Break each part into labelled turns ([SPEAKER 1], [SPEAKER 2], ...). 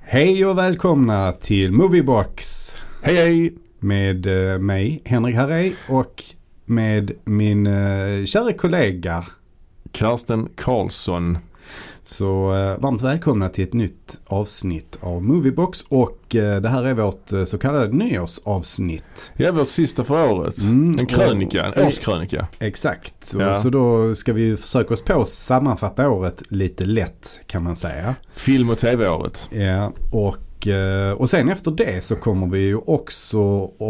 [SPEAKER 1] Hej och välkomna till Moviebox
[SPEAKER 2] Hej hej!
[SPEAKER 1] med eh, mig, Henrik Harrey och med min eh, kära kollega.
[SPEAKER 2] Karsten Karlsson.
[SPEAKER 1] Så eh, varmt välkomna till ett nytt avsnitt av Moviebox och eh, det här är vårt eh, så kallade nyårsavsnitt.
[SPEAKER 2] Ja, vårt sista för året.
[SPEAKER 1] Mm,
[SPEAKER 2] En krönika,
[SPEAKER 1] och-
[SPEAKER 2] en årskrönika.
[SPEAKER 1] Exakt, så,
[SPEAKER 2] Ja.
[SPEAKER 1] så då ska vi ju försöka oss på att sammanfatta året lite lätt kan man säga.
[SPEAKER 2] Film och tv-året.
[SPEAKER 1] Ja, och, eh, och sen efter det så kommer vi ju också att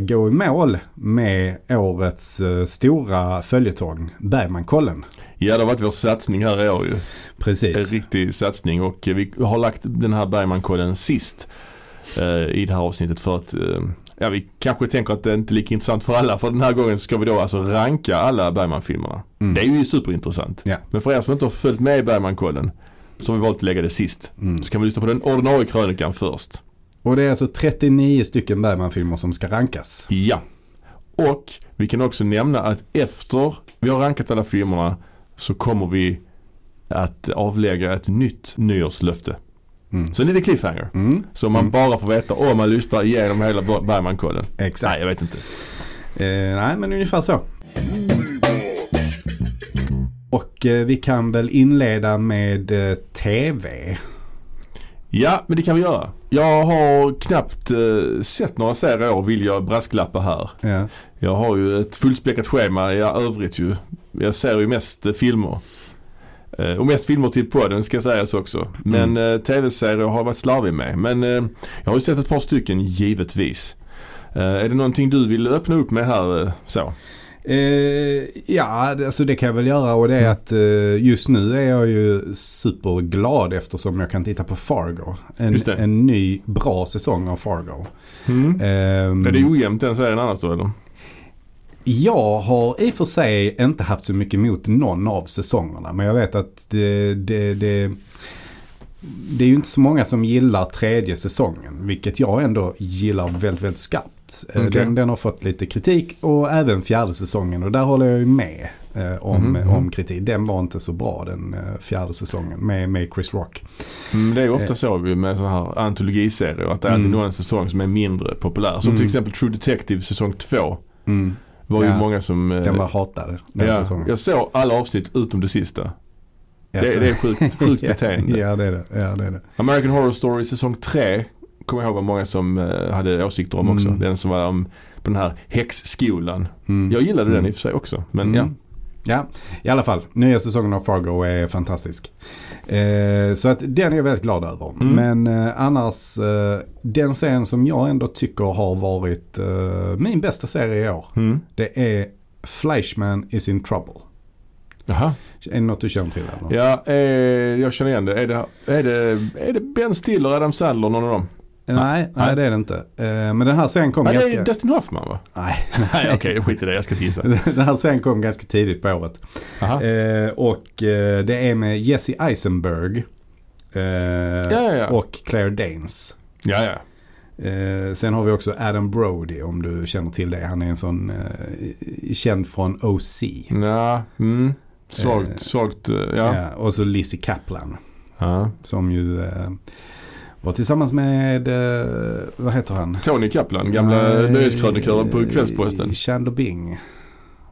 [SPEAKER 1] eh, gå i mål med årets eh, stora följetong, Bergmankollen.
[SPEAKER 2] Ja, det har varit vår satsning här i år ju. En
[SPEAKER 1] Precis.
[SPEAKER 2] riktig satsning och eh, vi har lagt den här Bergmankollen sist eh, i det här avsnittet för att eh, Ja, vi kanske tänker att det inte är lika intressant för alla för den här gången ska vi då alltså ranka alla Bergman-filmerna.
[SPEAKER 1] Mm.
[SPEAKER 2] Det är ju superintressant.
[SPEAKER 1] Ja.
[SPEAKER 2] Men för er som inte har följt med i Bergmankollen så har vi valt att lägga det sist.
[SPEAKER 1] Mm.
[SPEAKER 2] Så kan vi lyssna på den ordinarie krönikan först.
[SPEAKER 1] Och det är alltså 39 stycken Bergmanfilmer som ska rankas.
[SPEAKER 2] Ja. Och vi kan också nämna att efter vi har rankat alla filmerna så kommer vi att avlägga ett nytt nyårslöfte.
[SPEAKER 1] Mm.
[SPEAKER 2] Så en liten cliffhanger.
[SPEAKER 1] Mm,
[SPEAKER 2] Som man
[SPEAKER 1] Mm.
[SPEAKER 2] bara får veta om man lyssnar igenom hela Ber- Bergmankollen.
[SPEAKER 1] exakt.
[SPEAKER 2] Nej, jag vet inte.
[SPEAKER 1] Eh, nej, men ungefär så. Och eh, vi kan väl inleda med eh, TV.
[SPEAKER 2] Ja, men det kan vi göra. Jag har knappt eh, sett några serier och vill jag brasklappa här.
[SPEAKER 1] Ja.
[SPEAKER 2] Jag har ju ett fullspäckat schema i övrigt ju. Jag ser ju mest eh, filmer. Eh, Och mest filmer till podden ska sägas också. Men eh, tv-serier har jag varit slarvig med. Men eh, jag har ju sett ett par stycken givetvis. Eh, Är det någonting du vill öppna upp med här eh, så?
[SPEAKER 1] Eh, ja, det- alltså det kan jag väl göra och det
[SPEAKER 2] Mm.
[SPEAKER 1] är att eh, just nu är jag ju superglad eftersom jag kan titta på Fargo. En,
[SPEAKER 2] Just det.
[SPEAKER 1] en ny bra säsong av Fargo.
[SPEAKER 2] Mm.
[SPEAKER 1] Ehm,
[SPEAKER 2] Är det ojämnt den serien annars då eller?
[SPEAKER 1] jag har i och för sig inte haft så mycket emot någon av säsongerna men jag vet att det, det, det, det är ju inte så många som gillar tredje säsongen vilket jag ändå gillar väldigt, väldigt skarpt. Eh,
[SPEAKER 2] Okej.
[SPEAKER 1] Den, den har fått lite kritik och även fjärde säsongen och där håller jag ju med eh, om,
[SPEAKER 2] Mhm, mhm.
[SPEAKER 1] om kritik. Den var inte så bra den eh, fjärde säsongen med, med Chris Rock.
[SPEAKER 2] Mm, det är ju ofta så ju med sådana här antologiserier att det är alltid
[SPEAKER 1] Mm.
[SPEAKER 2] någon säsong som är mindre populär. Som
[SPEAKER 1] Mm.
[SPEAKER 2] till exempel True Detective säsong 2 var ju
[SPEAKER 1] Ja,
[SPEAKER 2] många som... eh,
[SPEAKER 1] Den var hatad den
[SPEAKER 2] Mm. ja,
[SPEAKER 1] säsongen.
[SPEAKER 2] jag såg alla avsnitt utom det sista.
[SPEAKER 1] Alltså.
[SPEAKER 2] Det, det är sjukt, sjukt beteende.
[SPEAKER 1] ja, det är det. Ja, det är det.
[SPEAKER 2] American Horror Story säsong 3 kommer jag ihåg var många som eh, hade åsikter om också.
[SPEAKER 1] Mm.
[SPEAKER 2] Den som var om, på den här häxskolan.
[SPEAKER 1] Mm.
[SPEAKER 2] Jag gillade den
[SPEAKER 1] Mm.
[SPEAKER 2] i och för sig också. Men
[SPEAKER 1] Mm. Ja, i alla fall. Nya säsongen av Fargo är fantastisk. Eh, så att den är jag väldigt glad över.
[SPEAKER 2] Mm.
[SPEAKER 1] Men eh, annars, eh, den serien som jag ändå tycker har varit eh, min bästa serie i år.
[SPEAKER 2] ja. Mm.
[SPEAKER 1] Det är Fleischman is in trouble.
[SPEAKER 2] Jaha.
[SPEAKER 1] Är det något du känner till eller?
[SPEAKER 2] Ja, eh, jag känner igen det. Är det, är det, är det Ben Stiller, Adam Sandler, någon av dem?
[SPEAKER 1] Nej, nej,
[SPEAKER 2] Nej.
[SPEAKER 1] det är det inte. Eh, men den här serien kom
[SPEAKER 2] Nej, det
[SPEAKER 1] ganska...
[SPEAKER 2] är Dustin Hoffman va?
[SPEAKER 1] Nej,
[SPEAKER 2] Nej, okej, skit i det. Jag ska tisa.
[SPEAKER 1] den här serien kom ganska tidigt på året.
[SPEAKER 2] Aha.
[SPEAKER 1] Eh, och eh, det är med Jesse Eisenberg. Eh,
[SPEAKER 2] Ja, ja, ja.
[SPEAKER 1] Och Claire Danes.
[SPEAKER 2] Ja, ja.
[SPEAKER 1] Eh, sen har vi också Adam Brody om du känner till det. Han är en sån eh, känd från OC.
[SPEAKER 2] Nja, mm.
[SPEAKER 1] Eh,
[SPEAKER 2] Svagt, svagt, eh, ja.
[SPEAKER 1] Ja, och så Lizzie Kaplan
[SPEAKER 2] ja.
[SPEAKER 1] som ju eh, var tillsammans med, eh, vad heter han?
[SPEAKER 2] Tony Kaplan, gamla
[SPEAKER 1] Nej,
[SPEAKER 2] nöjeskrönikören på Kvällsposten.
[SPEAKER 1] eh, Chandler Bing.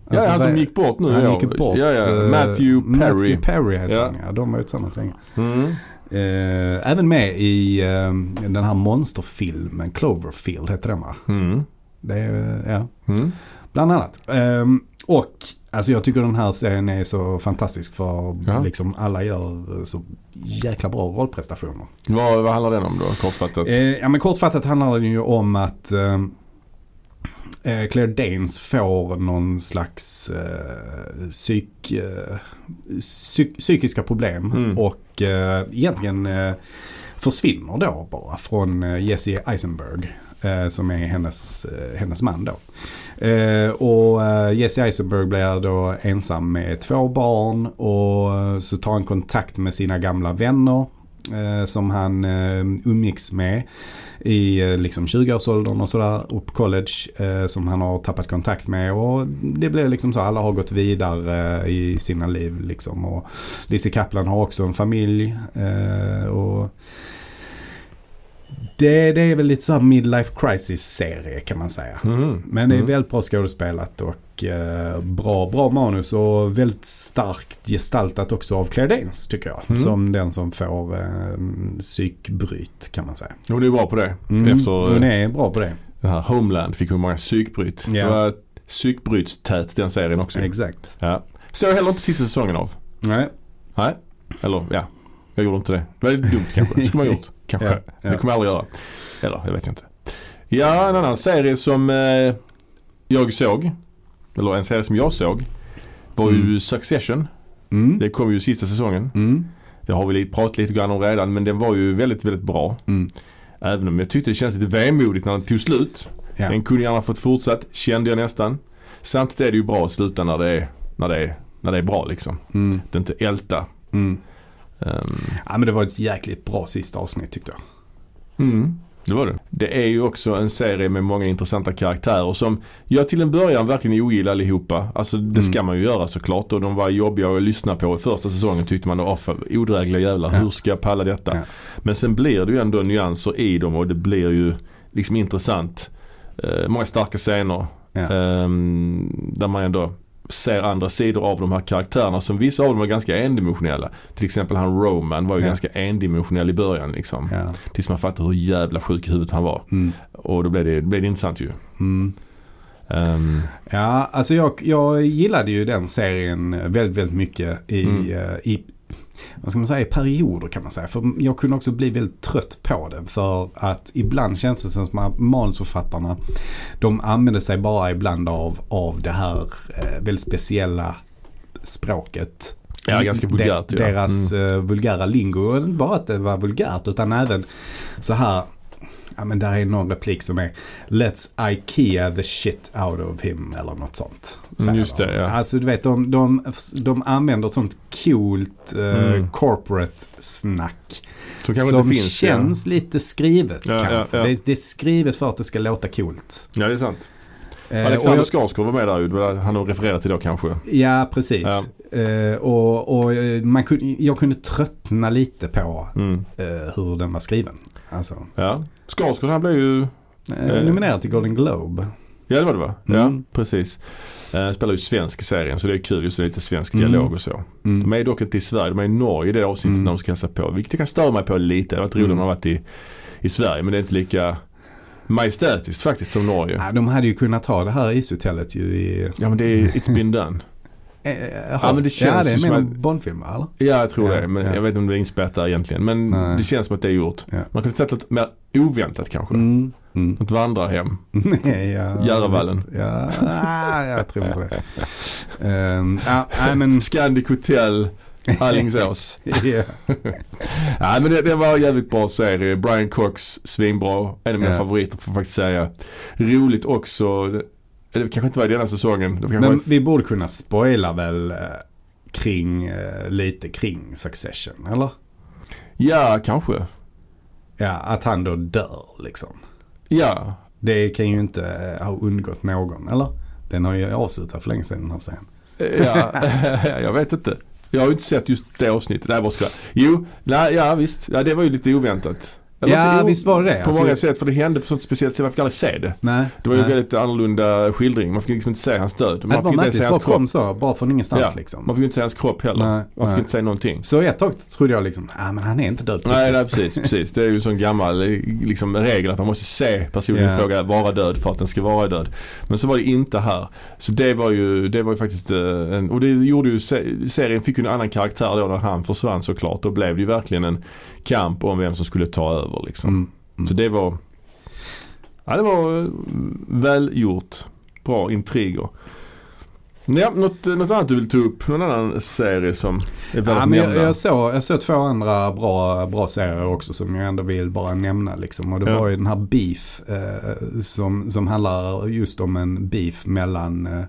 [SPEAKER 1] Alltså,
[SPEAKER 2] Ja, han som
[SPEAKER 1] vad-
[SPEAKER 2] gick bort nu i
[SPEAKER 1] han
[SPEAKER 2] år.
[SPEAKER 1] gick ju bort.
[SPEAKER 2] Ja, ja.
[SPEAKER 1] eh,
[SPEAKER 2] Matthew Perry.
[SPEAKER 1] Matthew Perry heter
[SPEAKER 2] Ja.
[SPEAKER 1] han ja. De var ju tillsammans länge.
[SPEAKER 2] Mm.
[SPEAKER 1] Eh, även med i eh, den här monsterfilmen Cloverfield heter den va?
[SPEAKER 2] Mm.
[SPEAKER 1] Det är, eh, ja.
[SPEAKER 2] Mm.
[SPEAKER 1] Bland annat. Ehm, och alltså jag tycker den här serien är så fantastisk för
[SPEAKER 2] Ja.
[SPEAKER 1] liksom alla gör eh, så jäkla bra rollprestationer.
[SPEAKER 2] Vad, vad handlar den om då kortfattat?
[SPEAKER 1] Eh, ja men kortfattat handlar det ju om att ehm, eh, Claire Danes får någon slags eh, psyk, eh, psyk, psykiska problem
[SPEAKER 2] Mm.
[SPEAKER 1] och eh, egentligen eh, försvinner då bara från eh, Jesse Eisenberg. eh, Som är hennes, eh, hennes man då. Eh, och eh, Jesse Eisenberg blir då ensam med två barn och eh, så tar han kontakt med sina gamla vänner eh, som han eh, umgicks med i eh, liksom 20-årsåldern och sådär och på college eh, som han har tappat kontakt med och det blev liksom så alla har gått vidare eh, i sina liv liksom och Lizzie Kaplan har också en familj eh, och Det, det är väl lite så här midlife crisis-serie kan man säga.
[SPEAKER 2] Mm.
[SPEAKER 1] Men det är
[SPEAKER 2] Mm.
[SPEAKER 1] väldigt bra skådespelat och eh, bra, bra manus och väldigt starkt gestaltat också av Claire Danes tycker jag.
[SPEAKER 2] Mm.
[SPEAKER 1] Som den som får eh, psykbryt kan man säga.
[SPEAKER 2] Hon är bra på det.
[SPEAKER 1] Mm.
[SPEAKER 2] Efter
[SPEAKER 1] Hon
[SPEAKER 2] eh,
[SPEAKER 1] är bra på det.
[SPEAKER 2] det här Homeland fick hon många psykbryt.
[SPEAKER 1] Ja.
[SPEAKER 2] Det var psykbrytstät den serien också.
[SPEAKER 1] Exakt.
[SPEAKER 2] Ja. Såg heller inte sista säsongen av.
[SPEAKER 1] Nej.
[SPEAKER 2] Nej, eller ja. Jag gjorde inte det. Det var lite dumt kanske. Det skulle man ha gjort. Kanske.
[SPEAKER 1] Ja, ja.
[SPEAKER 2] Det kommer jag aldrig göra. Eller, jag vet inte. Ja, en annan serie som eh, jag såg. Eller en serie som jag såg. Var
[SPEAKER 1] Mm.
[SPEAKER 2] ju Succession.
[SPEAKER 1] Mm.
[SPEAKER 2] Det kom ju sista säsongen.
[SPEAKER 1] Mm.
[SPEAKER 2] Det har vi li- pratat lite grann om redan men den var ju väldigt, väldigt bra.
[SPEAKER 1] Mm.
[SPEAKER 2] Även om jag tyckte det kändes lite vemodigt när den tog slut.
[SPEAKER 1] Ja.
[SPEAKER 2] Den kunde gärna fått fortsatt, kände jag nästan. Samtidigt är det ju bra att sluta när det är, när det är, när det är bra liksom.
[SPEAKER 1] Mm.
[SPEAKER 2] Att inte älta.
[SPEAKER 1] Mm.
[SPEAKER 2] Ehm,
[SPEAKER 1] Ja men det var ett jäkligt bra sista avsnitt tyckte jag.
[SPEAKER 2] Mm, det var det. Det är ju också en serie med många intressanta karaktärer som jag till en början verkligen ogillar allihopa. Alltså det
[SPEAKER 1] Mm.
[SPEAKER 2] ska man ju göra såklart och de var jobbiga att lyssna på. I första säsongen tyckte man att odrägliga jävlar,
[SPEAKER 1] Ja.
[SPEAKER 2] hur ska jag palla detta?
[SPEAKER 1] Ja.
[SPEAKER 2] Men sen blir det ju ändå nyanser i dem och det blir ju liksom intressant. Eh, många starka scener.
[SPEAKER 1] Ja.
[SPEAKER 2] Ehm, där man ändå ser andra sidor av de här karaktärerna som vissa av dem var ganska endimensionella. Till exempel han Roman var ju
[SPEAKER 1] Ja.
[SPEAKER 2] ganska endimensionell i början liksom.
[SPEAKER 1] Ja.
[SPEAKER 2] Tills man fattade hur jävla sjuk i huvudet han var.
[SPEAKER 1] Mm.
[SPEAKER 2] Och då blev det, blev det intressant ju.
[SPEAKER 1] Mm.
[SPEAKER 2] Ehm,
[SPEAKER 1] Ja, alltså jag, jag gillade ju den serien väldigt, väldigt mycket i,
[SPEAKER 2] Mm.
[SPEAKER 1] eh, i, vad ska man säga, i perioder kan man säga. För jag kunde också bli väldigt trött på den för att ibland känns det som att manusförfattarna, de använder sig bara ibland av, av det här eh, väldigt speciella språket.
[SPEAKER 2] ja, ganska vulgärt
[SPEAKER 1] De,
[SPEAKER 2] ja.
[SPEAKER 1] Deras
[SPEAKER 2] Mm.
[SPEAKER 1] eh, vulgära lingo. Och inte bara att det var vulgärt utan även så här. Ja men där är någon replik som är Let's Ikea the shit out of him eller något sånt. säger
[SPEAKER 2] Mm, just
[SPEAKER 1] de.
[SPEAKER 2] det, ja.
[SPEAKER 1] Alltså du vet de, de, de använder sånt coolt eh,
[SPEAKER 2] Mm.
[SPEAKER 1] corporate snack.
[SPEAKER 2] Som kanske
[SPEAKER 1] som
[SPEAKER 2] inte finns.
[SPEAKER 1] känns lite skrivet
[SPEAKER 2] Ja, ja,
[SPEAKER 1] kanske.
[SPEAKER 2] ja.
[SPEAKER 1] Det, är- det är skrivet för att det ska låta coolt.
[SPEAKER 2] Ja. ja, det är sant.
[SPEAKER 1] Eh, och
[SPEAKER 2] Alexander
[SPEAKER 1] jag-
[SPEAKER 2] Skarsgård var med där ju. Det var Han har refererat till då kanske.
[SPEAKER 1] Ja, precis. Eh, och och eh, man kunde, jag kunde tröttna lite på
[SPEAKER 2] Mm.
[SPEAKER 1] eh, hur den var skriven. Alltså,
[SPEAKER 2] Ja. Skarsgård han blev ju,
[SPEAKER 1] eh,
[SPEAKER 2] Eh.
[SPEAKER 1] nominerad till Golden Globe.
[SPEAKER 2] ja det var det va?
[SPEAKER 1] Mm.
[SPEAKER 2] Ja, precis. Eh, spelar ju svensk i serien så det är kul just det, lite svensk
[SPEAKER 1] Mm.
[SPEAKER 2] dialog och så. De är dock inte i Sverige, de är i Norge i det avsnittet
[SPEAKER 1] Mm.
[SPEAKER 2] när de ska hälsa på. Vilket kan störa mig på lite. Det hade varit roligt om de varit i, i Sverige men det är inte lika majestätiskt faktiskt som Norge.
[SPEAKER 1] Ja, de hade ju kunnat ha det här ishotellet ju i...
[SPEAKER 2] Ja men det är It's been done.
[SPEAKER 1] Eh, eh,
[SPEAKER 2] Ja, men det
[SPEAKER 1] ja,
[SPEAKER 2] känns
[SPEAKER 1] det
[SPEAKER 2] ju
[SPEAKER 1] är
[SPEAKER 2] som
[SPEAKER 1] med
[SPEAKER 2] att-
[SPEAKER 1] en Bondfilm, eller?
[SPEAKER 2] Ja, jag tror
[SPEAKER 1] Ja,
[SPEAKER 2] det. Men
[SPEAKER 1] ja.
[SPEAKER 2] jag vet inte om det är inspelat där egentligen. Men
[SPEAKER 1] Nej.
[SPEAKER 2] det känns som att det är gjort.
[SPEAKER 1] Ja.
[SPEAKER 2] Man kunde tagit något mer oväntat kanske.
[SPEAKER 1] Mm. Mm.
[SPEAKER 2] Något vandrarhem.
[SPEAKER 1] Nej, ja,
[SPEAKER 2] Järvallen.
[SPEAKER 1] visst. Ja, ah, jag tror inte det. Ehm, ja, nej men...
[SPEAKER 2] Scandic Hotel, Alingsås.
[SPEAKER 1] ja.
[SPEAKER 2] Nej men det, det var en jävligt bra serie. Brian Cox, svinbra. En av mina
[SPEAKER 1] Ja.
[SPEAKER 2] favoriter får jag faktiskt säga. Roligt också. Det, det kanske inte var i denna säsongen. Det var kanske
[SPEAKER 1] Men
[SPEAKER 2] var i-
[SPEAKER 1] vi borde kunna spoila väl eh, kring, eh, lite kring Succession, eller?
[SPEAKER 2] Ja, kanske.
[SPEAKER 1] Ja, att han då dör liksom.
[SPEAKER 2] Ja.
[SPEAKER 1] Det kan ju inte eh, ha undgått någon, eller? Den har ju avslutat för länge sedan den här scenen.
[SPEAKER 2] ja. jag vet inte. Jag har ju inte sett just det avsnittet. Nej, jag bara skojar. Jo, nej, ja visst. Ja, det var ju lite oväntat. Eller
[SPEAKER 1] Ja,
[SPEAKER 2] inte o-
[SPEAKER 1] visst var det det.
[SPEAKER 2] På
[SPEAKER 1] Alltså-
[SPEAKER 2] många sätt, för det hände på sånt speciellt sätt. Man fick aldrig se det.
[SPEAKER 1] Nej.
[SPEAKER 2] Det var ju
[SPEAKER 1] nej.
[SPEAKER 2] väldigt annorlunda skildring. Man fick liksom inte se hans död.
[SPEAKER 1] Det
[SPEAKER 2] Man
[SPEAKER 1] var
[SPEAKER 2] fick inte
[SPEAKER 1] märkligt,
[SPEAKER 2] se
[SPEAKER 1] bara
[SPEAKER 2] hans kropp.
[SPEAKER 1] kom så, bara från ingenstans
[SPEAKER 2] Ja,
[SPEAKER 1] liksom.
[SPEAKER 2] Man fick inte se hans kropp heller.
[SPEAKER 1] Nej,
[SPEAKER 2] man fick
[SPEAKER 1] nej.
[SPEAKER 2] inte se någonting.
[SPEAKER 1] Så ett tag trodde jag liksom, ah, men han är inte död på
[SPEAKER 2] Nej, nej
[SPEAKER 1] riktigt.
[SPEAKER 2] precis, precis. Det är ju en sån gammal eh, liksom, regel att man måste se personen
[SPEAKER 1] Ja.
[SPEAKER 2] i fråga vara död för att den ska vara död. Men så var det inte här. Så det var ju, det var ju faktiskt eh, en, och det gjorde ju, se- serien fick ju en annan karaktär då när han försvann såklart. Då blev det ju verkligen en kamp om vem som skulle ta över liksom.
[SPEAKER 1] Mm.
[SPEAKER 2] Så det var, ja det var eh, välgjort. Bra intriger. Ja, något, något annat du vill ta upp? Någon annan serie som är värd
[SPEAKER 1] Ja,
[SPEAKER 2] att
[SPEAKER 1] men
[SPEAKER 2] nämna?
[SPEAKER 1] jag, jag, såg, jag såg två andra bra, bra serier också som jag ändå vill bara nämna. Liksom. Och det
[SPEAKER 2] Ja.
[SPEAKER 1] var ju den här Beef eh, som, som handlar just om en beef mellan, eh,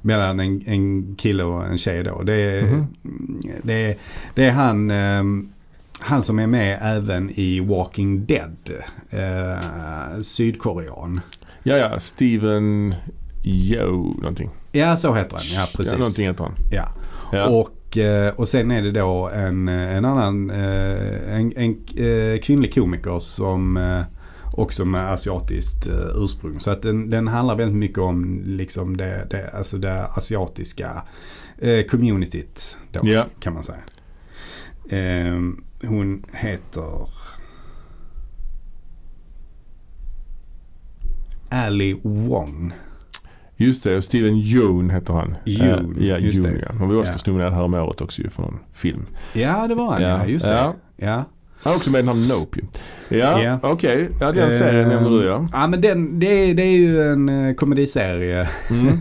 [SPEAKER 1] mellan en, en kille och en tjej. Då. Det, är,
[SPEAKER 2] Mhm.
[SPEAKER 1] det, är, det är han eh, han som är med även i Walking Dead, eh, sydkorean.
[SPEAKER 2] Ja, ja. Steven Yo någonting.
[SPEAKER 1] Ja, så heter han. Ja,
[SPEAKER 2] Ja,
[SPEAKER 1] precis.
[SPEAKER 2] någonting heter han.
[SPEAKER 1] Ja.
[SPEAKER 2] Ja.
[SPEAKER 1] Och, eh, och sen är det då en, en annan eh, en, en eh, kvinnlig komiker som eh, också med asiatiskt eh, ursprung. Så att den, den handlar väldigt mycket om liksom det, det, alltså det asiatiska eh, communityt då,
[SPEAKER 2] Ja.
[SPEAKER 1] kan man säga. Eh, hon heter Ali Wong.
[SPEAKER 2] Just det, och Steven Yeun heter han.
[SPEAKER 1] Yeun,
[SPEAKER 2] Eh, ja,
[SPEAKER 1] just
[SPEAKER 2] Yeun,
[SPEAKER 1] det.
[SPEAKER 2] ja. Han var ju
[SPEAKER 1] Ja.
[SPEAKER 2] Oscarsnominerad häromåret också ju för någon film.
[SPEAKER 1] Ja, det var han. Ja, just det.
[SPEAKER 2] Ja.
[SPEAKER 1] Ja.
[SPEAKER 2] Han är också med i den här Nope ju. Ja,
[SPEAKER 1] Ja.
[SPEAKER 2] okej. Ja, den
[SPEAKER 1] Eh,
[SPEAKER 2] serien nämner du ja.
[SPEAKER 1] Ja, men den, det, är, det är ju en eh, komediserie
[SPEAKER 2] Mm.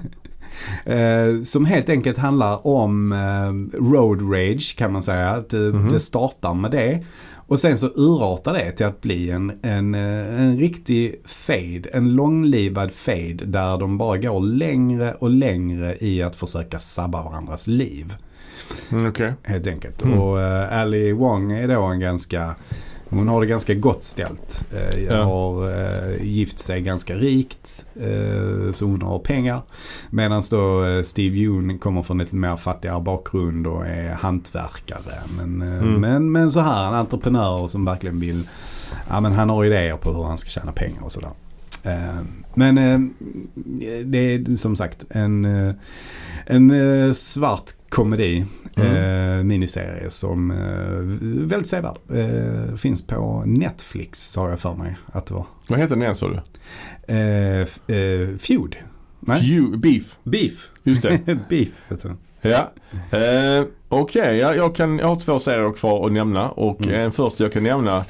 [SPEAKER 1] eh, som helt enkelt handlar om eh, road rage kan man säga. Att det,
[SPEAKER 2] Mhm.
[SPEAKER 1] det startar med det. Och sen så urartar det till att bli en, en, eh, en riktig fade, en långlivad fade där de bara går längre och längre i att försöka sabba varandras liv.
[SPEAKER 2] Mm, Okej.
[SPEAKER 1] Helt enkelt.
[SPEAKER 2] Mm.
[SPEAKER 1] Och eh, Ali Wong är då en ganska hon har det ganska gott ställt. Eh,
[SPEAKER 2] Ja.
[SPEAKER 1] Har eh, gift sig ganska rikt. Eh, så hon har pengar. Medan då eh, Steve Yoon kommer från lite mer fattigare bakgrund och är hantverkare. Men, eh,
[SPEAKER 2] Mm.
[SPEAKER 1] men, men så här en entreprenör som verkligen vill. Ja men han har idéer på hur han ska tjäna pengar och sådär. Eh, men eh, det är som sagt en, eh, en eh, svart komedi.
[SPEAKER 2] Mm.
[SPEAKER 1] Eh, miniserie som eh, väldigt sevärd. Eh, finns på Netflix har jag för mig att det var.
[SPEAKER 2] Vad heter den igen sa du?
[SPEAKER 1] Eh, f- eh, Feud. Nej.
[SPEAKER 2] Few, beef.
[SPEAKER 1] Beef.
[SPEAKER 2] Just det.
[SPEAKER 1] Beef heter den.
[SPEAKER 2] Ja. Eh, Okej, ja, jag, kan, jag har två serier kvar att nämna och
[SPEAKER 1] Mm.
[SPEAKER 2] en första jag kan nämna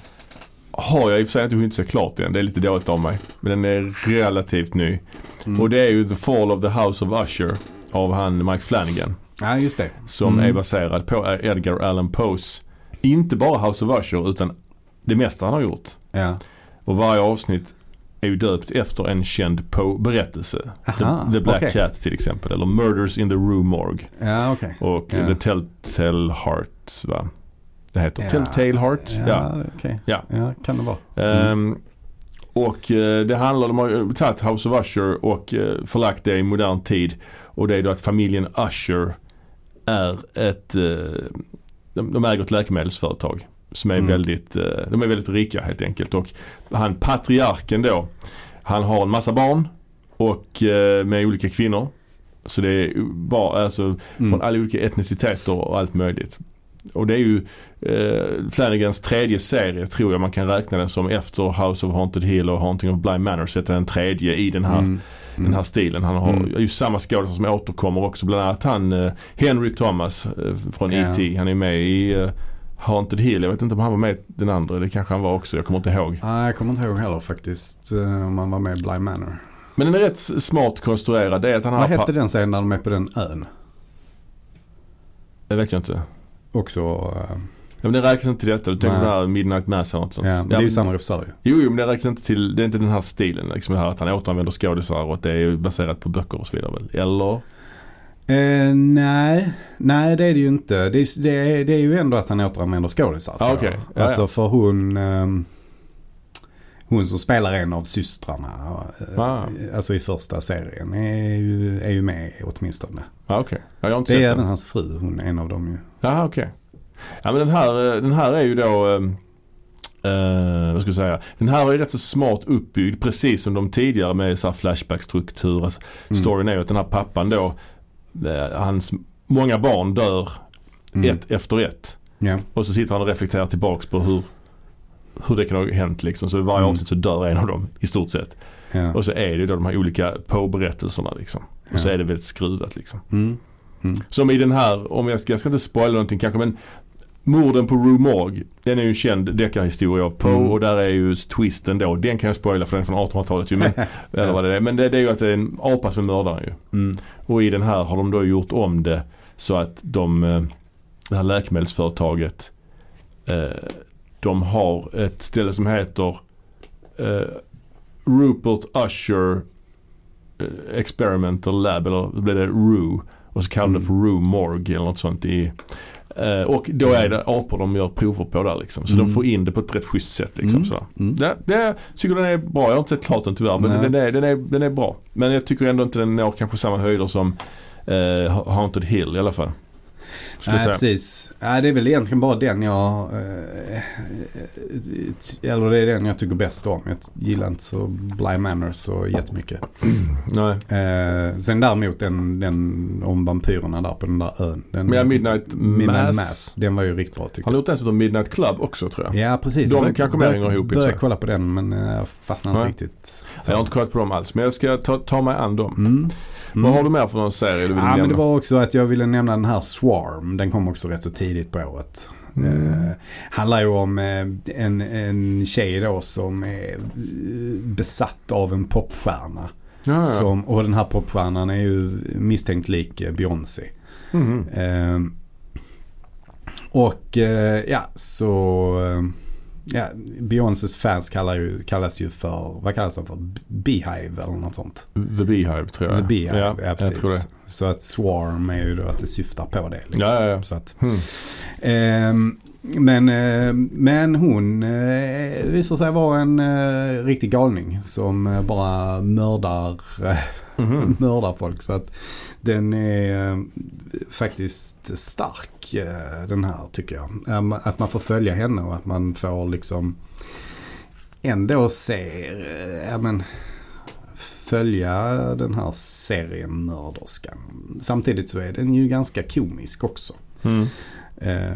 [SPEAKER 2] har jag i och för sig inte hunnit se klart än. Det är lite dåligt av mig. Men den är relativt ny.
[SPEAKER 1] Mm.
[SPEAKER 2] Och det är ju The Fall of the House of Usher av han Mike Flanagan.
[SPEAKER 1] Ja just det.
[SPEAKER 2] Som
[SPEAKER 1] Mm.
[SPEAKER 2] är baserad på Edgar Allan Poes, inte bara House of Usher utan det mesta han har gjort.
[SPEAKER 1] Ja.
[SPEAKER 2] Och varje avsnitt är ju döpt efter en känd Poe-berättelse.
[SPEAKER 1] Aha,
[SPEAKER 2] The, the Black
[SPEAKER 1] Ah, okej.
[SPEAKER 2] Cat till exempel. Eller Murders in the Rue Morgue.
[SPEAKER 1] Ja okej.
[SPEAKER 2] Och
[SPEAKER 1] Ja.
[SPEAKER 2] The Telltale Heart va? Det heter
[SPEAKER 1] Ja.
[SPEAKER 2] Telltale Heart. Ja.
[SPEAKER 1] Ja, okej.
[SPEAKER 2] Ja.
[SPEAKER 1] ja, kan det vara.
[SPEAKER 2] Ehm, och eh, det handlar, de har ju tagit House of Usher och eh, förlagt det i modern tid. Och det är då att familjen Usher är ett, eh, de, de äger ett läkemedelsföretag. Som är
[SPEAKER 1] Mm.
[SPEAKER 2] väldigt, eh, de är väldigt rika helt enkelt. Och han patriarken då, han har en massa barn. Och eh, med olika kvinnor. Så det är bara, alltså
[SPEAKER 1] Mm.
[SPEAKER 2] från alla olika etniciteter och allt möjligt. Och det är ju eh, Flanagans tredje serie tror jag man kan räkna den som efter House of Haunted Hill och Haunting of Blind Manor så är det den tredje i den här,
[SPEAKER 1] Mm.
[SPEAKER 2] den här stilen. Han har
[SPEAKER 1] Mm.
[SPEAKER 2] ju samma skådespelare som återkommer också bland annat han eh, Henry Thomas eh, från
[SPEAKER 1] Ja.
[SPEAKER 2] E.T. Han är med i eh, Haunted Hill. Jag vet inte om han var med i den andra. Det kanske han var också. Jag kommer inte ihåg.
[SPEAKER 1] Nej, jag kommer inte ihåg heller faktiskt eh, om man var med i Bly Manor.
[SPEAKER 2] Men den är rätt smart konstruerad. Det är att han
[SPEAKER 1] Vad
[SPEAKER 2] har...
[SPEAKER 1] hette den sen när de är på den ön?
[SPEAKER 2] Det vet jag inte.
[SPEAKER 1] Också, eh,
[SPEAKER 2] Ja, men det räknas inte till detta. Du tänker på
[SPEAKER 1] Nej.
[SPEAKER 2] den här Midnight Mass eller något sånt.
[SPEAKER 1] ja, men det är ju
[SPEAKER 2] men-
[SPEAKER 1] samma regissör ju.
[SPEAKER 2] Jo, jo, men det räknas inte till, det är inte den här stilen liksom det här att han återanvänder skådisar och att det är ju baserat på böcker och så vidare väl? Eller?
[SPEAKER 1] Eh, nej, nej det är det ju inte. Det är, det är, det är ju ändå att han återanvänder skådisar. tror
[SPEAKER 2] Ah,
[SPEAKER 1] jag.
[SPEAKER 2] okej. Ja,
[SPEAKER 1] alltså
[SPEAKER 2] ja.
[SPEAKER 1] för hon, ehm, hon som spelar en av systrarna, eh,
[SPEAKER 2] Ah.
[SPEAKER 1] alltså i första serien, är ju, är ju med åtminstone.
[SPEAKER 2] Ja, okej. Ja, jag har inte
[SPEAKER 1] Det är
[SPEAKER 2] sett
[SPEAKER 1] även
[SPEAKER 2] den.
[SPEAKER 1] hans fru, hon är en av dem ju.
[SPEAKER 2] Jaha, okej. Ja, men den här, eh, den här är ju då, eh, eh, vad ska jag säga? Den här är ju rätt så smart uppbyggd precis som de tidigare med så här flashback-struktur. Alltså,
[SPEAKER 1] Mm.
[SPEAKER 2] Storyn är ju att den här pappan då, eh, hans många barn dör
[SPEAKER 1] Mm.
[SPEAKER 2] ett efter ett.
[SPEAKER 1] Ja.
[SPEAKER 2] Och så sitter han och reflekterar tillbaks på hur, hur det kan ha hänt liksom. Så i varje
[SPEAKER 1] Mm.
[SPEAKER 2] avsnitt så dör en av dem i stort sett.
[SPEAKER 1] Ja.
[SPEAKER 2] Och så är det ju då de här olika påberättelserna liksom. Och så
[SPEAKER 1] Ja.
[SPEAKER 2] är det väldigt skruvat liksom.
[SPEAKER 1] Mm.
[SPEAKER 2] Som i den här, om jag ska, jag ska inte spoila någonting kanske men Morden på Rue Morgue, den är ju en känd deckarhistoria av Poe
[SPEAKER 1] Mm.
[SPEAKER 2] och där är ju twisten då, den kan jag spoila för den är från 1800-talet ju. Men, eller vad det är. men det, det är ju att det är en apa som är mördaren ju.
[SPEAKER 1] Mm.
[SPEAKER 2] Och i den här har de då gjort om det så att de, eh, det här läkemedelsföretaget, eh, de har ett ställe som heter eh, Rupert Usher eh, Experimental Lab, eller då blev det RU. Och så kallar de
[SPEAKER 1] Mm.
[SPEAKER 2] det för RU Morgue eller något sånt. I, eh, och då är det apor de gör prover på där liksom. Så de
[SPEAKER 1] Mm.
[SPEAKER 2] får in det på ett rätt schysst sätt liksom.
[SPEAKER 1] Mm.
[SPEAKER 2] Sådär.
[SPEAKER 1] Mm.
[SPEAKER 2] Det, det tycker den är bra. Jag har inte sett klart den tyvärr. Men
[SPEAKER 1] Nej.
[SPEAKER 2] den är, den, är, den är bra. Men jag tycker ändå inte den når kanske samma höjder som eh, Haunted Hill i alla fall. Skulle
[SPEAKER 1] Nej,
[SPEAKER 2] jag säga.
[SPEAKER 1] precis. Nej, det är väl egentligen bara den jag... eh, t- Eller det är den jag tycker bäst om. Jag gillar inte så Bly Manor så jättemycket.
[SPEAKER 2] Nej.
[SPEAKER 1] Eh, sen däremot den, den om vampyrerna där på den där ön. Den,
[SPEAKER 2] Men ja, Midnight
[SPEAKER 1] Midnight
[SPEAKER 2] Mass.
[SPEAKER 1] Mass. Den var ju riktigt bra tyckte
[SPEAKER 2] Han har gjort dessutom Midnight Club också tror jag.
[SPEAKER 1] jag. Ja, precis.
[SPEAKER 2] De
[SPEAKER 1] Jag bör-
[SPEAKER 2] kanske mer
[SPEAKER 1] bör-
[SPEAKER 2] hänger ihop, i och för
[SPEAKER 1] Började
[SPEAKER 2] sig.
[SPEAKER 1] kolla på den men eh, jag fastnade inte
[SPEAKER 2] Nej.
[SPEAKER 1] riktigt.
[SPEAKER 2] Jag har inte kollat på dem alls, men jag ska ta, ta mig an dem.
[SPEAKER 1] Mm. Mm.
[SPEAKER 2] Vad har du mer för någon serie du vill
[SPEAKER 1] Ja,
[SPEAKER 2] nämna?
[SPEAKER 1] men det var också att jag ville nämna den här Swarm. Den kom också rätt så tidigt på året. Eh, handlar ju om eh, en, en tjej då som är eh, besatt av en popstjärna.
[SPEAKER 2] Ja, ja.
[SPEAKER 1] Som, och den här popstjärnan är ju misstänkt lik eh, Beyoncé.
[SPEAKER 2] Mhm.
[SPEAKER 1] Eh, och eh, ja, så... Eh, ja, Beyoncés fans kallar ju, kallas ju för, vad kallas de för? B- Beehive eller något sånt.
[SPEAKER 2] The Beehive tror jag.
[SPEAKER 1] The Beehive,
[SPEAKER 2] ja,
[SPEAKER 1] ja,
[SPEAKER 2] jag tror det.
[SPEAKER 1] precis. Så att Swarm är ju då att det syftar på det. Liksom.
[SPEAKER 2] Ja, ja, ja.
[SPEAKER 1] Så att,
[SPEAKER 2] Mm.
[SPEAKER 1] ehm, men, eh, men hon eh, visar sig vara en eh, riktig galning som eh, bara mördar, eh,
[SPEAKER 2] Mhm.
[SPEAKER 1] mördar folk. Så att den är eh, faktiskt stark eh, den här tycker jag. Ehm, Att man får följa henne och att man får liksom ändå se, eh, ja men följa den här serien Mörderskan. Samtidigt så är den ju ganska komisk också.
[SPEAKER 2] Mm.
[SPEAKER 1] Eh,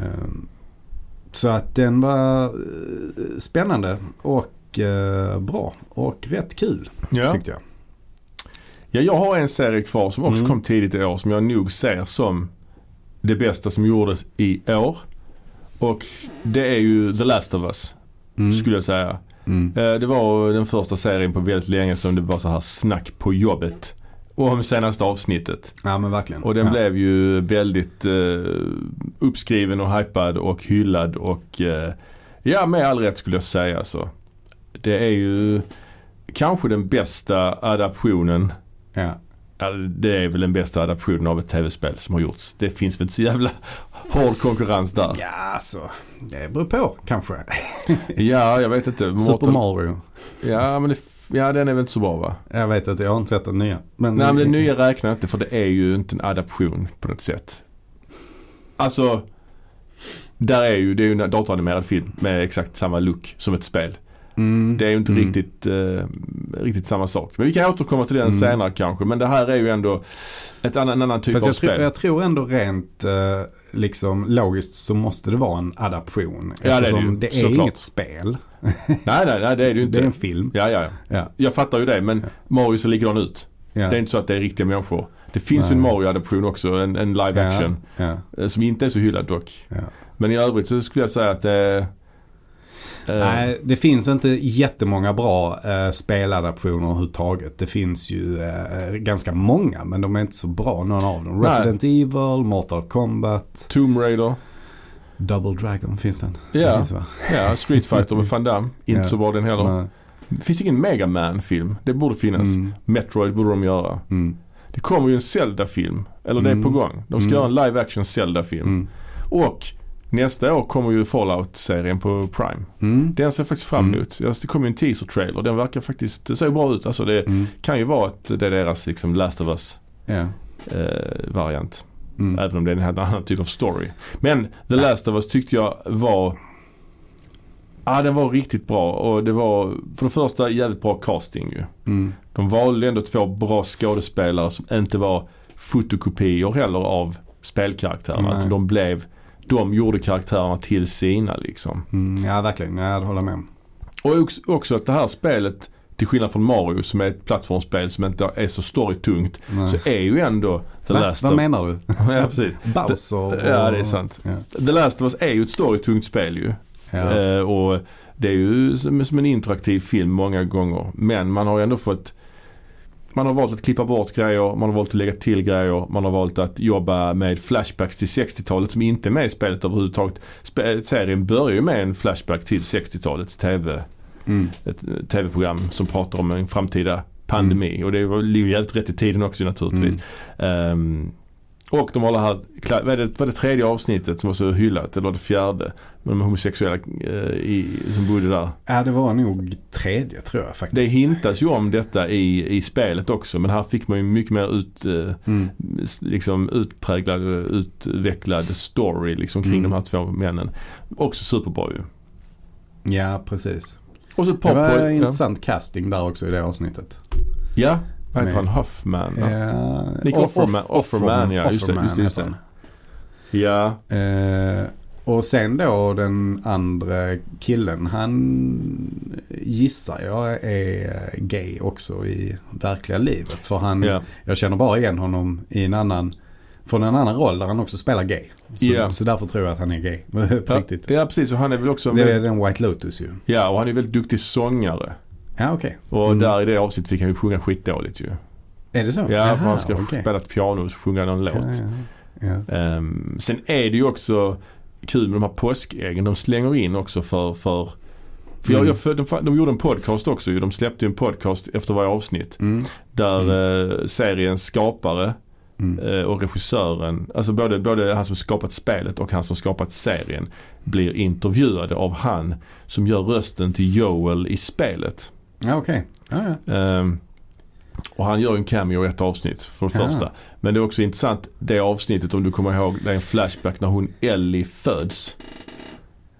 [SPEAKER 1] Så att den var eh, spännande och eh, bra och rätt kul
[SPEAKER 2] Ja.
[SPEAKER 1] tyckte jag.
[SPEAKER 2] ja, jag har en serie kvar som också
[SPEAKER 1] Mm.
[SPEAKER 2] kom tidigt i år som jag nog ser som det bästa som gjordes i år. Och det är ju The Last of Us,
[SPEAKER 1] Mm.
[SPEAKER 2] skulle jag säga.
[SPEAKER 1] Mm.
[SPEAKER 2] Eh, Det var den första serien på väldigt länge som det var så här snack på jobbet. Om senaste avsnittet.
[SPEAKER 1] Ja men verkligen.
[SPEAKER 2] Och den
[SPEAKER 1] ja.
[SPEAKER 2] blev ju väldigt eh, uppskriven och hypad och hyllad och eh, ja, med all rätt skulle jag säga så. Det är ju kanske den bästa adaptionen.
[SPEAKER 1] Ja.
[SPEAKER 2] ja, Det är väl den bästa adaptionen av ett tv-spel som har gjorts. Det finns väl inte så jävla hård konkurrens där.
[SPEAKER 1] ja alltså, det beror på kanske.
[SPEAKER 2] Ja, jag vet inte.
[SPEAKER 1] Super
[SPEAKER 2] Mortal-
[SPEAKER 1] Mario.
[SPEAKER 2] Ja, men det, ja, den är väl inte så bra va?
[SPEAKER 1] Jag vet att jag har inte sett den nya. Men,
[SPEAKER 2] Nej men den nya räknar jag inte för det är ju inte en adaption på något sätt. Alltså, där är ju, det är ju en datoranimerad film med exakt samma look som ett spel.
[SPEAKER 1] Mm.
[SPEAKER 2] Det är ju inte
[SPEAKER 1] Mm.
[SPEAKER 2] riktigt, eh, riktigt samma sak. Men vi kan återkomma till den
[SPEAKER 1] Mm.
[SPEAKER 2] senare kanske. Men det här är ju ändå ett annan, en annan typ
[SPEAKER 1] Fast
[SPEAKER 2] av
[SPEAKER 1] jag, tror,
[SPEAKER 2] spel.
[SPEAKER 1] jag tror ändå rent eh, liksom logiskt så måste det vara en adaption.
[SPEAKER 2] det är det ju,
[SPEAKER 1] eftersom det är
[SPEAKER 2] såklart.
[SPEAKER 1] inget spel.
[SPEAKER 2] Nej, nej, nej det är det ju
[SPEAKER 1] Det är en
[SPEAKER 2] inte.
[SPEAKER 1] film.
[SPEAKER 2] Ja, ja, ja.
[SPEAKER 1] Typ. Ja.
[SPEAKER 2] Jag fattar ju det men Mario ser likadan ut.
[SPEAKER 1] Ja.
[SPEAKER 2] Det är inte så att det är riktiga människor. Det finns ju en
[SPEAKER 1] Nej.
[SPEAKER 2] Mario-adaption också, en, en live
[SPEAKER 1] Ja.
[SPEAKER 2] action.
[SPEAKER 1] Ja.
[SPEAKER 2] eh, Som inte är så hyllad dock.
[SPEAKER 1] Ja.
[SPEAKER 2] Men i övrigt så skulle jag säga att det... eh,
[SPEAKER 1] Nej, det finns inte jättemånga bra eh, speladaptioner överhuvudtaget. Det finns ju eh, ganska många men de är inte så bra någon av dem.
[SPEAKER 2] Nej.
[SPEAKER 1] Resident Evil, Mortal Kombat,
[SPEAKER 2] Tomb Raider.
[SPEAKER 1] Double Dragon finns den.
[SPEAKER 2] Ja.
[SPEAKER 1] Det finns, va?
[SPEAKER 2] Ja, Street Fighter med Van Damme. Inte
[SPEAKER 1] Ja.
[SPEAKER 2] så bra den heller.
[SPEAKER 1] Nej.
[SPEAKER 2] Det finns ingen Mega man film Det borde finnas.
[SPEAKER 1] Mm,
[SPEAKER 2] Metroid borde de göra.
[SPEAKER 1] mm,
[SPEAKER 2] Det kommer ju en Zelda-film. Eller det
[SPEAKER 1] Mm.
[SPEAKER 2] är på gång. De ska
[SPEAKER 1] Mm.
[SPEAKER 2] göra en live action Zelda-film.
[SPEAKER 1] mm,
[SPEAKER 2] Och nästa år kommer ju Fallout-serien på Prime.
[SPEAKER 1] mm,
[SPEAKER 2] Den ser jag faktiskt fram
[SPEAKER 1] Mm.
[SPEAKER 2] emot. Alltså, det kom ju en teaser-trailer. Den verkar faktiskt, det ser ju bra ut. Alltså det
[SPEAKER 1] mm,
[SPEAKER 2] kan ju vara att det är deras liksom Last of Us
[SPEAKER 1] ja,
[SPEAKER 2] eh, variant.
[SPEAKER 1] mm.
[SPEAKER 2] Även om det är en helt annan typ av story. Men The Last of Us tyckte jag var... Ja, den var riktigt bra och det var för det första jävligt bra casting ju.
[SPEAKER 1] Mm.
[SPEAKER 2] De valde ändå två bra skådespelare som inte var fotokopior heller av spelkaraktärerna.
[SPEAKER 1] Nej.
[SPEAKER 2] Att de blev... De gjorde karaktärerna till sina liksom.
[SPEAKER 1] Mm, ja, verkligen. Ja, det håller jag med om.
[SPEAKER 2] Och ox- också att det här spelet, till skillnad från Mario som är ett plattformsspel som inte är så storytungt,
[SPEAKER 1] Nej.
[SPEAKER 2] så är ju ändå The
[SPEAKER 1] Va?
[SPEAKER 2] Last
[SPEAKER 1] Vad
[SPEAKER 2] of...
[SPEAKER 1] menar du?
[SPEAKER 2] Ja, precis.
[SPEAKER 1] Bowser? och-
[SPEAKER 2] Ja, det är sant.
[SPEAKER 1] Ja.
[SPEAKER 2] The Last of Us är ju ett storytungt spel ju.
[SPEAKER 1] Ja.
[SPEAKER 2] Eh, och det är ju som, som en interaktiv film många gånger. Men man har ju ändå fått man har valt att klippa bort grejer, man har valt att lägga till grejer, man har valt att jobba med flashbacks till 60-talet som inte är med i spelet överhuvudtaget. Spe- serien börjar ju med en flashback till 60-talets TV,
[SPEAKER 1] Mm.
[SPEAKER 2] ett eh, TV-program som pratar om en framtida pandemi. Och det var- ligger ju helt rätt i tiden också naturligtvis.
[SPEAKER 1] Mm. Mm.
[SPEAKER 2] Ehm, Och de har det här, kla- vad är det, vad är det tredje avsnittet som var så hyllat? Eller var det fjärde? Med de homosexuella eh, i, som bodde där.
[SPEAKER 1] Ja, det var nog tredje tror jag
[SPEAKER 2] Det
[SPEAKER 1] faktiskt.
[SPEAKER 2] hintas ju om detta i, i spelet också men här fick man ju mycket mer ut, eh,
[SPEAKER 1] Mm.
[SPEAKER 2] s- liksom utpräglad, eh, utvecklad story liksom kring
[SPEAKER 1] Mm.
[SPEAKER 2] de här två männen. Också superbra ju.
[SPEAKER 1] Ja, precis.
[SPEAKER 2] Och så ett par
[SPEAKER 1] Det var
[SPEAKER 2] poj- ja.
[SPEAKER 1] intressant casting där också i det avsnittet.
[SPEAKER 2] ja, vad heter
[SPEAKER 1] Med-
[SPEAKER 2] han? Huffman? va?
[SPEAKER 1] Ja.
[SPEAKER 2] Nick
[SPEAKER 1] Off-
[SPEAKER 2] Offerman-
[SPEAKER 1] Off-
[SPEAKER 2] Offerman, ja, just det,
[SPEAKER 1] Eh, Offerman
[SPEAKER 2] just det, just
[SPEAKER 1] heter
[SPEAKER 2] det. Ja,
[SPEAKER 1] han. Eh, och sen då den andra killen, han gissar jag är gay också i verkliga livet. För han,
[SPEAKER 2] ja.
[SPEAKER 1] jag känner bara igen honom i en annan, från en annan roll där han också spelar gay. Så,
[SPEAKER 2] Ja.
[SPEAKER 1] så därför tror jag att han är gay. På riktigt.
[SPEAKER 2] ja precis och han är väl också,
[SPEAKER 1] Det är den White Lotus ju.
[SPEAKER 2] ja och han är väldigt duktig sångare.
[SPEAKER 1] Ja, okej.
[SPEAKER 2] Och
[SPEAKER 1] Mm.
[SPEAKER 2] där i det avsnittet fick han ju sjunga skitdåligt ju.
[SPEAKER 1] Är det så?
[SPEAKER 2] Ja, för han ska
[SPEAKER 1] okej.
[SPEAKER 2] spela ett piano och sjunga någon låt.
[SPEAKER 1] Ja, ja, ja.
[SPEAKER 2] Ehm, sen är det ju också kul med de här påskäggen de slänger in också för, för för jag,
[SPEAKER 1] Mm.
[SPEAKER 2] jag, för de, de gjorde en podcast också ju. De släppte ju en podcast efter varje avsnitt.
[SPEAKER 1] Mm.
[SPEAKER 2] Där eh, seriens skapare
[SPEAKER 1] Mm.
[SPEAKER 2] eh, och regissören, alltså både, både han som skapat spelet och han som skapat serien blir intervjuade av han som gör rösten till Joel i spelet.
[SPEAKER 1] Ja, okej. Ja, ja.
[SPEAKER 2] Ehm, och han gör ju en cameo i ett avsnitt för det
[SPEAKER 1] Ja.
[SPEAKER 2] första. Men det är också intressant det avsnittet om du kommer ihåg. Det är en flashback när hon Ellie föds.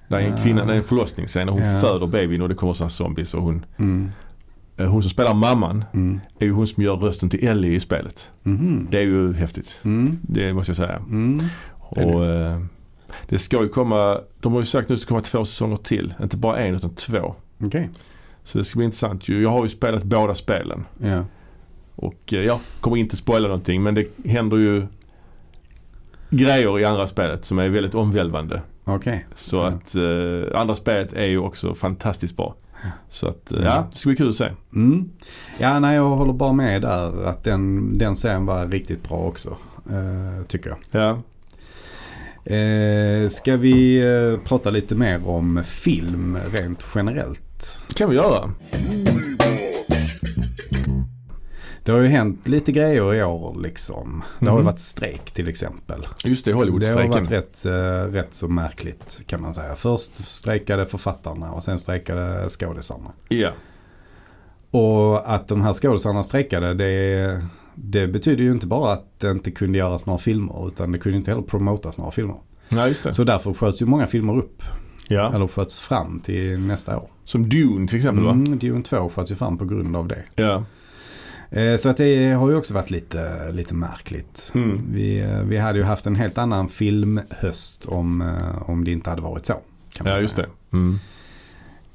[SPEAKER 2] Det är en
[SPEAKER 1] Ja.
[SPEAKER 2] kvinna, det är en förlossningsscen när hon
[SPEAKER 1] Ja.
[SPEAKER 2] föder babyn och det kommer sådana zombies. Och hon,
[SPEAKER 1] Mm.
[SPEAKER 2] eh, hon som spelar mamman
[SPEAKER 1] Mm.
[SPEAKER 2] är ju hon som gör rösten till Ellie i spelet.
[SPEAKER 1] Mhm.
[SPEAKER 2] Det är ju häftigt.
[SPEAKER 1] Mm.
[SPEAKER 2] Det måste jag säga.
[SPEAKER 1] Mm. Det är det.
[SPEAKER 2] Och, eh, det ska ju komma, de har ju sagt nu att det ska komma två säsonger till. Inte bara en utan två.
[SPEAKER 1] Okej.
[SPEAKER 2] Så det ska bli intressant ju. Jag har ju spelat båda spelen.
[SPEAKER 1] Ja.
[SPEAKER 2] Och eh, jag kommer inte spoila någonting men det händer ju grejer i andra spelet som är väldigt omvälvande.
[SPEAKER 1] Okej.
[SPEAKER 2] Så
[SPEAKER 1] Ja.
[SPEAKER 2] att eh, andra spelet är ju också fantastiskt bra. Så att eh,
[SPEAKER 1] Ja.
[SPEAKER 2] ja, det ska bli kul att se.
[SPEAKER 1] Mm. Ja, nej, jag håller bara med där att den, den serien var riktigt bra också. eh, tycker jag.
[SPEAKER 2] Ja.
[SPEAKER 1] Eh, ska vi eh, prata lite mer om film rent generellt?
[SPEAKER 2] Det kan vi göra.
[SPEAKER 1] Det har ju hänt lite grejer i år liksom. Det har ju
[SPEAKER 2] Mhm.
[SPEAKER 1] varit strejk till exempel.
[SPEAKER 2] Just det,
[SPEAKER 1] Det har varit
[SPEAKER 2] Hollywoodstrejken.
[SPEAKER 1] rätt, eh, rätt så märkligt kan man säga. Först strejkade författarna och sen strejkade skådisarna.
[SPEAKER 2] Ja.
[SPEAKER 1] Och att de här skådisarna strejkade det, det betyder ju inte bara att det inte kunde göras några filmer utan det kunde inte heller promotas några filmer.
[SPEAKER 2] ja, just det.
[SPEAKER 1] Så därför sköts ju många filmer upp.
[SPEAKER 2] ja.
[SPEAKER 1] Eller sköts fram till nästa år.
[SPEAKER 2] Som Dune till exempel va?
[SPEAKER 1] Mm, Dune 2 sköts ju fram på grund av det.
[SPEAKER 2] Ja.
[SPEAKER 1] Eh, Så att det har ju också varit lite, lite märkligt.
[SPEAKER 2] Mm.
[SPEAKER 1] Vi, eh, vi hade ju haft en helt annan filmhöst om, eh, om det inte hade varit så. Kan man
[SPEAKER 2] ja,
[SPEAKER 1] säga.
[SPEAKER 2] just det. Mm.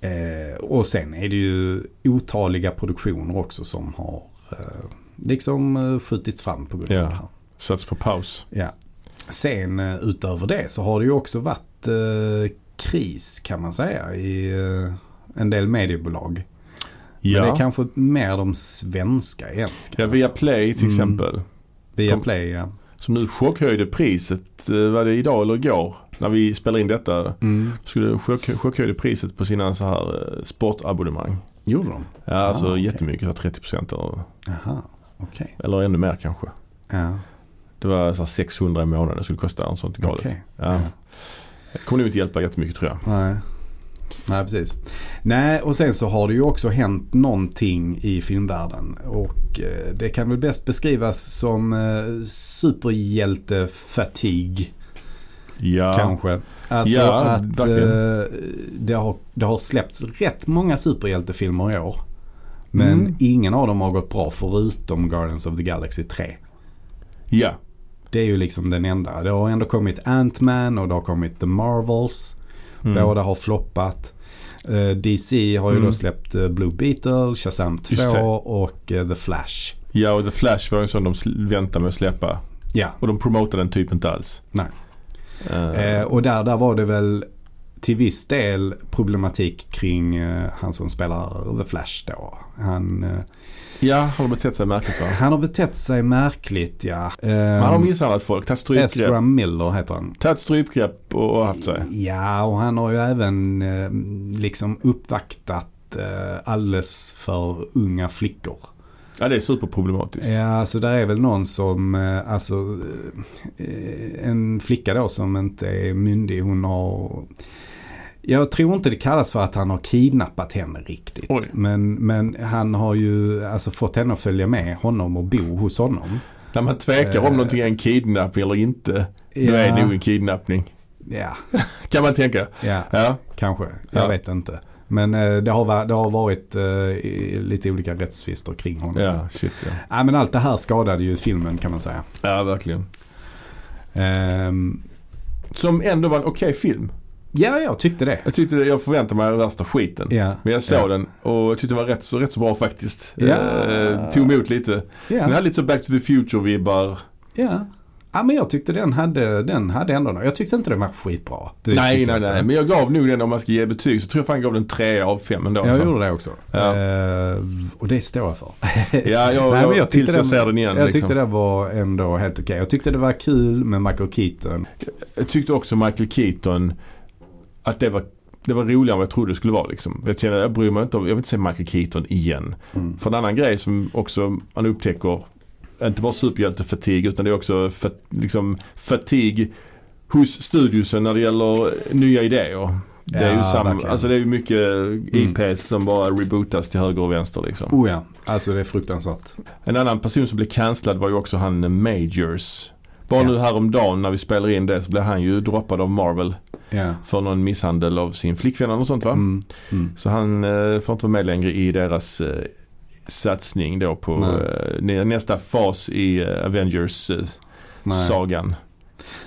[SPEAKER 1] Eh, och sen är det ju otaliga produktioner också som har eh, liksom eh, skjutits fram på grund
[SPEAKER 2] Ja.
[SPEAKER 1] av det här.
[SPEAKER 2] Sats på paus.
[SPEAKER 1] Ja. Sen eh, utöver det så har det ju också varit eh, kris kan man säga i eh, en del mediebolag. Men det är
[SPEAKER 2] Ja.
[SPEAKER 1] kanske mer de svenska egentligen.
[SPEAKER 2] ja, via Play till
[SPEAKER 1] Mm.
[SPEAKER 2] exempel.
[SPEAKER 1] via Play ja.
[SPEAKER 2] Som nu chockhöjde priset, eh, var det idag eller igår? När vi spelar in detta.
[SPEAKER 1] Mm.
[SPEAKER 2] skulle chock, chockhöjde priset på sina så här eh, sportabonnemang.
[SPEAKER 1] Gjorde de?
[SPEAKER 2] Ja, alltså
[SPEAKER 1] Ah, okej.
[SPEAKER 2] jättemycket, så här 30% eller,
[SPEAKER 1] Jaha, okej.
[SPEAKER 2] eller ännu mer kanske.
[SPEAKER 1] Ja,
[SPEAKER 2] Det var så här 600 i månaden det skulle kosta, något sånt galet.
[SPEAKER 1] okej.
[SPEAKER 2] Ja.
[SPEAKER 1] Ja.
[SPEAKER 2] Det kommer nog inte hjälpa jättemycket tror jag.
[SPEAKER 1] Nej. Nej, precis. Nej, och sen så har det ju också hänt någonting i filmvärlden. Och eh, det kan väl bäst beskrivas som eh, superhjältefatig
[SPEAKER 2] Ja,
[SPEAKER 1] kanske. Alltså
[SPEAKER 2] Ja,
[SPEAKER 1] att
[SPEAKER 2] verkligen.
[SPEAKER 1] eh, det, har, det har släppts rätt många superhjältefilmer i år. Men
[SPEAKER 2] Mm.
[SPEAKER 1] ingen av dem har gått bra förutom Guardians of the Galaxy 3.
[SPEAKER 2] ja.
[SPEAKER 1] Det är ju liksom den enda. Det har ändå kommit Ant-Man och det har kommit The Marvels.
[SPEAKER 2] Mm.
[SPEAKER 1] Båda har floppat. Eh, DC har ju
[SPEAKER 2] Mm.
[SPEAKER 1] då släppt eh, Blue Beetle, Shazam 2
[SPEAKER 2] Just det.
[SPEAKER 1] och eh, The Flash.
[SPEAKER 2] ja, och The Flash var en sån de sl- väntade med att släppa.
[SPEAKER 1] Ja,
[SPEAKER 2] Och de promotade den typ inte alls.
[SPEAKER 1] Nej.
[SPEAKER 2] Eh,
[SPEAKER 1] eh, och där, där var det väl till viss del problematik kring eh, han som spelar The Flash då. Han, eh,
[SPEAKER 2] ja, har de betett sig märkligt va?
[SPEAKER 1] han har betett sig märkligt ja.
[SPEAKER 2] Man har
[SPEAKER 1] Eh,
[SPEAKER 2] misshandlat folk, tagit
[SPEAKER 1] Ezra
[SPEAKER 2] strypgrepp,
[SPEAKER 1] Miller heter han.
[SPEAKER 2] tagit strypgrepp och, och haft sig.
[SPEAKER 1] Ja, och han har ju även eh, liksom uppvaktat eh, alldeles för unga flickor.
[SPEAKER 2] Ja, det är superproblematiskt.
[SPEAKER 1] Ja, alltså där är väl någon som, eh, alltså eh, en flicka då som inte är myndig, hon har jag tror inte det kallas för att han har kidnappat henne riktigt.
[SPEAKER 2] Oj.
[SPEAKER 1] Men, men han har ju alltså fått henne att följa med honom och bo hos honom.
[SPEAKER 2] När man tvekar om
[SPEAKER 1] Eh.
[SPEAKER 2] någonting är en kidnappning eller inte. Då är det nog en kidnappning.
[SPEAKER 1] ja,
[SPEAKER 2] Kan man tänka.
[SPEAKER 1] ja,
[SPEAKER 2] Ja,
[SPEAKER 1] kanske. Jag
[SPEAKER 2] Ja.
[SPEAKER 1] vet inte. Men eh, det har, va- det har varit eh, i- lite olika rättstvister kring honom.
[SPEAKER 2] ja shit ja.
[SPEAKER 1] Nej, men allt det här skadade ju filmen kan man säga.
[SPEAKER 2] Ja, verkligen.
[SPEAKER 1] Ehm,
[SPEAKER 2] Som ändå var en okej film.
[SPEAKER 1] ja, jag tyckte det.
[SPEAKER 2] Jag tyckte det, jag förväntade mig den värsta skiten.
[SPEAKER 1] Ja.
[SPEAKER 2] Men jag såg
[SPEAKER 1] Ja.
[SPEAKER 2] den och jag tyckte den var rätt så, rätt så bra faktiskt.
[SPEAKER 1] Ja.
[SPEAKER 2] Eh, tog emot lite.
[SPEAKER 1] Ja.
[SPEAKER 2] Den hade lite så back to the future-vibbar.
[SPEAKER 1] Ja. Ja men jag tyckte den hade, den hade ändå något. Jag tyckte inte den var skitbra. Det
[SPEAKER 2] Nej,
[SPEAKER 1] tyckte
[SPEAKER 2] nej,
[SPEAKER 1] jag inte.
[SPEAKER 2] nej. Men jag gav nog den, om man ska ge betyg, så tror jag fan jag gav den 3 av 5 ändå.
[SPEAKER 1] Jag
[SPEAKER 2] alltså.
[SPEAKER 1] gjorde det också.
[SPEAKER 2] Ja.
[SPEAKER 1] Eh, och det står jag för.
[SPEAKER 2] Ja, jag,
[SPEAKER 1] Nej, men
[SPEAKER 2] jag, tills
[SPEAKER 1] tyckte
[SPEAKER 2] jag ser den igen.
[SPEAKER 1] jag
[SPEAKER 2] liksom.
[SPEAKER 1] tyckte det var ändå helt okej. Jag tyckte det var kul med Michael Keaton.
[SPEAKER 2] Jag tyckte också Michael Keaton att det var, det var roligare än vad jag trodde det skulle vara. Liksom. Jag kände, jag bryr mig inte om, jag vill inte se Michael Keaton igen.
[SPEAKER 1] Mm.
[SPEAKER 2] För en annan grej som också man upptäcker, inte bara superhjältefatig utan det är också fat, liksom, fatig hos studiosen när det gäller nya idéer. Det är
[SPEAKER 1] Ja,
[SPEAKER 2] ju samma,
[SPEAKER 1] verkligen. Mm.
[SPEAKER 2] alltså det är ju mycket IPs som bara rebootas till höger och vänster liksom.
[SPEAKER 1] Oh ja, alltså det är fruktansvärt.
[SPEAKER 2] En annan person som blev cancellad var ju också han eh, Majors. Bara
[SPEAKER 1] Ja.
[SPEAKER 2] nu häromdagen när vi spelar in det så blev han ju droppad av Marvel
[SPEAKER 1] Ja.
[SPEAKER 2] för någon misshandel av sin flickvän eller något sånt va?
[SPEAKER 1] Mm. Mm.
[SPEAKER 2] Så han eh, får inte vara med längre i deras eh, satsning då på
[SPEAKER 1] Nej.
[SPEAKER 2] eh, nä- nästa fas i eh, Avengers-sagan.
[SPEAKER 1] Nej.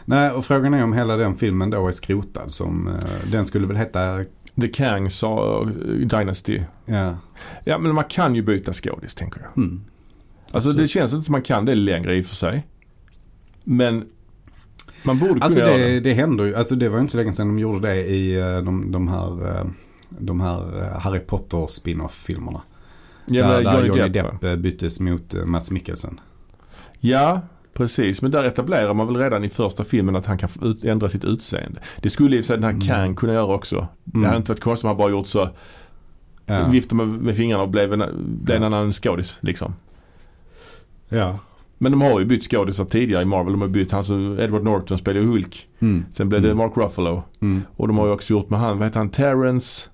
[SPEAKER 1] Nej, och frågan är om hela den filmen då är skrotad. Som, eh, den skulle väl heta...
[SPEAKER 2] The Kang sa, eh, Dynasty.
[SPEAKER 1] Ja.
[SPEAKER 2] Ja men man kan ju byta skådis tänker jag.
[SPEAKER 1] Mm.
[SPEAKER 2] Alltså det
[SPEAKER 1] Absolut.
[SPEAKER 2] känns inte som man kan det längre i och för sig. Men man borde kunna
[SPEAKER 1] Alltså
[SPEAKER 2] göra
[SPEAKER 1] det,
[SPEAKER 2] det.
[SPEAKER 1] det händer ju. Alltså det var ju inte så länge sedan de gjorde det i eh, de, de här, eh, de här eh, Harry Potter spin-off filmerna.
[SPEAKER 2] Ja,
[SPEAKER 1] där,
[SPEAKER 2] men
[SPEAKER 1] där Johnny
[SPEAKER 2] va?
[SPEAKER 1] Depp eh, byttes mot eh, Mats Mikkelsen.
[SPEAKER 2] Ja, precis. Men där etablerar man väl redan i första filmen att han kan ut- ändra sitt utseende. Det skulle i och för sig den här
[SPEAKER 1] Mm.
[SPEAKER 2] Kang kunna göra också. Det hade inte varit konstigt om han bara gjort så,
[SPEAKER 1] Ja.
[SPEAKER 2] viftade med, med fingrarna och blev en, blev en
[SPEAKER 1] Ja.
[SPEAKER 2] annan skådis liksom.
[SPEAKER 1] ja.
[SPEAKER 2] Men de har ju bytt skådisar tidigare i Marvel. De har bytt han som Edward Norton spelade ju Hulk.
[SPEAKER 1] Mm.
[SPEAKER 2] Sen blev
[SPEAKER 1] Mm.
[SPEAKER 2] det Mark Ruffalo.
[SPEAKER 1] Mm.
[SPEAKER 2] Och de har ju också gjort med han, vad heter han, Terrence?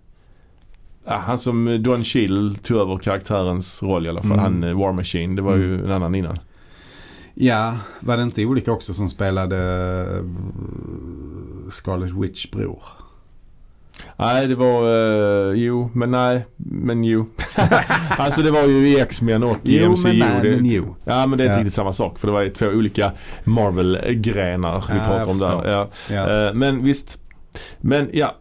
[SPEAKER 2] Ah, han som Don Chill tog över karaktärens roll i alla fall.
[SPEAKER 1] Mm.
[SPEAKER 2] Han eh, War Machine. Det var ju en annan innan.
[SPEAKER 1] Ja, var det inte olika också som spelade eh, Scarlet Witch bror?
[SPEAKER 2] Nej, det var... eh, jo, men nej. Men jo. alltså det var ju i X-Men och i
[SPEAKER 1] Jo,
[SPEAKER 2] MCU.
[SPEAKER 1] men nej,
[SPEAKER 2] det,
[SPEAKER 1] men jo.
[SPEAKER 2] Ja, men det är inte
[SPEAKER 1] Ja.
[SPEAKER 2] riktigt samma sak. För det var ju två olika Marvel-grenar vi
[SPEAKER 1] Ja, jag
[SPEAKER 2] pratar om
[SPEAKER 1] förstår.
[SPEAKER 2] där. Ja.
[SPEAKER 1] Ja.
[SPEAKER 2] Eh, men visst. Men ja.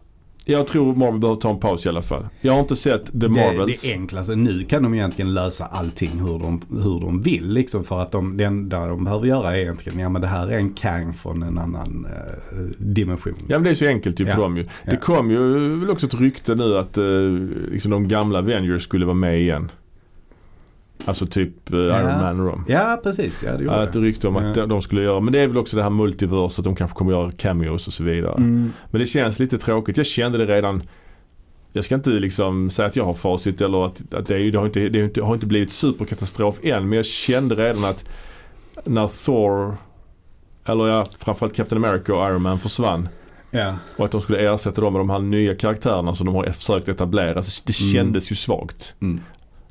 [SPEAKER 2] Jag tror Marvel behöver ta en paus i alla fall. Jag har inte sett The
[SPEAKER 1] Det,
[SPEAKER 2] Marvels.
[SPEAKER 1] det enklaste, nu kan de egentligen lösa allting hur de, hur de vill. Liksom för att de, det enda de behöver göra är egentligen, ja men det här är en Kang från en annan eh, dimension.
[SPEAKER 2] Ja men det är så enkelt ju för
[SPEAKER 1] Ja.
[SPEAKER 2] dem ju.
[SPEAKER 1] Ja.
[SPEAKER 2] Det kom ju väl också ett rykte nu att eh, liksom de gamla Avengers skulle vara med igen. Alltså typ eh, Iron Man och dem.
[SPEAKER 1] Ja, precis. Ja, det gjorde
[SPEAKER 2] Ja, ett rykte om att
[SPEAKER 1] Ja.
[SPEAKER 2] de skulle göra. Men det är väl också det här multiverset. Att de kanske kommer göra cameos och så vidare.
[SPEAKER 1] det. Mm.
[SPEAKER 2] Men det känns lite tråkigt. Jag kände det redan. Jag ska inte liksom säga att jag har facit eller att, att det, är, ju- det, har inte, det har inte- har inte blivit superkatastrof än. Men jag kände redan att när Thor, eller ja, framförallt Captain America och Iron Man försvann.
[SPEAKER 1] Ja.
[SPEAKER 2] Och att de skulle ersätta dem med de här nya karaktärerna som de har försökt etablera. Så det
[SPEAKER 1] Mm.
[SPEAKER 2] kändes ju svagt.
[SPEAKER 1] Mm.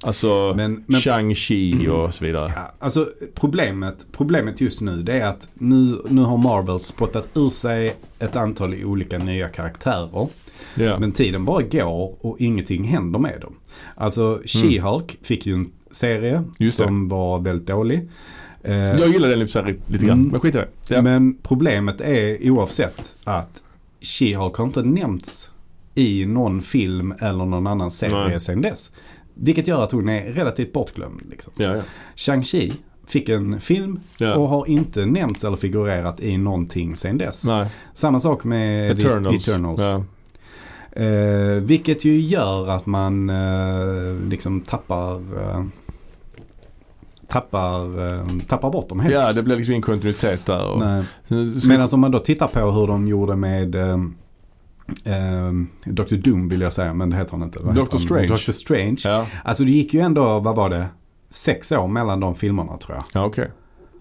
[SPEAKER 2] Alltså
[SPEAKER 1] Men, men
[SPEAKER 2] Shang-Chi och så vidare.
[SPEAKER 1] Ja, alltså problemet, problemet just nu det är att nu, nu har Marvel spottat ur sig ett antal olika nya karaktärer.
[SPEAKER 2] Ja.
[SPEAKER 1] Men tiden bara går och ingenting händer med dem. Alltså She-Hulk fick ju en serie
[SPEAKER 2] Mm. Just det.
[SPEAKER 1] som var väldigt dålig. Eh,
[SPEAKER 2] Jag gillar den lite, så här, lite grann.
[SPEAKER 1] Mm.
[SPEAKER 2] Men skit i det. Ja.
[SPEAKER 1] Men problemet är oavsett att She-Hulk har inte nämnts i någon film eller någon annan serie
[SPEAKER 2] Nej.
[SPEAKER 1] sedan dess. Vilket gör att hon är relativt bortglömd. Liksom.
[SPEAKER 2] Ja, ja.
[SPEAKER 1] Shang-Chi fick en film
[SPEAKER 2] Ja.
[SPEAKER 1] och har inte nämnts eller figurerat i någonting sen dess.
[SPEAKER 2] Nej.
[SPEAKER 1] Samma sak med The-
[SPEAKER 2] Eternals.
[SPEAKER 1] eh, Eternals.
[SPEAKER 2] Ja.
[SPEAKER 1] Eh, vilket ju gör att man eh, liksom tappar eh, tappar, eh, tappar bort dem helt.
[SPEAKER 2] ja, det blev liksom ingen kontinuitet där. Och
[SPEAKER 1] Nej.
[SPEAKER 2] Sen skulle-
[SPEAKER 1] Medan om man då tittar på hur de gjorde med eh, eh, Dr. Doom vill jag säga men det heter han inte. Vad heter
[SPEAKER 2] Dr.
[SPEAKER 1] han?
[SPEAKER 2] Strange.
[SPEAKER 1] Dr. Strange.
[SPEAKER 2] Ja.
[SPEAKER 1] Alltså det gick ju ändå, vad var det? sex år mellan de filmerna tror jag.
[SPEAKER 2] Ja, okej.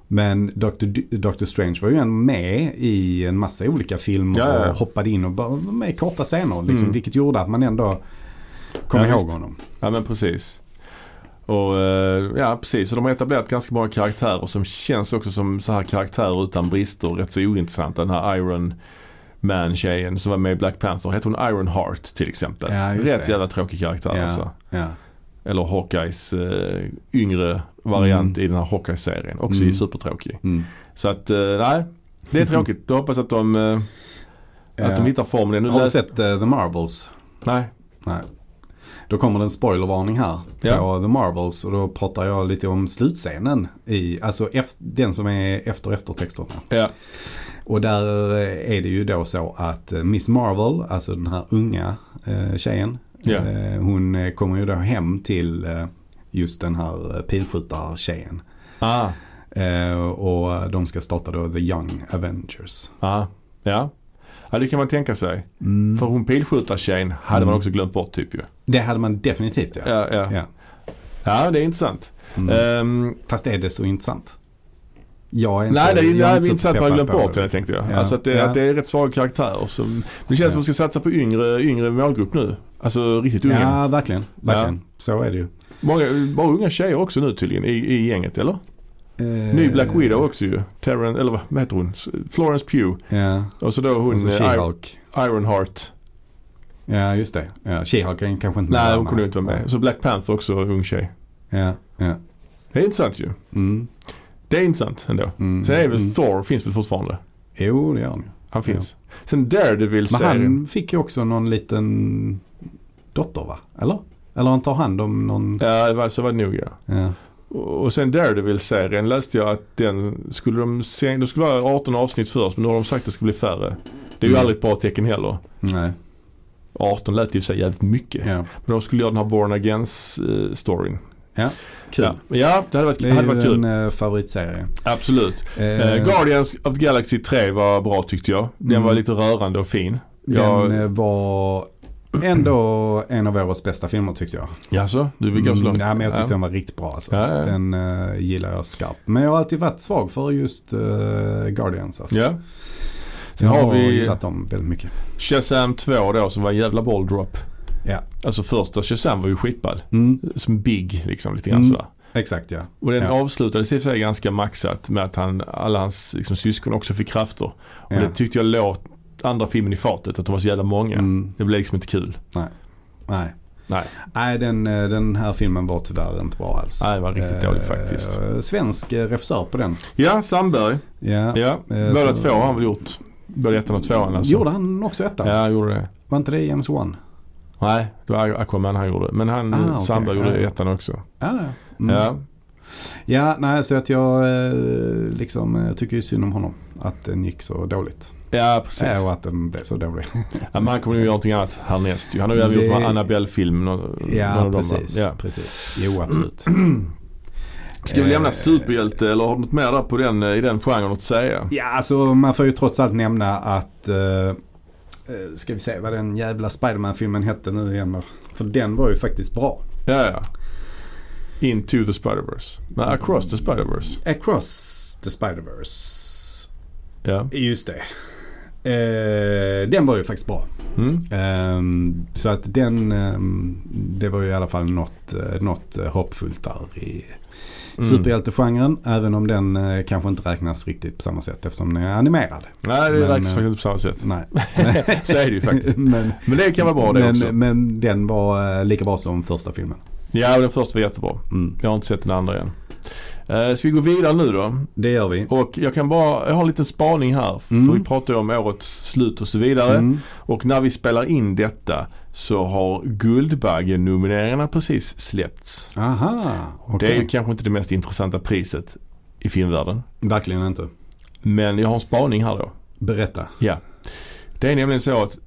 [SPEAKER 1] Men Dr. D- Dr. Strange var ju en med i en massa olika filmer
[SPEAKER 2] Ja, ja, ja.
[SPEAKER 1] och hoppade in och bara var med i korta scener. Liksom,
[SPEAKER 2] Mm.
[SPEAKER 1] Vilket gjorde att man ändå kom
[SPEAKER 2] Ja,
[SPEAKER 1] ihåg
[SPEAKER 2] visst.
[SPEAKER 1] honom.
[SPEAKER 2] Ja, men precis. Och eh, ja, precis. Och de har etablerat ganska många karaktärer som känns också som så här karaktärer utan brister. Rätt så ointressanta. Den här Iron Man-tjejen som var med i Black Panther. Hette hon Iron Heart till exempel?
[SPEAKER 1] Ja, just
[SPEAKER 2] Rätt
[SPEAKER 1] det.
[SPEAKER 2] jävla tråkig karaktär
[SPEAKER 1] Ja.
[SPEAKER 2] alltså.
[SPEAKER 1] Ja.
[SPEAKER 2] Eller Hawkeyes eh, yngre variant
[SPEAKER 1] Mm.
[SPEAKER 2] i den här Hawkeye-serien. Också
[SPEAKER 1] Mm.
[SPEAKER 2] supertråkig.
[SPEAKER 1] Mm.
[SPEAKER 2] Så att, eh, nej. Det är tråkigt. Jag hoppas att de, eh, att de
[SPEAKER 1] Eh,
[SPEAKER 2] hittar formen. Nu
[SPEAKER 1] Har du
[SPEAKER 2] läs-
[SPEAKER 1] sett eh, The Marvels?
[SPEAKER 2] Nej.
[SPEAKER 1] Nej. Då kommer det en spoilervarning här
[SPEAKER 2] Ja.
[SPEAKER 1] på The Marvels och då pratar jag lite om slutscenen. I, alltså eft- den som är efter eftertexterna.
[SPEAKER 2] Ja.
[SPEAKER 1] Och där eh, är det ju då så att eh, Miss Marvel, alltså den här unga eh, tjejen.
[SPEAKER 2] Ja.
[SPEAKER 1] Eh, hon eh, kommer ju då hem till eh, just den här eh, pilskjutartjejen.
[SPEAKER 2] Ah.
[SPEAKER 1] Eh, och eh, de ska starta då The Young Avengers.
[SPEAKER 2] Ah. Ja. Ja, det kan man tänka sig. För
[SPEAKER 1] För-
[SPEAKER 2] hon pilskjutartjejen hade man
[SPEAKER 1] Mm.
[SPEAKER 2] också glömt bort typ ju.
[SPEAKER 1] Det hade man definitivt ja.
[SPEAKER 2] Ja, ja.
[SPEAKER 1] Ja.
[SPEAKER 2] ja det är intressant.
[SPEAKER 1] Mm.
[SPEAKER 2] Ehm,
[SPEAKER 1] Fast är det så intressant? Jag är inte,
[SPEAKER 2] nej, det är,
[SPEAKER 1] jag
[SPEAKER 2] nej, det är
[SPEAKER 1] så
[SPEAKER 2] intressant att man har
[SPEAKER 1] peppad
[SPEAKER 2] glömt
[SPEAKER 1] på
[SPEAKER 2] bort henne tänkte jag.
[SPEAKER 1] Ja.
[SPEAKER 2] Alltså att det,
[SPEAKER 1] Ja.
[SPEAKER 2] att det är rätt svaga karaktärer. Som, det känns som
[SPEAKER 1] Ja.
[SPEAKER 2] att de ska satsa på yngre, yngre målgrupp nu. Alltså riktigt unga.
[SPEAKER 1] Ja, verkligen. verkligen. Så är det ju.
[SPEAKER 2] Många, bara unga tjejer också nu tydligen i, i gänget eller?
[SPEAKER 1] Eh,
[SPEAKER 2] Ny Black Widow också ju. Terran, eller vad- vad heter hon? Florence Pugh.
[SPEAKER 1] Ja,
[SPEAKER 2] Och så då hon
[SPEAKER 1] och så
[SPEAKER 2] eh, Iron,
[SPEAKER 1] She-Hulk.
[SPEAKER 2] Ironheart.
[SPEAKER 1] Ja, just det. Ja, She-Hulk är kanske inte
[SPEAKER 2] Nej,
[SPEAKER 1] med
[SPEAKER 2] hon
[SPEAKER 1] där,
[SPEAKER 2] kunde inte vara med. Så Black Panther också ung tjej.
[SPEAKER 1] Ja, ja.
[SPEAKER 2] Det är intressant ju.
[SPEAKER 1] Mm,
[SPEAKER 2] Det är intressant ändå.
[SPEAKER 1] mm,
[SPEAKER 2] Sen är väl
[SPEAKER 1] mm.
[SPEAKER 2] Thor finns väl fortfarande?
[SPEAKER 1] Jo, det gör han ju.
[SPEAKER 2] Han finns. Sen Daredevil-serien.
[SPEAKER 1] Men han fick ju också någon liten dotter va? Eller? Eller han tar hand om någon...
[SPEAKER 2] Ja, det var, så var det nog ja.
[SPEAKER 1] Ja.
[SPEAKER 2] Och och sen Daredevil-serien läste jag att den skulle de se, de skulle vara 18 avsnitt först men nu har de sagt att det ska bli färre. Det är ju
[SPEAKER 1] Mm.
[SPEAKER 2] aldrig ett bra tecken heller.
[SPEAKER 1] Nej.
[SPEAKER 2] 18 lät i och för sig jävligt mycket.
[SPEAKER 1] Ja.
[SPEAKER 2] Men de skulle göra den här Born Against-storyn.
[SPEAKER 1] Kul.
[SPEAKER 2] Ja. ja, det hade varit,
[SPEAKER 1] Det
[SPEAKER 2] hade
[SPEAKER 1] är
[SPEAKER 2] varit
[SPEAKER 1] ju
[SPEAKER 2] kul.
[SPEAKER 1] en eh, favoritserie.
[SPEAKER 2] Absolut.
[SPEAKER 1] Eh,
[SPEAKER 2] Eh, Guardians of the Galaxy 3 var bra tyckte jag. Den
[SPEAKER 1] Mm.
[SPEAKER 2] var lite rörande och fin.
[SPEAKER 1] Den eh, var ändå en av årets bästa filmer tyckte jag. Mm,
[SPEAKER 2] Jaså, du vill gå så långt?
[SPEAKER 1] nej, men jag tyckte den var riktigt bra alltså.
[SPEAKER 2] Mm. Ja, ja.
[SPEAKER 1] Den eh, gillar jag skarpt. Men jag har alltid varit svag för just eh, Guardians alltså.
[SPEAKER 2] Ja. Sen
[SPEAKER 1] jag
[SPEAKER 2] har vi
[SPEAKER 1] gillat dem väldigt mycket.
[SPEAKER 2] Shazam 2 då som var en jävla ball drop.
[SPEAKER 1] Ja.
[SPEAKER 2] Alltså första Shazam var ju skitball. Som Big liksom lite grann
[SPEAKER 1] Mm.
[SPEAKER 2] sådär.
[SPEAKER 1] Exakt ja.
[SPEAKER 2] Och den
[SPEAKER 1] Ja.
[SPEAKER 2] avslutades i och för sig ganska maxat med att han, alla hans liksom, syskon också fick krafter. Och
[SPEAKER 1] ja.
[SPEAKER 2] det tyckte jag låg andra filmen i fatet att de var så jävla många.
[SPEAKER 1] Mm.
[SPEAKER 2] Det blev liksom inte kul.
[SPEAKER 1] Nej.
[SPEAKER 2] Nej.
[SPEAKER 1] Nej, den, eh, den här filmen var tyvärr inte bra alls.
[SPEAKER 2] Nej, det var riktigt dåligt faktiskt.
[SPEAKER 1] Eh, Svensk eh, regissör på den.
[SPEAKER 2] Ja, Sandberg.
[SPEAKER 1] Ja.
[SPEAKER 2] Ja,
[SPEAKER 1] Eh,
[SPEAKER 2] båda
[SPEAKER 1] så-
[SPEAKER 2] två har han väl gjort. Både ettan och tvåan alltså.
[SPEAKER 1] Gjorde han också ettan?
[SPEAKER 2] Ja, han gjorde det.
[SPEAKER 1] Var inte det James Wan?
[SPEAKER 2] Nej, det var Aquaman han gjorde. Men han,
[SPEAKER 1] Ah, okej.
[SPEAKER 2] Sandberg gjorde
[SPEAKER 1] Ja.
[SPEAKER 2] ettan också.
[SPEAKER 1] Ja, ja. Mm.
[SPEAKER 2] Ja.
[SPEAKER 1] Ja, nej, så att jag eh, liksom eh, tycker ju synd om honom. Att den gick så dåligt.
[SPEAKER 2] ja, precis.
[SPEAKER 1] Ja, och att den blev så dålig.
[SPEAKER 2] Ja, men han kommer nog göra någonting annat härnäst ju. Han har ju även
[SPEAKER 1] Det-
[SPEAKER 2] gjort de här Annabelle-filmen. och- någon
[SPEAKER 1] Ja,
[SPEAKER 2] av dem, va?
[SPEAKER 1] precis.
[SPEAKER 2] Ja.
[SPEAKER 1] precis. Jo, absolut.
[SPEAKER 2] Ska vi lämna
[SPEAKER 1] Eh,
[SPEAKER 2] superhjälte eller har du något mer där på den, eh, i den genren att säga?
[SPEAKER 1] Ja, alltså man får ju trots allt nämna att eh, eh, Ska vi se vad den jävla Spiderman-filmen hette nu igen då? För den var ju faktiskt bra.
[SPEAKER 2] Ja, ja. Into the Spider-Verse. Nej, Across the Spider-Verse.
[SPEAKER 1] Across the Spider-Verse.
[SPEAKER 2] Ja.
[SPEAKER 1] Just det. Eh, den var ju faktiskt bra.
[SPEAKER 2] Mm.
[SPEAKER 1] Ehm, så att den, ehm, det var ju i alla fall något, eh, något eh, hoppfullt där i
[SPEAKER 2] Mm.
[SPEAKER 1] superhjältegenren. Även om den eh, kanske inte räknas riktigt på samma sätt eftersom den är animerad.
[SPEAKER 2] Nej, det
[SPEAKER 1] Men,
[SPEAKER 2] räknas
[SPEAKER 1] eh,
[SPEAKER 2] faktiskt inte på samma sätt.
[SPEAKER 1] Nej.
[SPEAKER 2] Så är det ju faktiskt.
[SPEAKER 1] men,
[SPEAKER 2] Men det kan vara bra det
[SPEAKER 1] men, eh,
[SPEAKER 2] också.
[SPEAKER 1] men den var eh, lika bra som första filmen.
[SPEAKER 2] Ja, och den första var jättebra.
[SPEAKER 1] Mm.
[SPEAKER 2] Jag har inte sett den andra än. Eh, Ska vi gå vidare nu då?
[SPEAKER 1] Det gör vi.
[SPEAKER 2] Och jag kan bara, jag har en liten spaning här. För
[SPEAKER 1] Mm.
[SPEAKER 2] vi pratar ju om årets slut och så vidare.
[SPEAKER 1] Mm.
[SPEAKER 2] Och när vi spelar in detta så har Guldbaggen-nomineringarna precis släppts.
[SPEAKER 1] Aha,
[SPEAKER 2] Det är
[SPEAKER 1] okej.
[SPEAKER 2] ju kanske inte det mest intressanta priset i filmvärlden.
[SPEAKER 1] Verkligen inte.
[SPEAKER 2] Men jag har en spaning här då.
[SPEAKER 1] Berätta.
[SPEAKER 2] Det är nämligen så att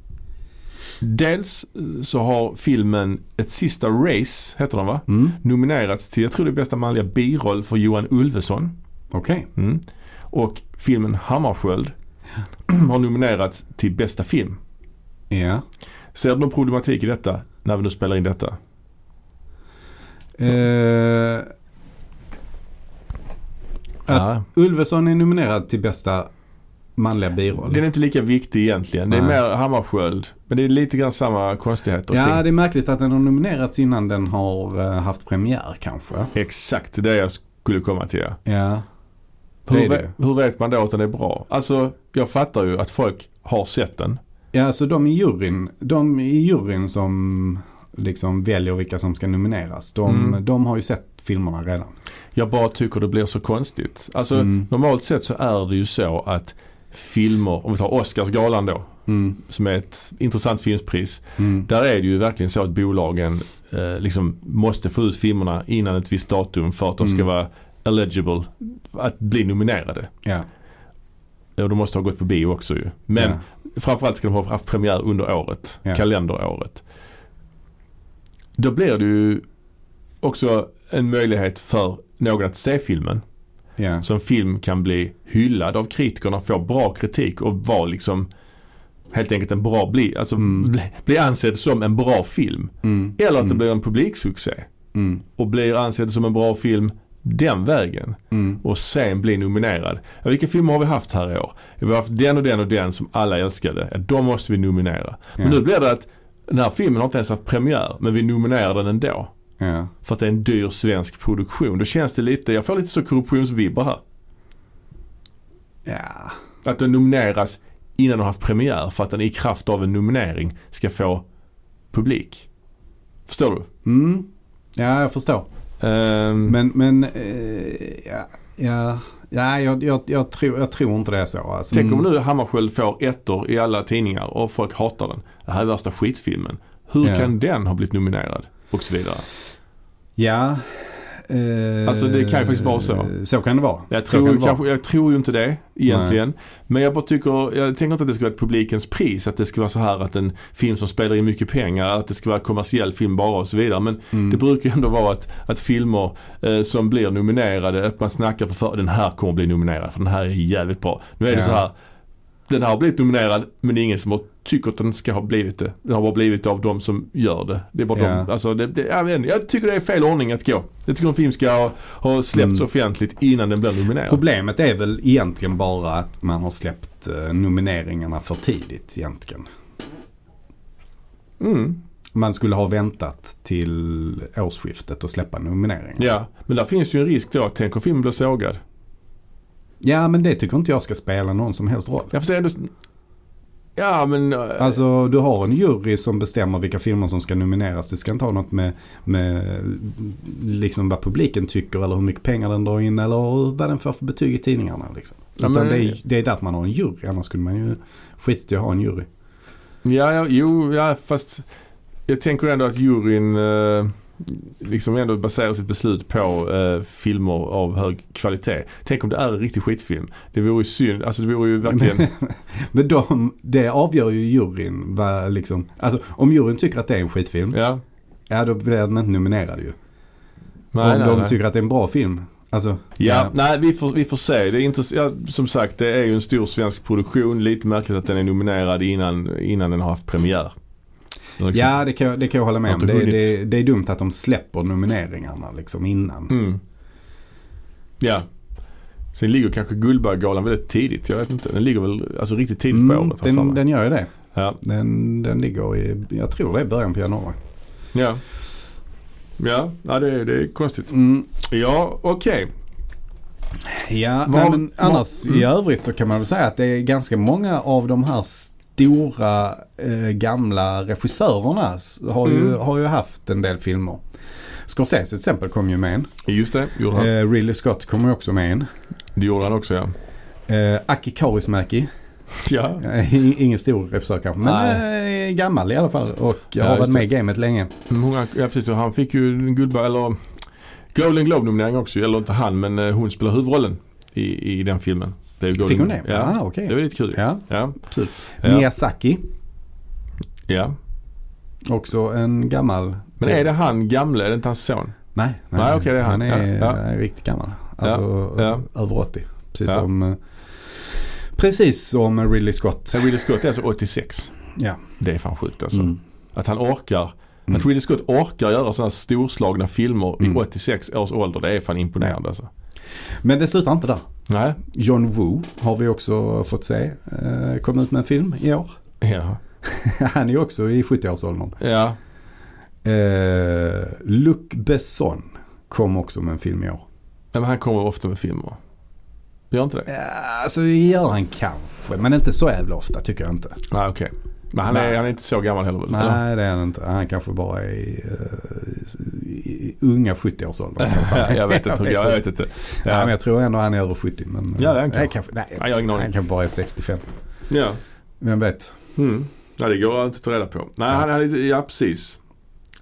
[SPEAKER 2] dels så har filmen Ett sista race, heter den va?
[SPEAKER 1] Mm.
[SPEAKER 2] Nominerats till, jag tror det är bästa manliga biroll för Johan Ulveson.
[SPEAKER 1] Okej.
[SPEAKER 2] Mm. Och filmen Hammarskjöld har nominerats till bästa film.
[SPEAKER 1] Ja.
[SPEAKER 2] Ser du någon problematik i detta när vi nu spelar in detta?
[SPEAKER 1] Eh, Att
[SPEAKER 2] Ja.
[SPEAKER 1] Ulveson är nominerad till bästa manliga biroll.
[SPEAKER 2] Den är inte lika viktig egentligen. Det är
[SPEAKER 1] Nej.
[SPEAKER 2] mer Hammarskjöld. Men det är lite grann samma konstigheter. och
[SPEAKER 1] Ja,
[SPEAKER 2] ting.
[SPEAKER 1] det är märkligt att den har nominerats innan den har eh, haft premiär kanske.
[SPEAKER 2] Exakt det jag skulle komma till. ja.
[SPEAKER 1] Ja. Det
[SPEAKER 2] Hur,
[SPEAKER 1] är
[SPEAKER 2] ve-
[SPEAKER 1] det.
[SPEAKER 2] hur vet man då att den är bra? Alltså, jag fattar ju att folk har sett den.
[SPEAKER 1] Ja, så de i juryn, de i juryn som liksom väljer vilka som ska nomineras, de,
[SPEAKER 2] Mm.
[SPEAKER 1] de har ju sett filmerna redan.
[SPEAKER 2] Jag bara tycker det blir så konstigt. Alltså,
[SPEAKER 1] Mm.
[SPEAKER 2] normalt sett så är det ju så att filmer, om vi tar Oscarsgalan då,
[SPEAKER 1] Mm.
[SPEAKER 2] som är ett intressant filmpris.
[SPEAKER 1] Mm.
[SPEAKER 2] Där är det ju verkligen så att bolagen eh, liksom måste få ut filmerna innan ett visst datum för att de ska
[SPEAKER 1] Mm.
[SPEAKER 2] vara eligible att bli nominerade.
[SPEAKER 1] Ja.
[SPEAKER 2] Och de måste ha gått på bio också ju. Men
[SPEAKER 1] ja.
[SPEAKER 2] framförallt ska de ha haft premiär under året,
[SPEAKER 1] Ja.
[SPEAKER 2] kalenderåret. Då blir det ju också en möjlighet för någon att se filmen.
[SPEAKER 1] Ja.
[SPEAKER 2] Så en film kan bli hyllad av kritikerna, få bra kritik och vara liksom helt enkelt en bra, bli, alltså
[SPEAKER 1] Mm.
[SPEAKER 2] bli, bli ansedd som en bra film.
[SPEAKER 1] Mm.
[SPEAKER 2] Eller att det
[SPEAKER 1] Mm.
[SPEAKER 2] blir en publiksuccé
[SPEAKER 1] Mm.
[SPEAKER 2] och blir ansedd som en bra film den vägen
[SPEAKER 1] Mm.
[SPEAKER 2] och sen bli nominerad. Ja, vilka filmer har vi haft här i år? Vi har haft den och den och den som alla älskade. Ja, de måste vi nominera. Men
[SPEAKER 1] Ja.
[SPEAKER 2] nu blir det att den här filmen har inte ens haft premiär men vi nominerar den ändå.
[SPEAKER 1] Ja.
[SPEAKER 2] För att det är en dyr svensk produktion. Då känns det lite, jag får lite så korruptionsvibbar här.
[SPEAKER 1] ja.
[SPEAKER 2] Att den nomineras innan den har haft premiär för att den i kraft av en nominering ska få publik. Förstår du?
[SPEAKER 1] Mm. Ja, jag förstår.
[SPEAKER 2] Ehm,
[SPEAKER 1] Men, men eh, ja, ja, ja jag, jag, jag, tror, jag tror inte det är så. Alltså,
[SPEAKER 2] Tänk om
[SPEAKER 1] Mm.
[SPEAKER 2] nu Hammarskjöld får ettor i alla tidningar och folk hatar den. Det här är värsta skitfilmen. Hur
[SPEAKER 1] Ja.
[SPEAKER 2] kan den ha blivit nominerad? Och så vidare.
[SPEAKER 1] Ja. Eh,
[SPEAKER 2] Alltså, det kan ju faktiskt vara så.
[SPEAKER 1] Så kan det vara.
[SPEAKER 2] Jag
[SPEAKER 1] Så kan det
[SPEAKER 2] tror,
[SPEAKER 1] vara.
[SPEAKER 2] kanske, jag tror ju inte det egentligen. Men jag bara tycker, jag tänker inte att det ska vara ett publikens pris. Att det ska vara så här att en film som spelar in mycket pengar, att det ska vara kommersiell film bara och så vidare. Men
[SPEAKER 1] Mm.
[SPEAKER 2] Det brukar ju ändå vara att, att filmer eh, som blir nominerade, att man snackar på för den här kommer bli nominerad för den här är jävligt bra. Nu är det
[SPEAKER 1] Ja.
[SPEAKER 2] så här, den här har blivit nominerad men det är ingen som har, tycker att den ska ha blivit det. Den har bara blivit det av de som gör det. Det är bara
[SPEAKER 1] Ja.
[SPEAKER 2] de, alltså det, det, jag, vet, inte, jag tycker det är fel ordning att gå. Jag tycker en film ska ha, ha släppts
[SPEAKER 1] Mm.
[SPEAKER 2] offentligt innan den blir nominerad.
[SPEAKER 1] Problemet är väl egentligen bara att man har släppt eh, nomineringarna för tidigt egentligen.
[SPEAKER 2] Mm.
[SPEAKER 1] Man skulle ha väntat till årsskiftet och släppa nomineringarna.
[SPEAKER 2] Ja, men där finns ju en risk då. Tänk om filmen blir sågad.
[SPEAKER 1] Ja, men det tycker inte jag ska spela någon som helst roll.
[SPEAKER 2] Jag får säga ändå... Ja men... eh,
[SPEAKER 1] Alltså du har en jury som bestämmer vilka filmer som ska nomineras. Det ska inte ha något med, med liksom vad publiken tycker eller hur mycket pengar den drar in eller vad den får för betyg i tidningarna. Liksom.
[SPEAKER 2] Ja,
[SPEAKER 1] Utan
[SPEAKER 2] men-
[SPEAKER 1] det, är, det är där att man har en jury. Annars skulle man ju skita i att ha en jury.
[SPEAKER 2] Ja, ja, jo, ja, fast jag tänker ändå att juryn eh, liksom ändå baserar sitt beslut på eh, filmer av hög kvalitet. Tänk om det är en riktig skitfilm. Det vore ju synd, alltså det vore ju verkligen...
[SPEAKER 1] Men de, det avgör ju juryn. Vad, liksom, alltså, om juryn tycker att det är en skitfilm,
[SPEAKER 2] ja.
[SPEAKER 1] ja då blir den inte nominerad ju.
[SPEAKER 2] Nej,
[SPEAKER 1] om
[SPEAKER 2] nej,
[SPEAKER 1] de
[SPEAKER 2] nej.
[SPEAKER 1] tycker att det är en bra film. Alltså,
[SPEAKER 2] Ja, nej vi får, vi får se. Det är inte, ja, som sagt det är ju en stor svensk produktion. Lite märkligt att den är nominerad innan, innan den har haft premiär.
[SPEAKER 1] ja det, kan, jag- det kan jag hålla med
[SPEAKER 2] Har
[SPEAKER 1] om.
[SPEAKER 2] inte
[SPEAKER 1] Det,
[SPEAKER 2] hunnit.
[SPEAKER 1] det, det är dumt att de släpper nomineringarna liksom innan.
[SPEAKER 2] Mm. Ja. Sen ligger kanske Guldbaggegalan väldigt tidigt. Jag vet inte. Den ligger väl alltså, riktigt tidigt på året. har jag för
[SPEAKER 1] Mm, den,
[SPEAKER 2] mig.
[SPEAKER 1] den gör ju det.
[SPEAKER 2] Ja.
[SPEAKER 1] Den, den ligger i, jag tror det är början på januari.
[SPEAKER 2] Ja. Ja, ja det, är- det är konstigt. Ja, okej.
[SPEAKER 1] Ja,
[SPEAKER 2] Var-
[SPEAKER 1] nej, men
[SPEAKER 2] var-
[SPEAKER 1] annars
[SPEAKER 2] mm.
[SPEAKER 1] i övrigt så kan man väl säga att det är ganska många av de här stora eh, gamla regissörerna s- har, ju,
[SPEAKER 2] Mm.
[SPEAKER 1] har ju haft en del filmer. Scorsese till exempel kom ju med en.
[SPEAKER 2] Just det, gjorde han.
[SPEAKER 1] Eh, Ridley Scott kommer ju också med en.
[SPEAKER 2] Det gjorde han också ja.
[SPEAKER 1] Eh, Aki Kaurismäki,
[SPEAKER 2] Ja,
[SPEAKER 1] Eh, i- ingen stor regissör kanske, men eh, gammal i alla fall och
[SPEAKER 2] Ja,
[SPEAKER 1] har
[SPEAKER 2] just
[SPEAKER 1] varit med i gamet länge.
[SPEAKER 2] många, ja precis. Och han fick ju en Guldberg, eller Golden Globe-nominering också. Eller inte han, men eh, hon spelar huvudrollen i, i den filmen. Det är ju
[SPEAKER 1] Fick
[SPEAKER 2] Golden
[SPEAKER 1] hon det?
[SPEAKER 2] Ja.
[SPEAKER 1] Ah, okej.
[SPEAKER 2] Det var lite kul.
[SPEAKER 1] Ja,
[SPEAKER 2] Ja.
[SPEAKER 1] absolut.
[SPEAKER 2] Ja.
[SPEAKER 1] Miyazaki,
[SPEAKER 2] ja.
[SPEAKER 1] också en gammal.
[SPEAKER 2] Men är det han gamle? Är det inte hans son?
[SPEAKER 1] Nej,
[SPEAKER 2] Nej, okej, det är han.
[SPEAKER 1] är
[SPEAKER 2] Ja,
[SPEAKER 1] eh, riktigt gammal. Alltså
[SPEAKER 2] Ja,
[SPEAKER 1] över 80. Precis
[SPEAKER 2] Ja.
[SPEAKER 1] som eh, Precis som Ridley Scott.
[SPEAKER 2] Sen Ridley Scott är alltså 86.
[SPEAKER 1] Ja.
[SPEAKER 2] Mm. Det är fan sjukt alltså. Att han orkar
[SPEAKER 1] Mm.
[SPEAKER 2] Att Ridley Scott orkar göra sådana storslagna filmer
[SPEAKER 1] Mm.
[SPEAKER 2] i 86 års ålder, det är fan imponerande alltså.
[SPEAKER 1] Men det slutar inte där.
[SPEAKER 2] Nej.
[SPEAKER 1] John Woo har vi också fått se. Eh, kom ut med en film i år.
[SPEAKER 2] Ja.
[SPEAKER 1] Han är ju också i 70-årsåldern.
[SPEAKER 2] Ja.
[SPEAKER 1] Eh, Luc Besson kom också med en film i år.
[SPEAKER 2] Men han kommer ofta med filmer. Gör inte det?
[SPEAKER 1] Eh, Alltså det gör han kanske, men inte så jävla ofta tycker jag inte.
[SPEAKER 2] Nej okej. Men han är,
[SPEAKER 1] Nej.
[SPEAKER 2] han är inte så gammal heller väl? Eller?
[SPEAKER 1] Nej det är han inte. Han kanske bara är i, eh, i, i unga 70-årsåldern.
[SPEAKER 2] jag vet inte. Jag vet inte.
[SPEAKER 1] Nej, men
[SPEAKER 2] Ja.
[SPEAKER 1] jag tror ändå han är över 70. Men, eh,
[SPEAKER 2] Ja, det är han
[SPEAKER 1] Nej,
[SPEAKER 2] kanske.
[SPEAKER 1] nej,
[SPEAKER 2] Nej, jag har ingen aning.
[SPEAKER 1] han kan bara är 65.
[SPEAKER 2] Ja.
[SPEAKER 1] Vem vet.
[SPEAKER 2] Mm. ja, det går inte att ta reda på. Nej, han, han, ja precis.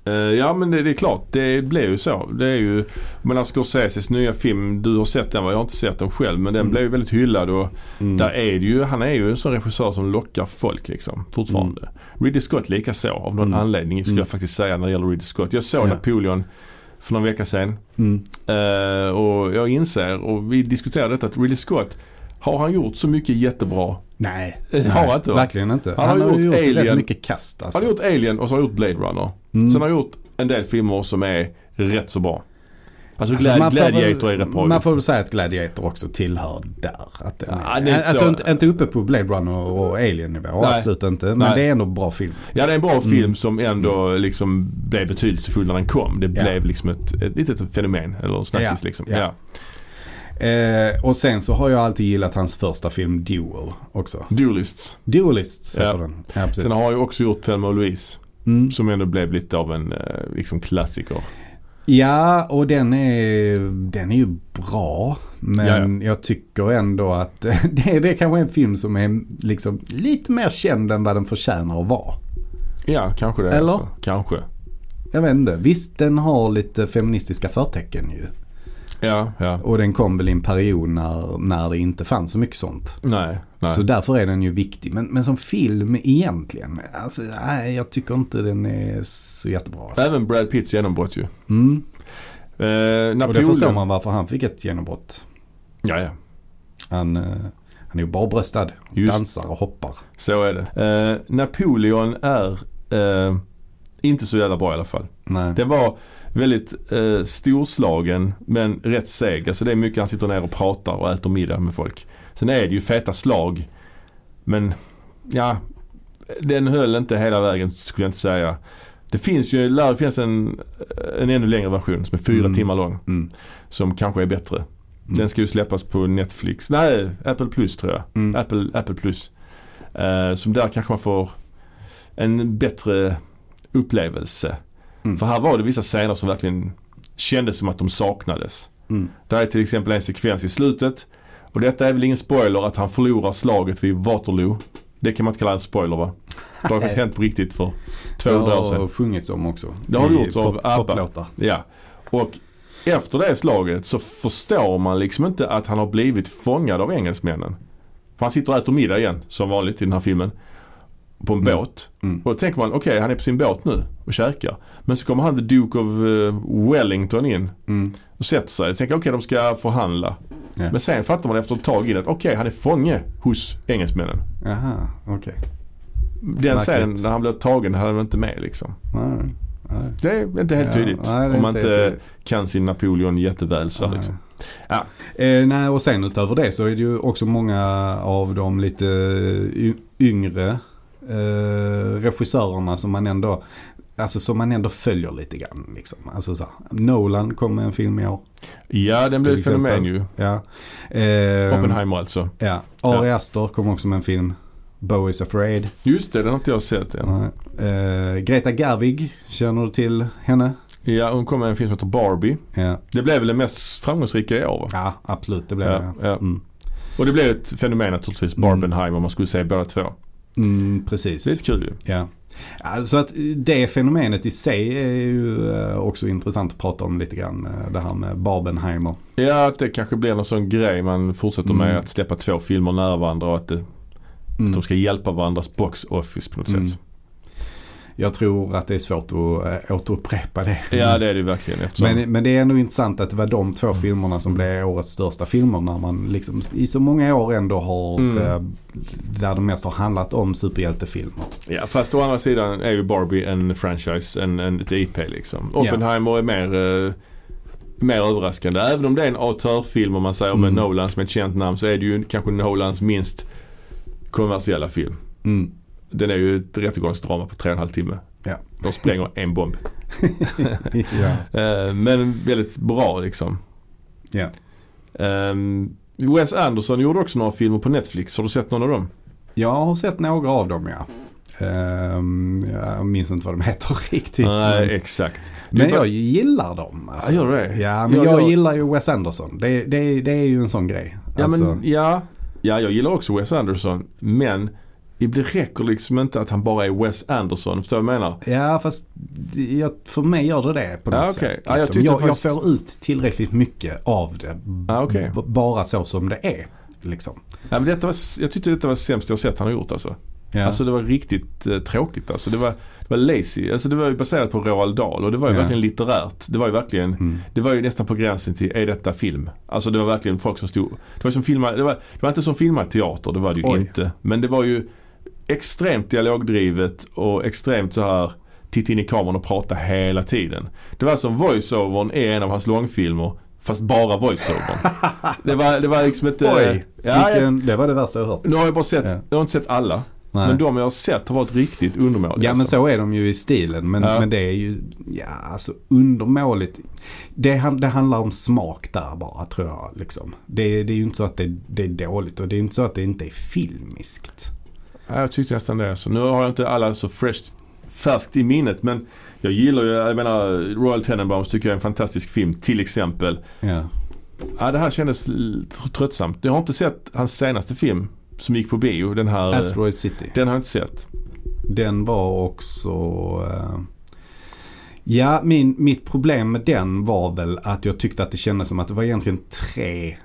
[SPEAKER 2] Eh, ja men det, det är klart, det blev ju så. Det är ju, men alltså Scorseses nya film, du har sett den va? Jag har inte sett den själv men den
[SPEAKER 1] Mm.
[SPEAKER 2] blev ju väldigt hyllad och
[SPEAKER 1] Mm.
[SPEAKER 2] där är det ju, han är ju en sån regissör som lockar folk liksom fortfarande. Ridley Scott lika så av någon
[SPEAKER 1] Mm.
[SPEAKER 2] anledning skulle
[SPEAKER 1] Mm.
[SPEAKER 2] jag faktiskt säga när det gäller Ridley Scott. Jag såg
[SPEAKER 1] Ja.
[SPEAKER 2] Napoleon för någon vecka sedan
[SPEAKER 1] Mm.
[SPEAKER 2] Eh, och jag inser, och vi diskuterade detta, att Ridley Scott har han gjort så mycket jättebra?
[SPEAKER 1] Nej,
[SPEAKER 2] Eh, har han inte va?
[SPEAKER 1] verkligen inte.
[SPEAKER 2] Han har gjort Alien.
[SPEAKER 1] rätt mycket kast alltså.
[SPEAKER 2] Han har gjort Alien och så har han gjort Blade Runner.
[SPEAKER 1] Mm.
[SPEAKER 2] Sen har han gjort en del filmer som är rätt så bra. Alltså,
[SPEAKER 1] Alltså,
[SPEAKER 2] Glad,
[SPEAKER 1] man får väl-
[SPEAKER 2] Gladiator är rätt bra.
[SPEAKER 1] Man får väl säga att Gladiator också tillhör där. Att den
[SPEAKER 2] Ja,
[SPEAKER 1] är,
[SPEAKER 2] det är inte
[SPEAKER 1] alltså
[SPEAKER 2] så.
[SPEAKER 1] inte, inte uppe på Blade Runner och Alien-nivå,
[SPEAKER 2] Nej.
[SPEAKER 1] absolut inte. Men
[SPEAKER 2] Nej.
[SPEAKER 1] det är ändå bra film.
[SPEAKER 2] Ja det är en
[SPEAKER 1] Mm.
[SPEAKER 2] bra film som ändå liksom blev betydelsefull när den kom. Det
[SPEAKER 1] Ja.
[SPEAKER 2] blev liksom ett, ett litet fenomen eller snackis
[SPEAKER 1] Ja,
[SPEAKER 2] liksom.
[SPEAKER 1] ja.
[SPEAKER 2] Ja.
[SPEAKER 1] Eh, och sen så har jag alltid gillat hans första film Duel också.
[SPEAKER 2] Duelists.
[SPEAKER 1] Duelists heter
[SPEAKER 2] Ja.
[SPEAKER 1] den. Ja, precis.
[SPEAKER 2] Sen har han ju också gjort Thelma och Louise.
[SPEAKER 1] mm.
[SPEAKER 2] Som ändå blev lite av en eh, liksom klassiker.
[SPEAKER 1] Ja, och den är, den är ju bra. Men
[SPEAKER 2] Jaja.
[SPEAKER 1] jag tycker ändå att det, är- det är kanske en film som är liksom lite mer känd än vad den förtjänar att vara.
[SPEAKER 2] Ja kanske det.
[SPEAKER 1] Eller?
[SPEAKER 2] Alltså. Kanske.
[SPEAKER 1] Jag vet inte. Visst, den har lite feministiska förtecken ju.
[SPEAKER 2] Ja, ja.
[SPEAKER 1] Och den kom väl i en period när, när det inte fanns så mycket sånt.
[SPEAKER 2] Nej, nej.
[SPEAKER 1] Så därför är den ju viktig. Men, men som film egentligen, alltså nej, jag tycker inte den är så jättebra. Alltså.
[SPEAKER 2] Även Brad Pitts genombrott ju.
[SPEAKER 1] Mm.
[SPEAKER 2] Eh,
[SPEAKER 1] Och det förstår
[SPEAKER 2] Napoleon.
[SPEAKER 1] man varför han fick ett genombrott.
[SPEAKER 2] Ja, ja.
[SPEAKER 1] Han, eh, han är ju barbröstad,
[SPEAKER 2] Just.
[SPEAKER 1] dansar och hoppar.
[SPEAKER 2] Så är det. Eh, Napoleon är eh, inte så jävla bra i alla fall.
[SPEAKER 1] Nej.
[SPEAKER 2] Det var väldigt eh, storslagen men rätt seg. Alltså det är mycket han sitter ner och pratar och äter middag med folk. Sen är det ju feta slag. Men ja, den höll inte hela vägen skulle jag inte säga. Det finns ju, lär finns en, en ännu längre version som är fyra
[SPEAKER 1] Mm.
[SPEAKER 2] timmar lång.
[SPEAKER 1] Mm.
[SPEAKER 2] Som kanske är bättre. Den ska ju släppas på Netflix. Nej, Apple Plus tror jag.
[SPEAKER 1] Mm.
[SPEAKER 2] Apple, Apple Plus. Eh, som där kanske man får en bättre upplevelse.
[SPEAKER 1] Mm.
[SPEAKER 2] För här var det vissa scener som verkligen kändes som att de saknades.
[SPEAKER 1] Mm.
[SPEAKER 2] Där är till exempel en sekvens i slutet. Och detta är väl ingen spoiler att han förlorar slaget vid Waterloo. Det kan man inte kalla en spoiler va? Det har faktiskt hänt på riktigt för 200 år
[SPEAKER 1] Det
[SPEAKER 2] sedan.
[SPEAKER 1] har sjungits om också.
[SPEAKER 2] Det har
[SPEAKER 1] I
[SPEAKER 2] gjorts av
[SPEAKER 1] pop-
[SPEAKER 2] ABBA.
[SPEAKER 1] poplåtar.
[SPEAKER 2] Ja. Och efter det slaget så förstår man liksom inte att han har blivit fångad av engelsmännen. För han sitter och äter middag igen, som vanligt i den här filmen. På en
[SPEAKER 1] Mm.
[SPEAKER 2] båt.
[SPEAKER 1] Mm.
[SPEAKER 2] Och då tänker man, okej han är på sin båt nu och käkar. Men så kommer han the Duke of eh, Wellington in
[SPEAKER 1] Mm.
[SPEAKER 2] och sätter sig. Jag tänker, okej de ska förhandla.
[SPEAKER 1] Ja.
[SPEAKER 2] Men sen fattar man efter ett tag in att, okej han är fånge hos engelsmännen.
[SPEAKER 1] Aha, okej.
[SPEAKER 2] Den
[SPEAKER 1] Märkligt.
[SPEAKER 2] scenen när han blev tagen hade han inte med liksom.
[SPEAKER 1] Nej, nej.
[SPEAKER 2] Det är inte helt
[SPEAKER 1] Ja,
[SPEAKER 2] tydligt.
[SPEAKER 1] nej, det är
[SPEAKER 2] om man
[SPEAKER 1] inte
[SPEAKER 2] inte
[SPEAKER 1] helt tydligt.
[SPEAKER 2] kan sin Napoleon jätteväl så här,
[SPEAKER 1] Nej.
[SPEAKER 2] liksom. Ja.
[SPEAKER 1] Eh, nej, och sen utöver det så är det ju också många av de lite y- yngre eh, regissörerna som man ändå Alltså som man ändå följer lite grann. Liksom. Alltså, så här, Nolan kom med en film i år.
[SPEAKER 2] Ja, den blev
[SPEAKER 1] Till
[SPEAKER 2] ett fenomen
[SPEAKER 1] exempel. ehm,
[SPEAKER 2] ju.
[SPEAKER 1] Ja. Eh,
[SPEAKER 2] Oppenheimer alltså.
[SPEAKER 1] Ja. Ari Aster kom också med en film. Bo is afraid.
[SPEAKER 2] Just det, den har inte jag sett än.
[SPEAKER 1] Eh, Greta Gerwig, känner du till henne?
[SPEAKER 2] Ja, hon kom med en film som heter Barbie.
[SPEAKER 1] Ja,
[SPEAKER 2] Det blev väl den mest framgångsrika i år va?
[SPEAKER 1] ja absolut det blev det.
[SPEAKER 2] ja.
[SPEAKER 1] Mm.
[SPEAKER 2] Och det blev ett fenomen naturligtvis,
[SPEAKER 1] Mm.
[SPEAKER 2] Barbenheimer, om man skulle säga båda två.
[SPEAKER 1] Mm,
[SPEAKER 2] Det är
[SPEAKER 1] precis.
[SPEAKER 2] lite kul ju.
[SPEAKER 1] Ja. Ja, Så att det fenomenet i sig är ju eh, också intressant att prata om lite grann. eh, Det här med Barbenheimer.
[SPEAKER 2] Ja, att det kanske blir någon sån grej man fortsätter med
[SPEAKER 1] Mm.
[SPEAKER 2] att släppa två filmer nära varandra och att det,
[SPEAKER 1] Mm.
[SPEAKER 2] de ska hjälpa varandras box office på något
[SPEAKER 1] Mm.
[SPEAKER 2] sätt.
[SPEAKER 1] Jag tror att det är svårt att eh, återupprepa det.
[SPEAKER 2] Ja det är det verkligen eftersom...
[SPEAKER 1] Men, men det är ändå intressant att det var de två filmerna som blev årets största filmer när man liksom i så många år ändå har
[SPEAKER 2] Mm.
[SPEAKER 1] eh, där de mest har handlat om superhjältefilmer.
[SPEAKER 2] Ja fast å andra sidan är ju Barbie en franchise, en, en ett IP liksom. Oppenheimer är mer, eh, mer överraskande. Även om det är en autörfilm om man säger
[SPEAKER 1] Mm.
[SPEAKER 2] med Nolan som är ett känt namn så är det ju kanske Nolans minst kommersiella film.
[SPEAKER 1] Mm.
[SPEAKER 2] Den är ju ett rättegångsdrama på tre och en halv timme.
[SPEAKER 1] Ja.
[SPEAKER 2] De spränger en bomb.
[SPEAKER 1] ja.
[SPEAKER 2] Eh, men väldigt bra liksom.
[SPEAKER 1] Ja.
[SPEAKER 2] Ehm, Wes Anderson gjorde också några filmer på Netflix. Har du sett någon av dem?
[SPEAKER 1] Jag har sett några av dem ja. Ehm, jag minns inte vad de heter riktigt.
[SPEAKER 2] Nej,
[SPEAKER 1] men
[SPEAKER 2] exakt.
[SPEAKER 1] men
[SPEAKER 2] Du bara-
[SPEAKER 1] jag gillar dem. Alltså.
[SPEAKER 2] Ja, gör du det?
[SPEAKER 1] Ja, men
[SPEAKER 2] Ja,
[SPEAKER 1] jag,
[SPEAKER 2] jag-
[SPEAKER 1] gillar ju Wes Anderson. Det, det, det är ju en sån grej.
[SPEAKER 2] Ja,
[SPEAKER 1] Alltså,
[SPEAKER 2] men, ja. ja, jag gillar också Wes Anderson. Men det räcker liksom inte att han bara är Wes Anderson. Förstår du vad jag menar?
[SPEAKER 1] ja fast jag, för mig gör det det på något
[SPEAKER 2] Ja,
[SPEAKER 1] sätt.
[SPEAKER 2] Ah, okej. Ja, jag
[SPEAKER 1] liksom.
[SPEAKER 2] tyckte
[SPEAKER 1] jag,
[SPEAKER 2] faktiskt-
[SPEAKER 1] jag får ut tillräckligt mycket av det.
[SPEAKER 2] Ja, okej.
[SPEAKER 1] B- bara så som det är. Liksom.
[SPEAKER 2] Ja, men detta var, s- jag tyckte detta var sämst jag sett han har gjort alltså.
[SPEAKER 1] Ja.
[SPEAKER 2] Alltså det var riktigt eh, tråkigt alltså. Det var, det var lazy. Alltså det var ju baserat på Roald Dahl och det var ju
[SPEAKER 1] Ja.
[SPEAKER 2] verkligen litterärt. Det var ju verkligen
[SPEAKER 1] mm.
[SPEAKER 2] Det var ju nästan på gränsen till, är detta film? Alltså det var verkligen folk som stod, det var, som filmad, det var, det var inte som filmad teater, det var det ju
[SPEAKER 1] Oj.
[SPEAKER 2] inte. Men det var ju extremt dialogdrivet och extremt så här titta in i kameran och prata hela tiden. Det var som voiceovern är en av hans långfilmer fast bara voiceovern. det, var, det var liksom inte...
[SPEAKER 1] Oj,
[SPEAKER 2] ja, jag,
[SPEAKER 1] Vilken, det var det värsta jag hört.
[SPEAKER 2] nu har jag bara sett,
[SPEAKER 1] Ja.
[SPEAKER 2] jag har inte sett alla.
[SPEAKER 1] Nej.
[SPEAKER 2] Men de jag har sett har varit riktigt undermåliga.
[SPEAKER 1] Ja men
[SPEAKER 2] alltså.
[SPEAKER 1] så är de ju i stilen. Men,
[SPEAKER 2] Ja.
[SPEAKER 1] men det är ju, ja alltså undermåligt. Det, han- det handlar om smak där bara tror jag. Liksom. Det, det är ju inte så att det, det är dåligt och det är ju inte så att det inte är filmiskt.
[SPEAKER 2] Ja, jag tyckte nästan det. Så nu har jag inte alla så fresh, färskt i minnet men jag gillar ju, jag menar Royal Tenenbaums tycker jag är en fantastisk film till exempel.
[SPEAKER 1] Ja.
[SPEAKER 2] Ja, det här kändes l- tr- tröttsamt. Jag har inte sett hans senaste film som gick på bio. Den här,
[SPEAKER 1] Asteroid City.
[SPEAKER 2] den har jag inte sett.
[SPEAKER 1] Den var också... eh, ja, min, mitt problem med den var väl att jag tyckte att det kändes som att det var egentligen tre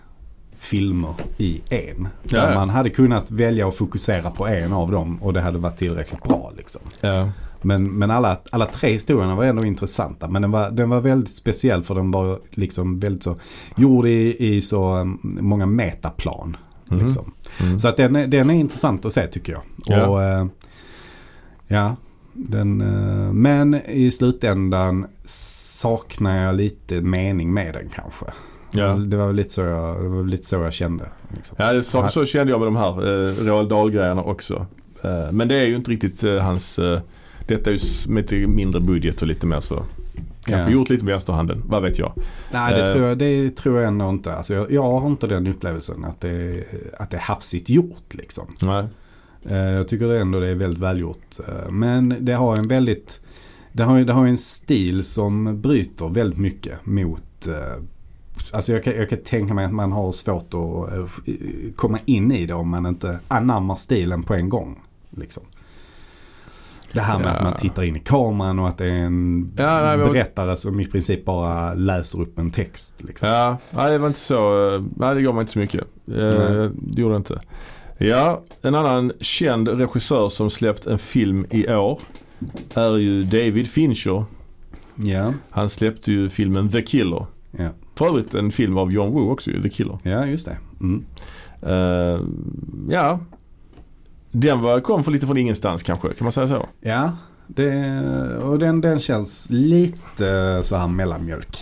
[SPEAKER 1] filmer i en.
[SPEAKER 2] Ja,
[SPEAKER 1] Där
[SPEAKER 2] ja.
[SPEAKER 1] man hade kunnat välja att fokusera på en av dem och det hade varit tillräckligt bra. Liksom.
[SPEAKER 2] Ja.
[SPEAKER 1] Men, men alla, alla tre historierna var ändå intressanta. Men den var, den var väldigt speciell för den var liksom väldigt så gjord i, i så um, många metaplan.
[SPEAKER 2] Mm.
[SPEAKER 1] Liksom.
[SPEAKER 2] Mm.
[SPEAKER 1] Så att den, är- den är intressant att se tycker jag.
[SPEAKER 2] Ja.
[SPEAKER 1] Och, eh, ja, den, eh, men i slutändan saknar jag lite mening med den kanske.
[SPEAKER 2] Ja.
[SPEAKER 1] Det var väl lite så jag, det var väl lite så jag kände. Liksom.
[SPEAKER 2] Ja, det, så, så kände jag med de här eh, Roald Dahl-grejerna också. Eh, men det är ju inte riktigt eh, hans... Eh, detta är ju s- med lite mindre budget och lite mer så. Kanske
[SPEAKER 1] Ja.
[SPEAKER 2] gjort lite med efterhanden, vad vet jag.
[SPEAKER 1] Nej, det,
[SPEAKER 2] Eh.
[SPEAKER 1] tror jag, det tror jag ändå inte. Alltså, jag, jag har inte den upplevelsen att det, att det är hafsigt gjort liksom.
[SPEAKER 2] Nej.
[SPEAKER 1] Eh, Jag tycker ändå det är väldigt välgjort. Eh, Men det har en väldigt, det har, det har en stil som bryter väldigt mycket mot eh, Alltså jag kan, jag kan tänka mig att man har svårt att eh, komma in i det om man inte anammar stilen på en gång. Liksom. Det här med
[SPEAKER 2] Ja.
[SPEAKER 1] att man tittar in i kameran och att det är en
[SPEAKER 2] Ja, nej, men-
[SPEAKER 1] berättare som i princip bara läser upp en text. Liksom.
[SPEAKER 2] Ja, nej det var inte så. eh, Nej det gav mig inte så mycket. Eh,
[SPEAKER 1] Nej.
[SPEAKER 2] det gjorde det inte. Ja, en annan känd regissör som släppt en film i år är ju David Fincher.
[SPEAKER 1] Ja,
[SPEAKER 2] Han släppte ju filmen The Killer.
[SPEAKER 1] ja.
[SPEAKER 2] För övrigt en film av John Woo också ju, The Killer.
[SPEAKER 1] ja just det. Mm.
[SPEAKER 2] Eh, ja. Den var, kom för lite från ingenstans kanske, kan man säga så?
[SPEAKER 1] Ja, det, och den, den känns lite så här mellanmjölk.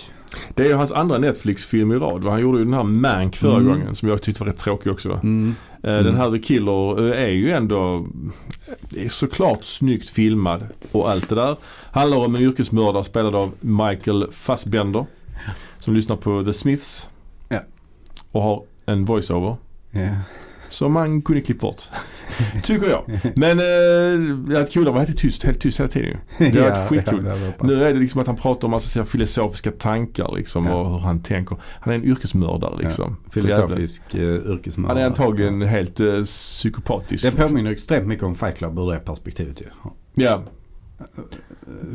[SPEAKER 2] Det är ju hans andra Netflix-film i rad. va? Han gjorde ju den här Mank förra
[SPEAKER 1] Mm.
[SPEAKER 2] gången som jag tyckte var rätt tråkig också. va?
[SPEAKER 1] Mm.
[SPEAKER 2] Eh,
[SPEAKER 1] Mm.
[SPEAKER 2] Den här The Killer eh, är ju ändå eh, är såklart snyggt filmad och allt det där. Handlar om en yrkesmördare spelad av Michael Fassbender. Som lyssnar på The Smiths.
[SPEAKER 1] Ja.
[SPEAKER 2] Och har en voiceover.
[SPEAKER 1] Ja.
[SPEAKER 2] Som man kunde klippt bort. Tycker jag. Men eh, att kul var helt tyst, helt tyst hela tiden ju. Det var
[SPEAKER 1] Ja,
[SPEAKER 2] skitkul.
[SPEAKER 1] ja, det var bra.
[SPEAKER 2] Nu är det liksom att han pratar om massa så här filosofiska tankar liksom
[SPEAKER 1] Ja.
[SPEAKER 2] och hur han tänker. Han är en yrkesmördare liksom. Så jävla-
[SPEAKER 1] Filosofisk eh, yrkesmördare.
[SPEAKER 2] Han är antagligen helt eh, psykopatisk.
[SPEAKER 1] Det
[SPEAKER 2] liksom.
[SPEAKER 1] påminner extremt mycket om Fight Club ur det perspektivet ju.
[SPEAKER 2] Ja,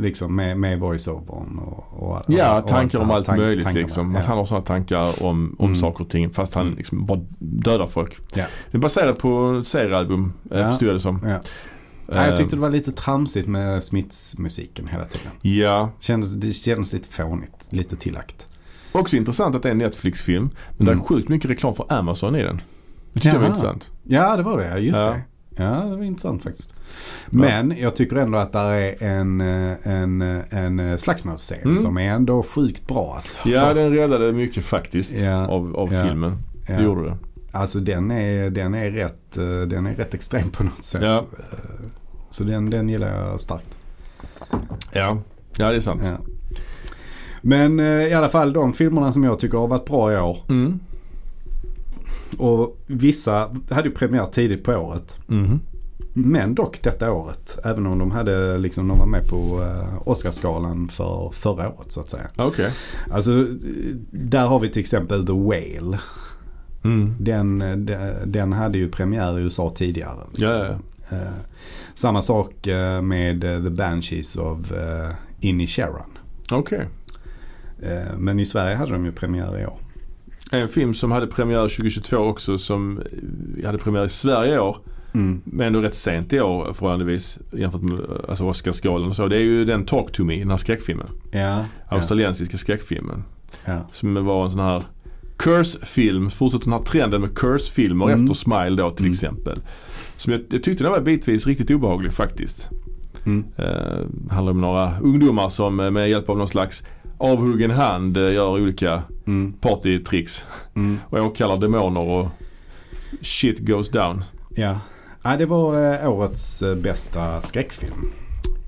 [SPEAKER 1] Liksom med, med voice-overn och, och, och
[SPEAKER 2] ja
[SPEAKER 1] och
[SPEAKER 2] tankar
[SPEAKER 1] det
[SPEAKER 2] om
[SPEAKER 1] här.
[SPEAKER 2] allt
[SPEAKER 1] Tank-
[SPEAKER 2] möjligt
[SPEAKER 1] tankarna.
[SPEAKER 2] liksom.
[SPEAKER 1] Ja.
[SPEAKER 2] Att han har sådana tankar om, om
[SPEAKER 1] Mm.
[SPEAKER 2] saker och ting fast han
[SPEAKER 1] Mm.
[SPEAKER 2] liksom bara dödar folk.
[SPEAKER 1] Ja.
[SPEAKER 2] Det är baserat på ett seriealbum, eh,
[SPEAKER 1] Ja.
[SPEAKER 2] förstod jag det som. Ehm,
[SPEAKER 1] Ja. Nej, jag
[SPEAKER 2] Eh.
[SPEAKER 1] tyckte det var lite tramsigt med Smiths-musiken hela tiden.
[SPEAKER 2] Ja,
[SPEAKER 1] Kändes, det kändes lite fånigt, lite tillagt.
[SPEAKER 2] också intressant att det är en Netflix-film. Men det
[SPEAKER 1] Mm.
[SPEAKER 2] är sjukt mycket reklam för Amazon i den. Det tyckte jag var
[SPEAKER 1] Jaha.
[SPEAKER 2] intressant.
[SPEAKER 1] Ja, det var det. Just
[SPEAKER 2] Ja.
[SPEAKER 1] det. Ja, det var intressant faktiskt. Men jag tycker ändå att det är en, eh, en, eh, en slagsmålsscen
[SPEAKER 2] Mm.
[SPEAKER 1] som är ändå sjukt bra alltså.
[SPEAKER 2] Ja, den räddade mycket faktiskt
[SPEAKER 1] Ja.
[SPEAKER 2] av, av
[SPEAKER 1] Ja.
[SPEAKER 2] filmen.
[SPEAKER 1] Ja.
[SPEAKER 2] Det gjorde det.
[SPEAKER 1] Alltså den är, den, är rätt, eh, den är rätt extrem på något sätt.
[SPEAKER 2] Ja.
[SPEAKER 1] Eh, Så den, den gillar jag starkt.
[SPEAKER 2] Ja, ja det är sant.
[SPEAKER 1] Ja. Men eh, i alla fall de filmerna som jag tycker har varit bra i år.
[SPEAKER 2] Mm.
[SPEAKER 1] Och vissa hade ju premiär tidigt på året.
[SPEAKER 2] Mhm.
[SPEAKER 1] Men dock detta året. Även om de hade liksom, de var med på eh, Oscarsgalan för förra året så att säga.
[SPEAKER 2] Okej.
[SPEAKER 1] Alltså eh, där har vi till exempel The Whale.
[SPEAKER 2] Mm.
[SPEAKER 1] Den, eh, de- den hade ju premiär i USA tidigare.
[SPEAKER 2] Ja, ja,
[SPEAKER 1] Eh, samma sak eh, med eh, The Banshees of eh, Inisheran.
[SPEAKER 2] Okej.
[SPEAKER 1] Eh, men i Sverige hade de ju premiär i år.
[SPEAKER 2] En film som hade premiär 2022 också som eh, hade premiär i Sverige i år.
[SPEAKER 1] Mm.
[SPEAKER 2] Men ändå rätt sent i år förhållandevis jämfört med eh, alltså Oscarsgalan och så. Det är ju den Talk to Me, den här skräckfilmen.
[SPEAKER 1] Ja, ja,
[SPEAKER 2] Australiensiska skräckfilmen.
[SPEAKER 1] ja.
[SPEAKER 2] Som var en sån här Curse-film, fortsätter den här trenden med Curse-filmer
[SPEAKER 1] Mm.
[SPEAKER 2] efter Smile då till
[SPEAKER 1] Mm.
[SPEAKER 2] exempel. Som jag, jag tyckte den var bitvis riktigt obehaglig faktiskt.
[SPEAKER 1] Mm.
[SPEAKER 2] Eh, handlar om några ungdomar som eh, med hjälp av någon slags avhuggen hand eh, gör olika
[SPEAKER 1] Mm.
[SPEAKER 2] partytricks
[SPEAKER 1] Mm.
[SPEAKER 2] och åkallar demoner och shit goes down.
[SPEAKER 1] Ja. ja, det var eh, årets eh, bästa skräckfilm.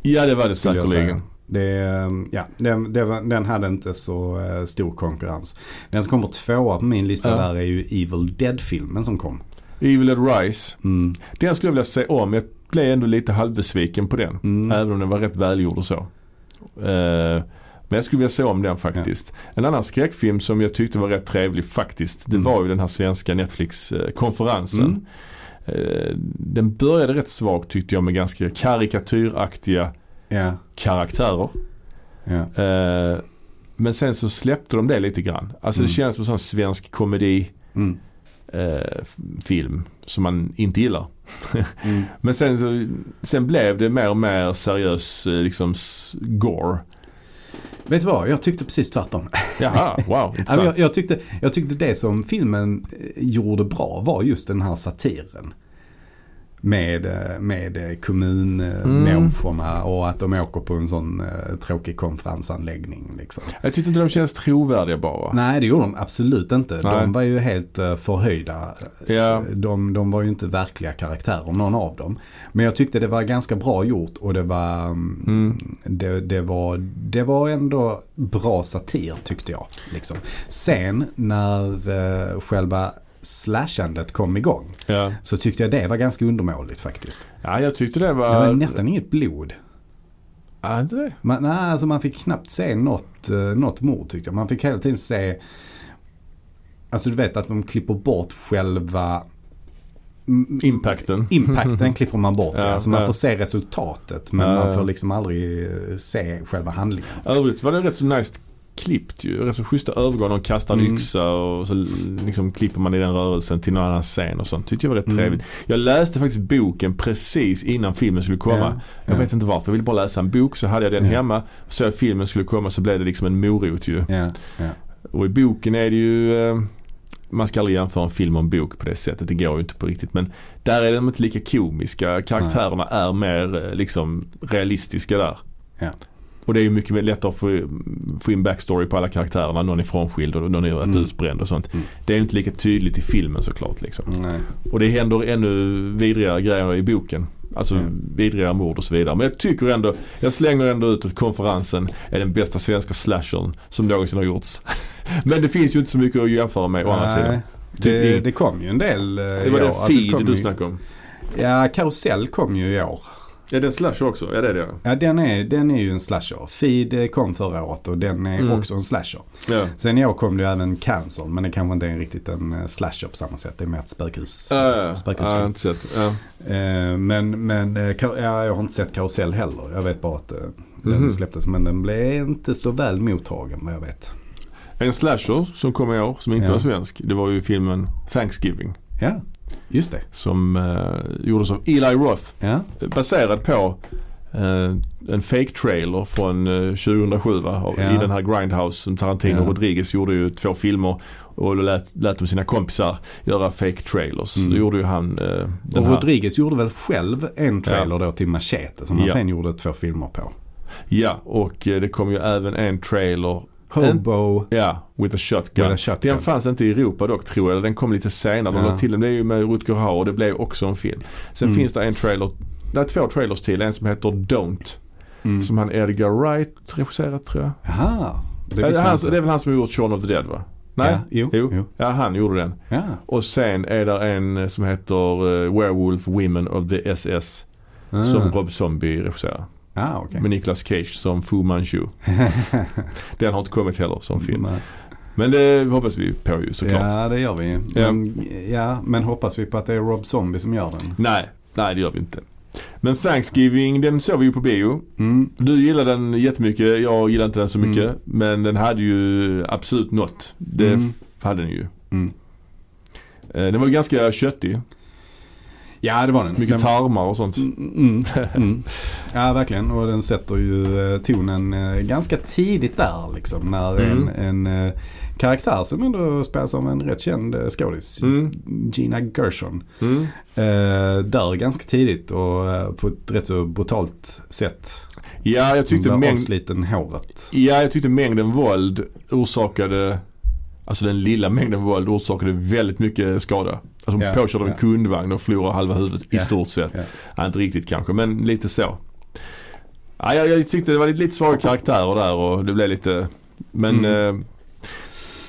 [SPEAKER 2] Ja det var det
[SPEAKER 1] skulle jag
[SPEAKER 2] säkerligen.
[SPEAKER 1] säga. Det, eh, ja, den, det var, den hade inte så eh, stor konkurrens. Den som kommer tvåa på min lista
[SPEAKER 2] Ja.
[SPEAKER 1] där är ju Evil Dead-filmen som kom.
[SPEAKER 2] Evil Dead Rise.
[SPEAKER 1] Mm.
[SPEAKER 2] Den skulle jag vilja se om. Jag blev ändå lite halvbesviken på den.
[SPEAKER 1] Mm.
[SPEAKER 2] Även om den var rätt välgjord och så. Eh, men jag skulle vilja se om den faktiskt. En annan skräckfilm som jag tyckte var rätt trevlig faktiskt. Det
[SPEAKER 1] Mm.
[SPEAKER 2] var ju den här svenska Netflix-konferensen.
[SPEAKER 1] Mm.
[SPEAKER 2] Eh, den började rätt svagt tyckte jag med ganska karikatyraktiga
[SPEAKER 1] Ja,
[SPEAKER 2] karaktärer.
[SPEAKER 1] ja.
[SPEAKER 2] Eh, men sen så släppte de det lite grann. Alltså
[SPEAKER 1] Mm.
[SPEAKER 2] det känns som en sån svensk komedi
[SPEAKER 1] Mm.
[SPEAKER 2] eh, f- film som man inte gillar.
[SPEAKER 1] Mm.
[SPEAKER 2] Men sen, så, sen blev det mer och mer seriös eh, liksom s- gore.
[SPEAKER 1] Vet du vad, jag tyckte precis tvärtom.
[SPEAKER 2] Jaha,
[SPEAKER 1] Ja,
[SPEAKER 2] wow,
[SPEAKER 1] men Jag,
[SPEAKER 2] intressant.
[SPEAKER 1] jag, tyckte, jag tyckte det som filmen eh, gjorde bra var just den här satiren. Med, eh, med kommunmänniskorna
[SPEAKER 2] Mm.
[SPEAKER 1] och att de åker på en sån eh, tråkig konferensanläggning. Liksom.
[SPEAKER 2] Jag tyckte inte de känns trovärdiga bara.
[SPEAKER 1] Nej, det gjorde de absolut inte.
[SPEAKER 2] Nej.
[SPEAKER 1] De var ju helt eh, förhöjda.
[SPEAKER 2] Ja,
[SPEAKER 1] De, de var ju inte verkliga karaktärer, någon av dem. Men jag tyckte det var ganska bra gjort och det var, mm,
[SPEAKER 2] mm.
[SPEAKER 1] det, det var, det var ändå bra satir tyckte jag. Liksom. Sen när eh, själva slashandet kom igång
[SPEAKER 2] ja.
[SPEAKER 1] så tyckte jag det var ganska undermåligt faktiskt.
[SPEAKER 2] ja jag tyckte det
[SPEAKER 1] Det
[SPEAKER 2] var...
[SPEAKER 1] var nästan inget blod.
[SPEAKER 2] Ja, inte det?
[SPEAKER 1] Man, nej, alltså man fick knappt se något, eh, något mord tyckte jag. Man fick hela tiden se, alltså du vet att de klipper bort själva mm,
[SPEAKER 2] Impacten.
[SPEAKER 1] Impacten klipper man bort, ja,
[SPEAKER 2] Ja,
[SPEAKER 1] alltså man
[SPEAKER 2] ja.
[SPEAKER 1] får se resultatet men
[SPEAKER 2] Ja,
[SPEAKER 1] man
[SPEAKER 2] ja.
[SPEAKER 1] får liksom aldrig eh, se själva handlingen.
[SPEAKER 2] Övrigt var det rätt så nice klippt ju. Rätt så schyssta övergångar. De kastar en
[SPEAKER 1] Mm.
[SPEAKER 2] yxa och så liksom klipper man i den rörelsen till någon annan scen och sånt. Tyckte jag var rätt
[SPEAKER 1] Mm.
[SPEAKER 2] trevligt. Jag läste faktiskt boken precis innan filmen skulle komma.
[SPEAKER 1] Ja,
[SPEAKER 2] Jag
[SPEAKER 1] ja.
[SPEAKER 2] vet inte varför. Jag ville bara läsa en bok så hade jag den
[SPEAKER 1] Ja.
[SPEAKER 2] hemma. Så jag filmen skulle komma så blev det liksom en morot ju.
[SPEAKER 1] Ja.
[SPEAKER 2] Och i boken är det ju eh, man ska aldrig jämföra en film och en bok på det sättet. Det går ju inte på riktigt. Men där är de inte lika komiska. Karaktärerna är mer eh, liksom realistiska där.
[SPEAKER 1] Ja.
[SPEAKER 2] Och det är ju mycket mer lättare att få, få in backstory på alla karaktärerna. Någon är frånskild och någon är rätt
[SPEAKER 1] Mm.
[SPEAKER 2] utbränd och sånt.
[SPEAKER 1] Mm.
[SPEAKER 2] Det är ju inte lika tydligt i filmen såklart. Liksom.
[SPEAKER 1] Nej.
[SPEAKER 2] Och det händer ännu vidrigare grejer i boken. Alltså
[SPEAKER 1] Mm.
[SPEAKER 2] vidrigare mord och så vidare. Men jag tycker ändå, jag slänger ändå ut att konferensen är den bästa svenska slashern som någonsin har gjorts. Men det finns ju inte så mycket att jämföra med å andra sidan.
[SPEAKER 1] Nej, det,
[SPEAKER 2] Typ-
[SPEAKER 1] det kom ju en del eh,
[SPEAKER 2] Det var
[SPEAKER 1] i år.
[SPEAKER 2] den
[SPEAKER 1] Alltså,
[SPEAKER 2] feed
[SPEAKER 1] kom
[SPEAKER 2] du
[SPEAKER 1] ju-
[SPEAKER 2] snackade om.
[SPEAKER 1] Ja, Karusell kom ju i år.
[SPEAKER 2] Ja, den slasher också. Ja, det är det.
[SPEAKER 1] Ja, den är, den är ju en slasher. Feed eh, kom förra året och den är
[SPEAKER 2] Mm.
[SPEAKER 1] också en slasher.
[SPEAKER 2] Ja.
[SPEAKER 1] Sen i år kom det ju även Cancer, men det kanske inte är riktigt en eh, slasher på samma sätt. Det är mer ett spökhus.
[SPEAKER 2] Ja, ja. Ja, jag har
[SPEAKER 1] spökhusfilm.
[SPEAKER 2] inte sett. Ja.
[SPEAKER 1] Eh, Men, men eh, Kar- ja, jag har inte sett Karusell heller. Jag vet bara att eh, den
[SPEAKER 2] Mhm.
[SPEAKER 1] släpptes. Men den blev inte så väl mottagen vad jag vet.
[SPEAKER 2] En slasher som kom i år, som inte
[SPEAKER 1] Ja.
[SPEAKER 2] var svensk, det var ju filmen Thanksgiving.
[SPEAKER 1] Ja, Just det.
[SPEAKER 2] Som eh, gjordes av Eli Roth.
[SPEAKER 1] Ja.
[SPEAKER 2] Baserad på eh, en fake trailer från eh, 2007 va? av-
[SPEAKER 1] Ja.
[SPEAKER 2] i den här Grindhouse som Tarantino
[SPEAKER 1] Ja.
[SPEAKER 2] och Rodriguez gjorde ju två filmer och då lät, lät de sina kompisar göra fake trailers.
[SPEAKER 1] Mm.
[SPEAKER 2] Då gjorde ju han eh, den
[SPEAKER 1] Och
[SPEAKER 2] här.
[SPEAKER 1] Rodriguez gjorde väl själv en trailer då till Machete som han
[SPEAKER 2] Ja.
[SPEAKER 1] sen gjorde två filmer på.
[SPEAKER 2] Ja och eh, det kom ju även en trailer,
[SPEAKER 1] Hobo
[SPEAKER 2] ja, with a shotgun.
[SPEAKER 1] with a shotgun.
[SPEAKER 2] Den fanns inte i Europa dock tror jag. Den kom lite senare. De
[SPEAKER 1] Ja.
[SPEAKER 2] la till den. Det är ju med Rutger Hauer och det blev också en film. Sen
[SPEAKER 1] Mm.
[SPEAKER 2] finns det en trailer. Det är två trailers till. En som heter Don't.
[SPEAKER 1] Mm.
[SPEAKER 2] Som han Edgar Wright regisserat tror jag.
[SPEAKER 1] Jaha, det
[SPEAKER 2] Ja, Det
[SPEAKER 1] visste
[SPEAKER 2] är,
[SPEAKER 1] jag
[SPEAKER 2] han,
[SPEAKER 1] inte.
[SPEAKER 2] det är väl han som har gjort Shaun of the Dead va? Nej?
[SPEAKER 1] Ja, jo,
[SPEAKER 2] Jo.
[SPEAKER 1] jo.
[SPEAKER 2] Ja, han gjorde den.
[SPEAKER 1] Ja.
[SPEAKER 2] Och sen är det en eh, som heter eh, Werewolf Women of the SS.
[SPEAKER 1] Ah.
[SPEAKER 2] Som Rob Zombie regisserar.
[SPEAKER 1] ah, okej.
[SPEAKER 2] Med Nicolas Cage som Fu Manchu. Den har inte kommit heller som film.
[SPEAKER 1] Nej.
[SPEAKER 2] Men det hoppas vi på ju såklart.
[SPEAKER 1] Mm. Ja, det gör vi.
[SPEAKER 2] Ja.
[SPEAKER 1] Men, ja, men hoppas vi på att det är Rob Zombie som gör den.
[SPEAKER 2] Nej, nej det gör vi inte. Men Thanksgiving, den såg vi ju på bio.
[SPEAKER 1] Mm.
[SPEAKER 2] Du gillade den jättemycket, jag gillade inte den så
[SPEAKER 1] Mm.
[SPEAKER 2] mycket. Men den hade ju absolut något. Det
[SPEAKER 1] Mm.
[SPEAKER 2] f- hade den ju.
[SPEAKER 1] Mm.
[SPEAKER 2] Eh, Den var ju ganska köttig.
[SPEAKER 1] Ja, det var den.
[SPEAKER 2] Mycket
[SPEAKER 1] den
[SPEAKER 2] tarmar och sånt.
[SPEAKER 1] Mm, mm, mm. Ja, verkligen. Och den sätter ju eh, tonen eh, ganska tidigt där liksom. När
[SPEAKER 2] Mm.
[SPEAKER 1] en, en eh, karaktär som ändå spelas av en rätt känd eh, skådis,
[SPEAKER 2] Mm.
[SPEAKER 1] Gina Gershon,
[SPEAKER 2] Mm.
[SPEAKER 1] eh, dör ganska tidigt och eh, på ett rätt så brutalt sätt.
[SPEAKER 2] Ja, jag
[SPEAKER 1] Hon
[SPEAKER 2] tyckte,
[SPEAKER 1] blir
[SPEAKER 2] mäng-
[SPEAKER 1] avsliten håret.
[SPEAKER 2] ja, jag tyckte mängden våld orsakade Alltså den lilla mängden våld orsakade väldigt mycket skada. Alltså hon
[SPEAKER 1] Ja,
[SPEAKER 2] påkörde av
[SPEAKER 1] ja.
[SPEAKER 2] en kundvagn och förlorade halva huvudet
[SPEAKER 1] Ja,
[SPEAKER 2] i stort sett.
[SPEAKER 1] ja.
[SPEAKER 2] Ja, inte riktigt kanske, men lite så. Ja, jag, jag tyckte det var lite, lite svaga karaktärer där och det blev lite... Men
[SPEAKER 1] Mm.
[SPEAKER 2] eh,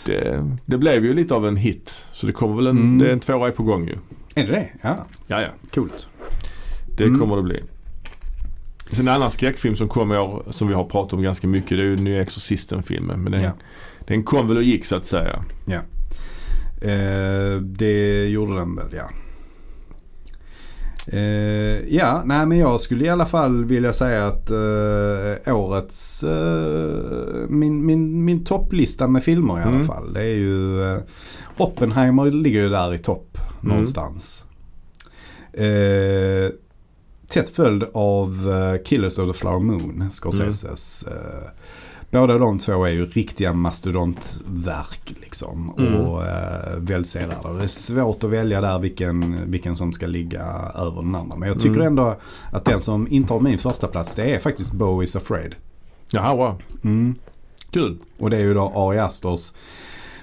[SPEAKER 2] det, det blev ju lite av en hit. Så det kommer väl en,
[SPEAKER 1] Mm.
[SPEAKER 2] det är en tvåa är på gång ju.
[SPEAKER 1] Är det det? Ja,
[SPEAKER 2] Ja, ja.
[SPEAKER 1] coolt.
[SPEAKER 2] Det
[SPEAKER 1] Mm.
[SPEAKER 2] kommer det bli. Sen en annan skräckfilm som kom i år som vi har pratat om ganska mycket. Det är ju den nya Exorcisten-filmen. Men den,
[SPEAKER 1] Ja.
[SPEAKER 2] den kom väl och gick så att säga.
[SPEAKER 1] Eh, det gjorde den väl, ja. Eh, ja, nej men jag skulle i alla fall vilja säga att eh, årets, eh, min, min, min topplista med filmer i alla
[SPEAKER 2] Mm.
[SPEAKER 1] fall, det är ju eh, Oppenheimer ligger ju där i topp
[SPEAKER 2] Mm.
[SPEAKER 1] någonstans. Eh, tätt följd av eh, Killers of the Flower Moon, Scorseses.
[SPEAKER 2] Mm.
[SPEAKER 1] Eh, båda de två är ju riktiga mastodontverk liksom.
[SPEAKER 2] Mm.
[SPEAKER 1] Och eh, välsedlarna. Det är svårt att välja där vilken, vilken som ska ligga över den andra. Men jag tycker
[SPEAKER 2] Mm.
[SPEAKER 1] ändå att den som intar min första plats det är faktiskt Bowie's Afraid.
[SPEAKER 2] Jaha, wow.
[SPEAKER 1] Mm.
[SPEAKER 2] Kul.
[SPEAKER 1] Och det är ju då Ari Astors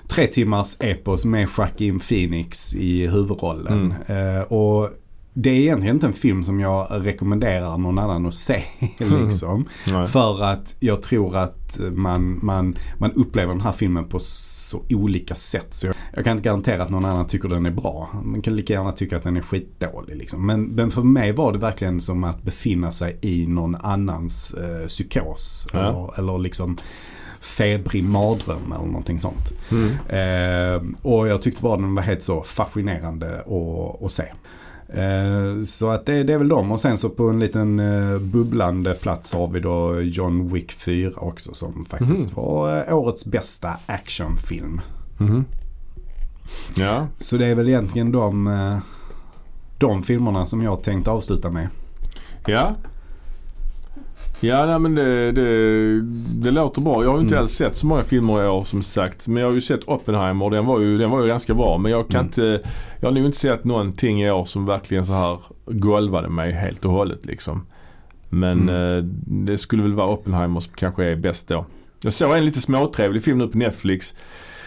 [SPEAKER 1] tre timmars epos med Joaquin Phoenix i huvudrollen. Eh, och det är egentligen inte en film som jag rekommenderar någon annan att se. liksom.
[SPEAKER 2] Nej.
[SPEAKER 1] För att jag tror att man, man, man upplever den här filmen på så olika sätt. Så jag, jag kan inte garantera att någon annan tycker den är bra. Man kan lika gärna tycka att den är skitdålig. Liksom. Men, men för mig var det verkligen som att befinna sig i någon annans eh, psykos.
[SPEAKER 2] Ja.
[SPEAKER 1] Eller, eller liksom febrig mardröm eller någonting sånt.
[SPEAKER 2] Mm.
[SPEAKER 1] Eh, och jag tyckte bara den var helt så fascinerande att, att se. Eh, så att det, det är väl dem. Och sen så på en liten eh, bubblande plats har vi då John Wick 4 också som faktiskt var eh, årets bästa actionfilm.
[SPEAKER 2] Mhm. Ja.
[SPEAKER 1] Så det är väl egentligen de, eh, de filmerna som jag tänkte avsluta med.
[SPEAKER 2] Ja. Ja, nej, men det, det, det låter bra. Jag har ju inte
[SPEAKER 1] Mm.
[SPEAKER 2] alls sett så många filmer i år som sagt. Men jag har ju sett Oppenheimer och den var ju, den var ju ganska bra. Men jag kan
[SPEAKER 1] Mm.
[SPEAKER 2] inte... Jag har nog inte sett någonting i år som verkligen så här golvade mig helt och hållet liksom. Men
[SPEAKER 1] Mm.
[SPEAKER 2] eh, det skulle väl vara Oppenheimer som kanske är bäst då. Jag såg en lite småtrevlig film nu på Netflix.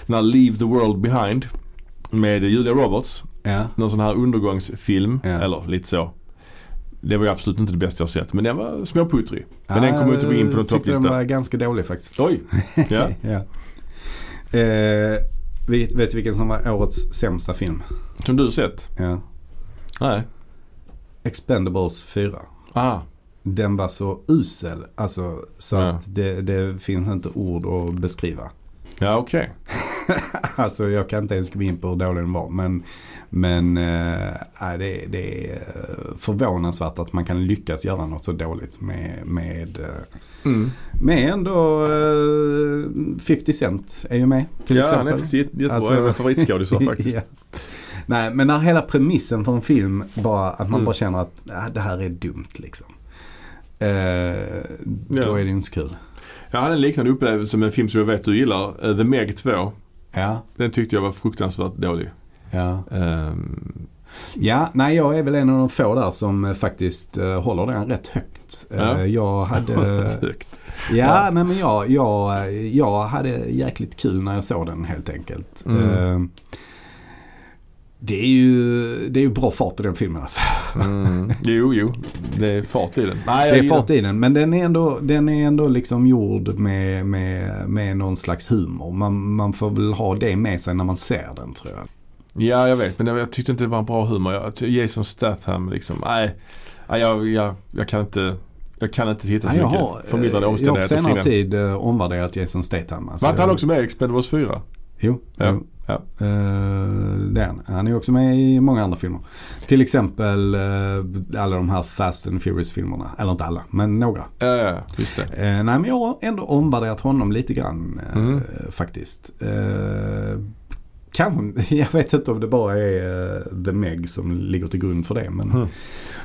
[SPEAKER 2] Den här Leave the World Behind. Med Julia Roberts
[SPEAKER 1] Ja.
[SPEAKER 2] någon sån här undergångsfilm.
[SPEAKER 1] Ja.
[SPEAKER 2] Eller lite så. Det var ju absolut inte det bästa jag sett. Men den var småputtrig. Men den kommer ju inte gå in på någon
[SPEAKER 1] Jag Eh, tyckte den
[SPEAKER 2] topplista.
[SPEAKER 1] var ganska dålig faktiskt.
[SPEAKER 2] Oj! Ja.
[SPEAKER 1] ja. Eh, vet, vet du vilken som var årets sämsta film?
[SPEAKER 2] Som du sett?
[SPEAKER 1] Ja.
[SPEAKER 2] Nej.
[SPEAKER 1] Expendables 4.
[SPEAKER 2] Aha.
[SPEAKER 1] Den var så usel, alltså så
[SPEAKER 2] Ja.
[SPEAKER 1] att det, det finns inte ord att beskriva.
[SPEAKER 2] Ja okej.
[SPEAKER 1] Alltså jag kan inte ens gå in på hur dålig den var. Men, men eh, nej, det, det är eh, förvånansvärt att man kan lyckas göra något så dåligt med, med, eh, med ändå eh, 50 Cent är ju med till
[SPEAKER 2] Ja han är
[SPEAKER 1] exempel.
[SPEAKER 2] faktiskt jätte- jättebra.
[SPEAKER 1] Alltså-
[SPEAKER 2] En av mina favoritskådisar faktiskt.
[SPEAKER 1] ja. Nej, men när hela premissen för en film bara att man
[SPEAKER 2] Mm.
[SPEAKER 1] bara känner att "Ah, det här är dumt liksom. Eh, då
[SPEAKER 2] Ja.
[SPEAKER 1] är det ju inte så kul.
[SPEAKER 2] Jag hade en liknande upplevelse med en film som jag vet du gillar, eh, The Meg 2.
[SPEAKER 1] Ja,
[SPEAKER 2] Den tyckte jag var fruktansvärt dålig.
[SPEAKER 1] ja.
[SPEAKER 2] Ehm,
[SPEAKER 1] Ja, nej jag är väl en av de få där som eh, faktiskt eh, håller den rätt högt. Eh,
[SPEAKER 2] Ja.
[SPEAKER 1] Jag hade...
[SPEAKER 2] Ehm, eh, högt.
[SPEAKER 1] ja,
[SPEAKER 2] Ja.
[SPEAKER 1] nej men jag, jag, jag hade jäkligt kul när jag såg den helt enkelt.
[SPEAKER 2] Mm.
[SPEAKER 1] Eh, det är ju, det är ju bra fart i den filmen alltså.
[SPEAKER 2] Mm. Jo, jo. Det är fart i den. Nej, jag
[SPEAKER 1] Det är
[SPEAKER 2] gillar-
[SPEAKER 1] fart i den men den är ändå, den är ändå liksom gjord med, med, med någon slags humor. Man, man får väl ha det med sig när man ser den tror jag.
[SPEAKER 2] Ja, jag vet. Men jag- jag tyckte inte det var en bra humor. Jag, ty- Jason Statham liksom. Nej, nej jag, jag, jag kan inte. Jag kan inte hitta så
[SPEAKER 1] jag har,
[SPEAKER 2] mycket förmildrande
[SPEAKER 1] eh, jag har på
[SPEAKER 2] omständigheter kring
[SPEAKER 1] senare
[SPEAKER 2] den.
[SPEAKER 1] tid eh, omvärderat Jason Statham. alltså.
[SPEAKER 2] Var inte han också med i Expendables 4?
[SPEAKER 1] Jo.
[SPEAKER 2] Ja,
[SPEAKER 1] jo.
[SPEAKER 2] ja.
[SPEAKER 1] Eh, det är han. Han är också med i många andra filmer. Till exempel eh, alla de här Fast and Furious-filmerna. Eller inte alla, men några.
[SPEAKER 2] Ja, ja, just det.
[SPEAKER 1] Eh, nej men jag har ändå omvärderat honom lite grann eh,
[SPEAKER 2] Mm.
[SPEAKER 1] faktiskt. Eh, kanske, jag vet inte om det bara är eh, The Meg som ligger till grund för det. Men,
[SPEAKER 2] Mm.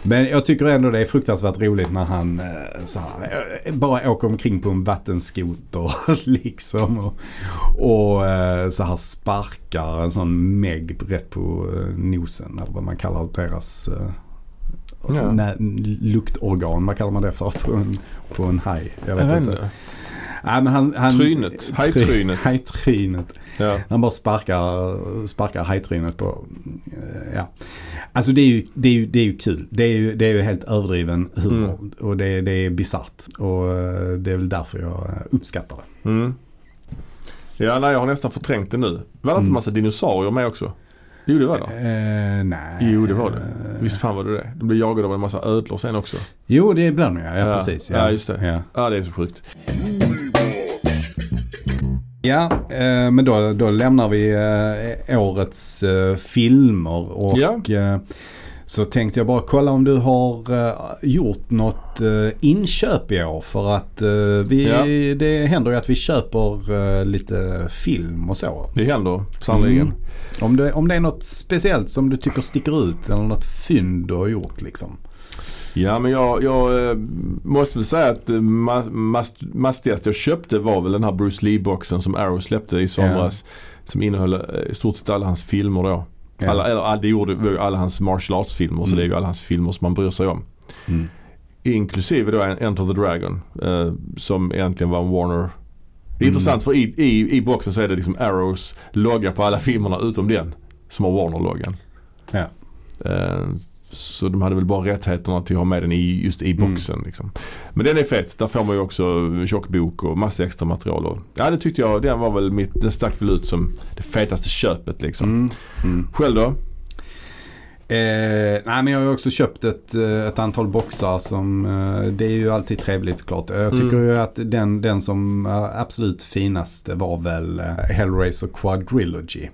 [SPEAKER 1] men jag tycker ändå det är fruktansvärt roligt när han eh, så här, eh, bara åker omkring på en vattenskoter liksom. Och, och eh, så här sparkar en sån Meg rätt på eh, nosen eller vad man kallar deras eh,
[SPEAKER 2] Ja.
[SPEAKER 1] nä- luktorgan, vad kallar man det för på en, på en haj? Jag vet inte. Nej, men han, han,
[SPEAKER 2] Trynet. Hajtrynet.
[SPEAKER 1] Try- Hajtrynet.
[SPEAKER 2] Ja.
[SPEAKER 1] Han bara sparkar, sparkar hajtrynet på, eh, ja. Alltså det är ju, det är ju, det är ju kul. Det är ju, det är ju helt överdriven humor.
[SPEAKER 2] Mm.
[SPEAKER 1] Och det, är- det är bisarrt. Och eh, det är väl därför jag eh, uppskattar det.
[SPEAKER 2] Mm. Ja, nej, jag har nästan förträngt det nu. Var det inte
[SPEAKER 1] Mm.
[SPEAKER 2] en massa dinosaurier med också? Jo, det var det.
[SPEAKER 1] Eh, nej.
[SPEAKER 2] Jo, det var det.
[SPEAKER 1] Eh,
[SPEAKER 2] Visst fan var det det. De blev jagade av en massa ödlor sen också.
[SPEAKER 1] Jo, det är bland jag. Ja, precis.
[SPEAKER 2] Ja, just det.
[SPEAKER 1] Ja.
[SPEAKER 2] Ja, det är så sjukt.
[SPEAKER 1] Ja, eh, men då, då lämnar vi eh, årets eh, filmer och
[SPEAKER 2] Ja.
[SPEAKER 1] eh, så tänkte jag bara kolla om du har eh, gjort något eh, inköp i år för att eh, vi, det händer ju att vi köper eh, lite film och så.
[SPEAKER 2] Det händer sannerligen.
[SPEAKER 1] Mm. Om, det, om det är något speciellt som du tycker sticker ut eller något fynd du har gjort liksom.
[SPEAKER 2] Ja, men jag, jag eh, måste väl säga att eh, mas- mas- mastigaste jag köpte var väl den här Bruce Lee-boxen som Arrow släppte i somras. Som innehöll eh, i stort sett alla hans filmer då.
[SPEAKER 1] Ja.
[SPEAKER 2] Alla, eller, all- det gjorde var ju alla hans martial arts-filmer, så
[SPEAKER 1] Mm.
[SPEAKER 2] det är ju alla hans filmer som man bryr sig om.
[SPEAKER 1] Mm.
[SPEAKER 2] Inklusive då Enter the Dragon eh, som egentligen var en Warner. Det är intressant för i, i, i boxen så är det liksom Arrows logga på alla filmerna utom den som har Warner-loggan.
[SPEAKER 1] Ja.
[SPEAKER 2] Eh, så de hade väl bara rättigheterna till att ha med den i, just i boxen. Liksom. Men den är fet. Där får man ju också en tjock bok och massa extra material. Och, ja det tyckte jag, den var väl mitt, den stack väl ut som det fetaste köpet liksom.
[SPEAKER 1] Mm. Mm.
[SPEAKER 2] Själv då?
[SPEAKER 1] Eh, nej men jag har ju också köpt ett, eh, ett antal boxar som, eh, det är ju alltid trevligt klart. Jag tycker
[SPEAKER 2] Mm.
[SPEAKER 1] ju att den, den som eh, absolut finaste var väl eh, Hellraiser Quadrilogy.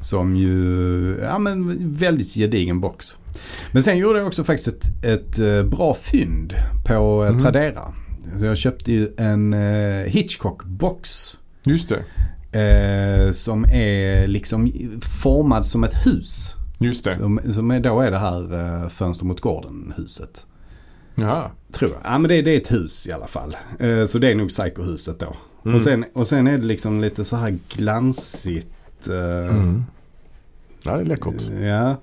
[SPEAKER 1] Som ju, ja men väldigt gedigen box. Men sen gjorde jag också faktiskt ett, ett eh, bra fynd på eh,
[SPEAKER 2] Mm.
[SPEAKER 1] Tradera. Så jag köpte ju en eh, Hitchcock-box.
[SPEAKER 2] Just det.
[SPEAKER 1] Eh, som är liksom formad som ett hus.
[SPEAKER 2] Just det.
[SPEAKER 1] Som, som är, då är det här eh, Fönster mot gården huset.
[SPEAKER 2] Jaha.
[SPEAKER 1] Tror jag. Ja men det, det är ett hus i alla fall. Eh, så det är nog Psycho-huset då.
[SPEAKER 2] Mm.
[SPEAKER 1] Och, sen, och sen är det liksom lite så här glansigt. eh,
[SPEAKER 2] Mm. Ja det är läckert.
[SPEAKER 1] Ja.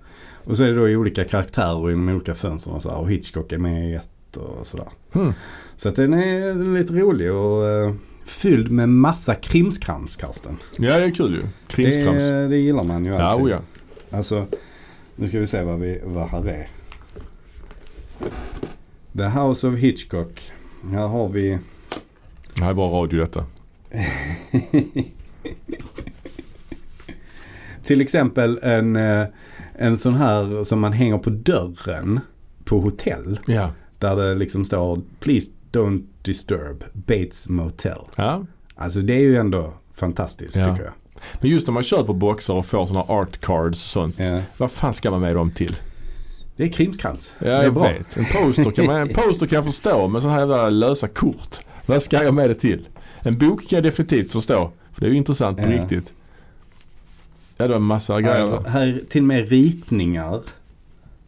[SPEAKER 1] Och så är det då i olika karaktärer i de olika fönstren och så här. Och Hitchcock är med i ett och sådär.
[SPEAKER 2] Mm.
[SPEAKER 1] Så att den är lite rolig och eh, fylld med massa krimskrams Karsten.
[SPEAKER 2] Ja det är kul ju. Krimskrams.
[SPEAKER 1] Det, det gillar man ju
[SPEAKER 2] Ja,
[SPEAKER 1] alltid.
[SPEAKER 2] oh ja.
[SPEAKER 1] Alltså, nu ska vi se vad, vi, vad här är. The House of Hitchcock. Här har vi...
[SPEAKER 2] Det här är bra radio detta.
[SPEAKER 1] Till exempel en, eh, en sån här som man hänger på dörren på hotell.
[SPEAKER 2] Ja.
[SPEAKER 1] Där det liksom står Please don't disturb Bates Motel.
[SPEAKER 2] ja.
[SPEAKER 1] Alltså det är ju ändå fantastiskt
[SPEAKER 2] Ja.
[SPEAKER 1] tycker jag.
[SPEAKER 2] Men just när man köper boxar och får sådana art cards och sånt.
[SPEAKER 1] Ja.
[SPEAKER 2] Vad fan ska man med dem till?
[SPEAKER 1] Det är krimskrams.
[SPEAKER 2] Ja,
[SPEAKER 1] det är
[SPEAKER 2] jag vet. En poster, kan man, en poster kan jag förstå, men sådana här jävla lösa kort. Vad ska jag med det till? En bok kan jag definitivt förstå. För det är ju intressant på
[SPEAKER 1] Ja.
[SPEAKER 2] riktigt. Ja, det var massa grejer
[SPEAKER 1] Alltså, här till och med ritningar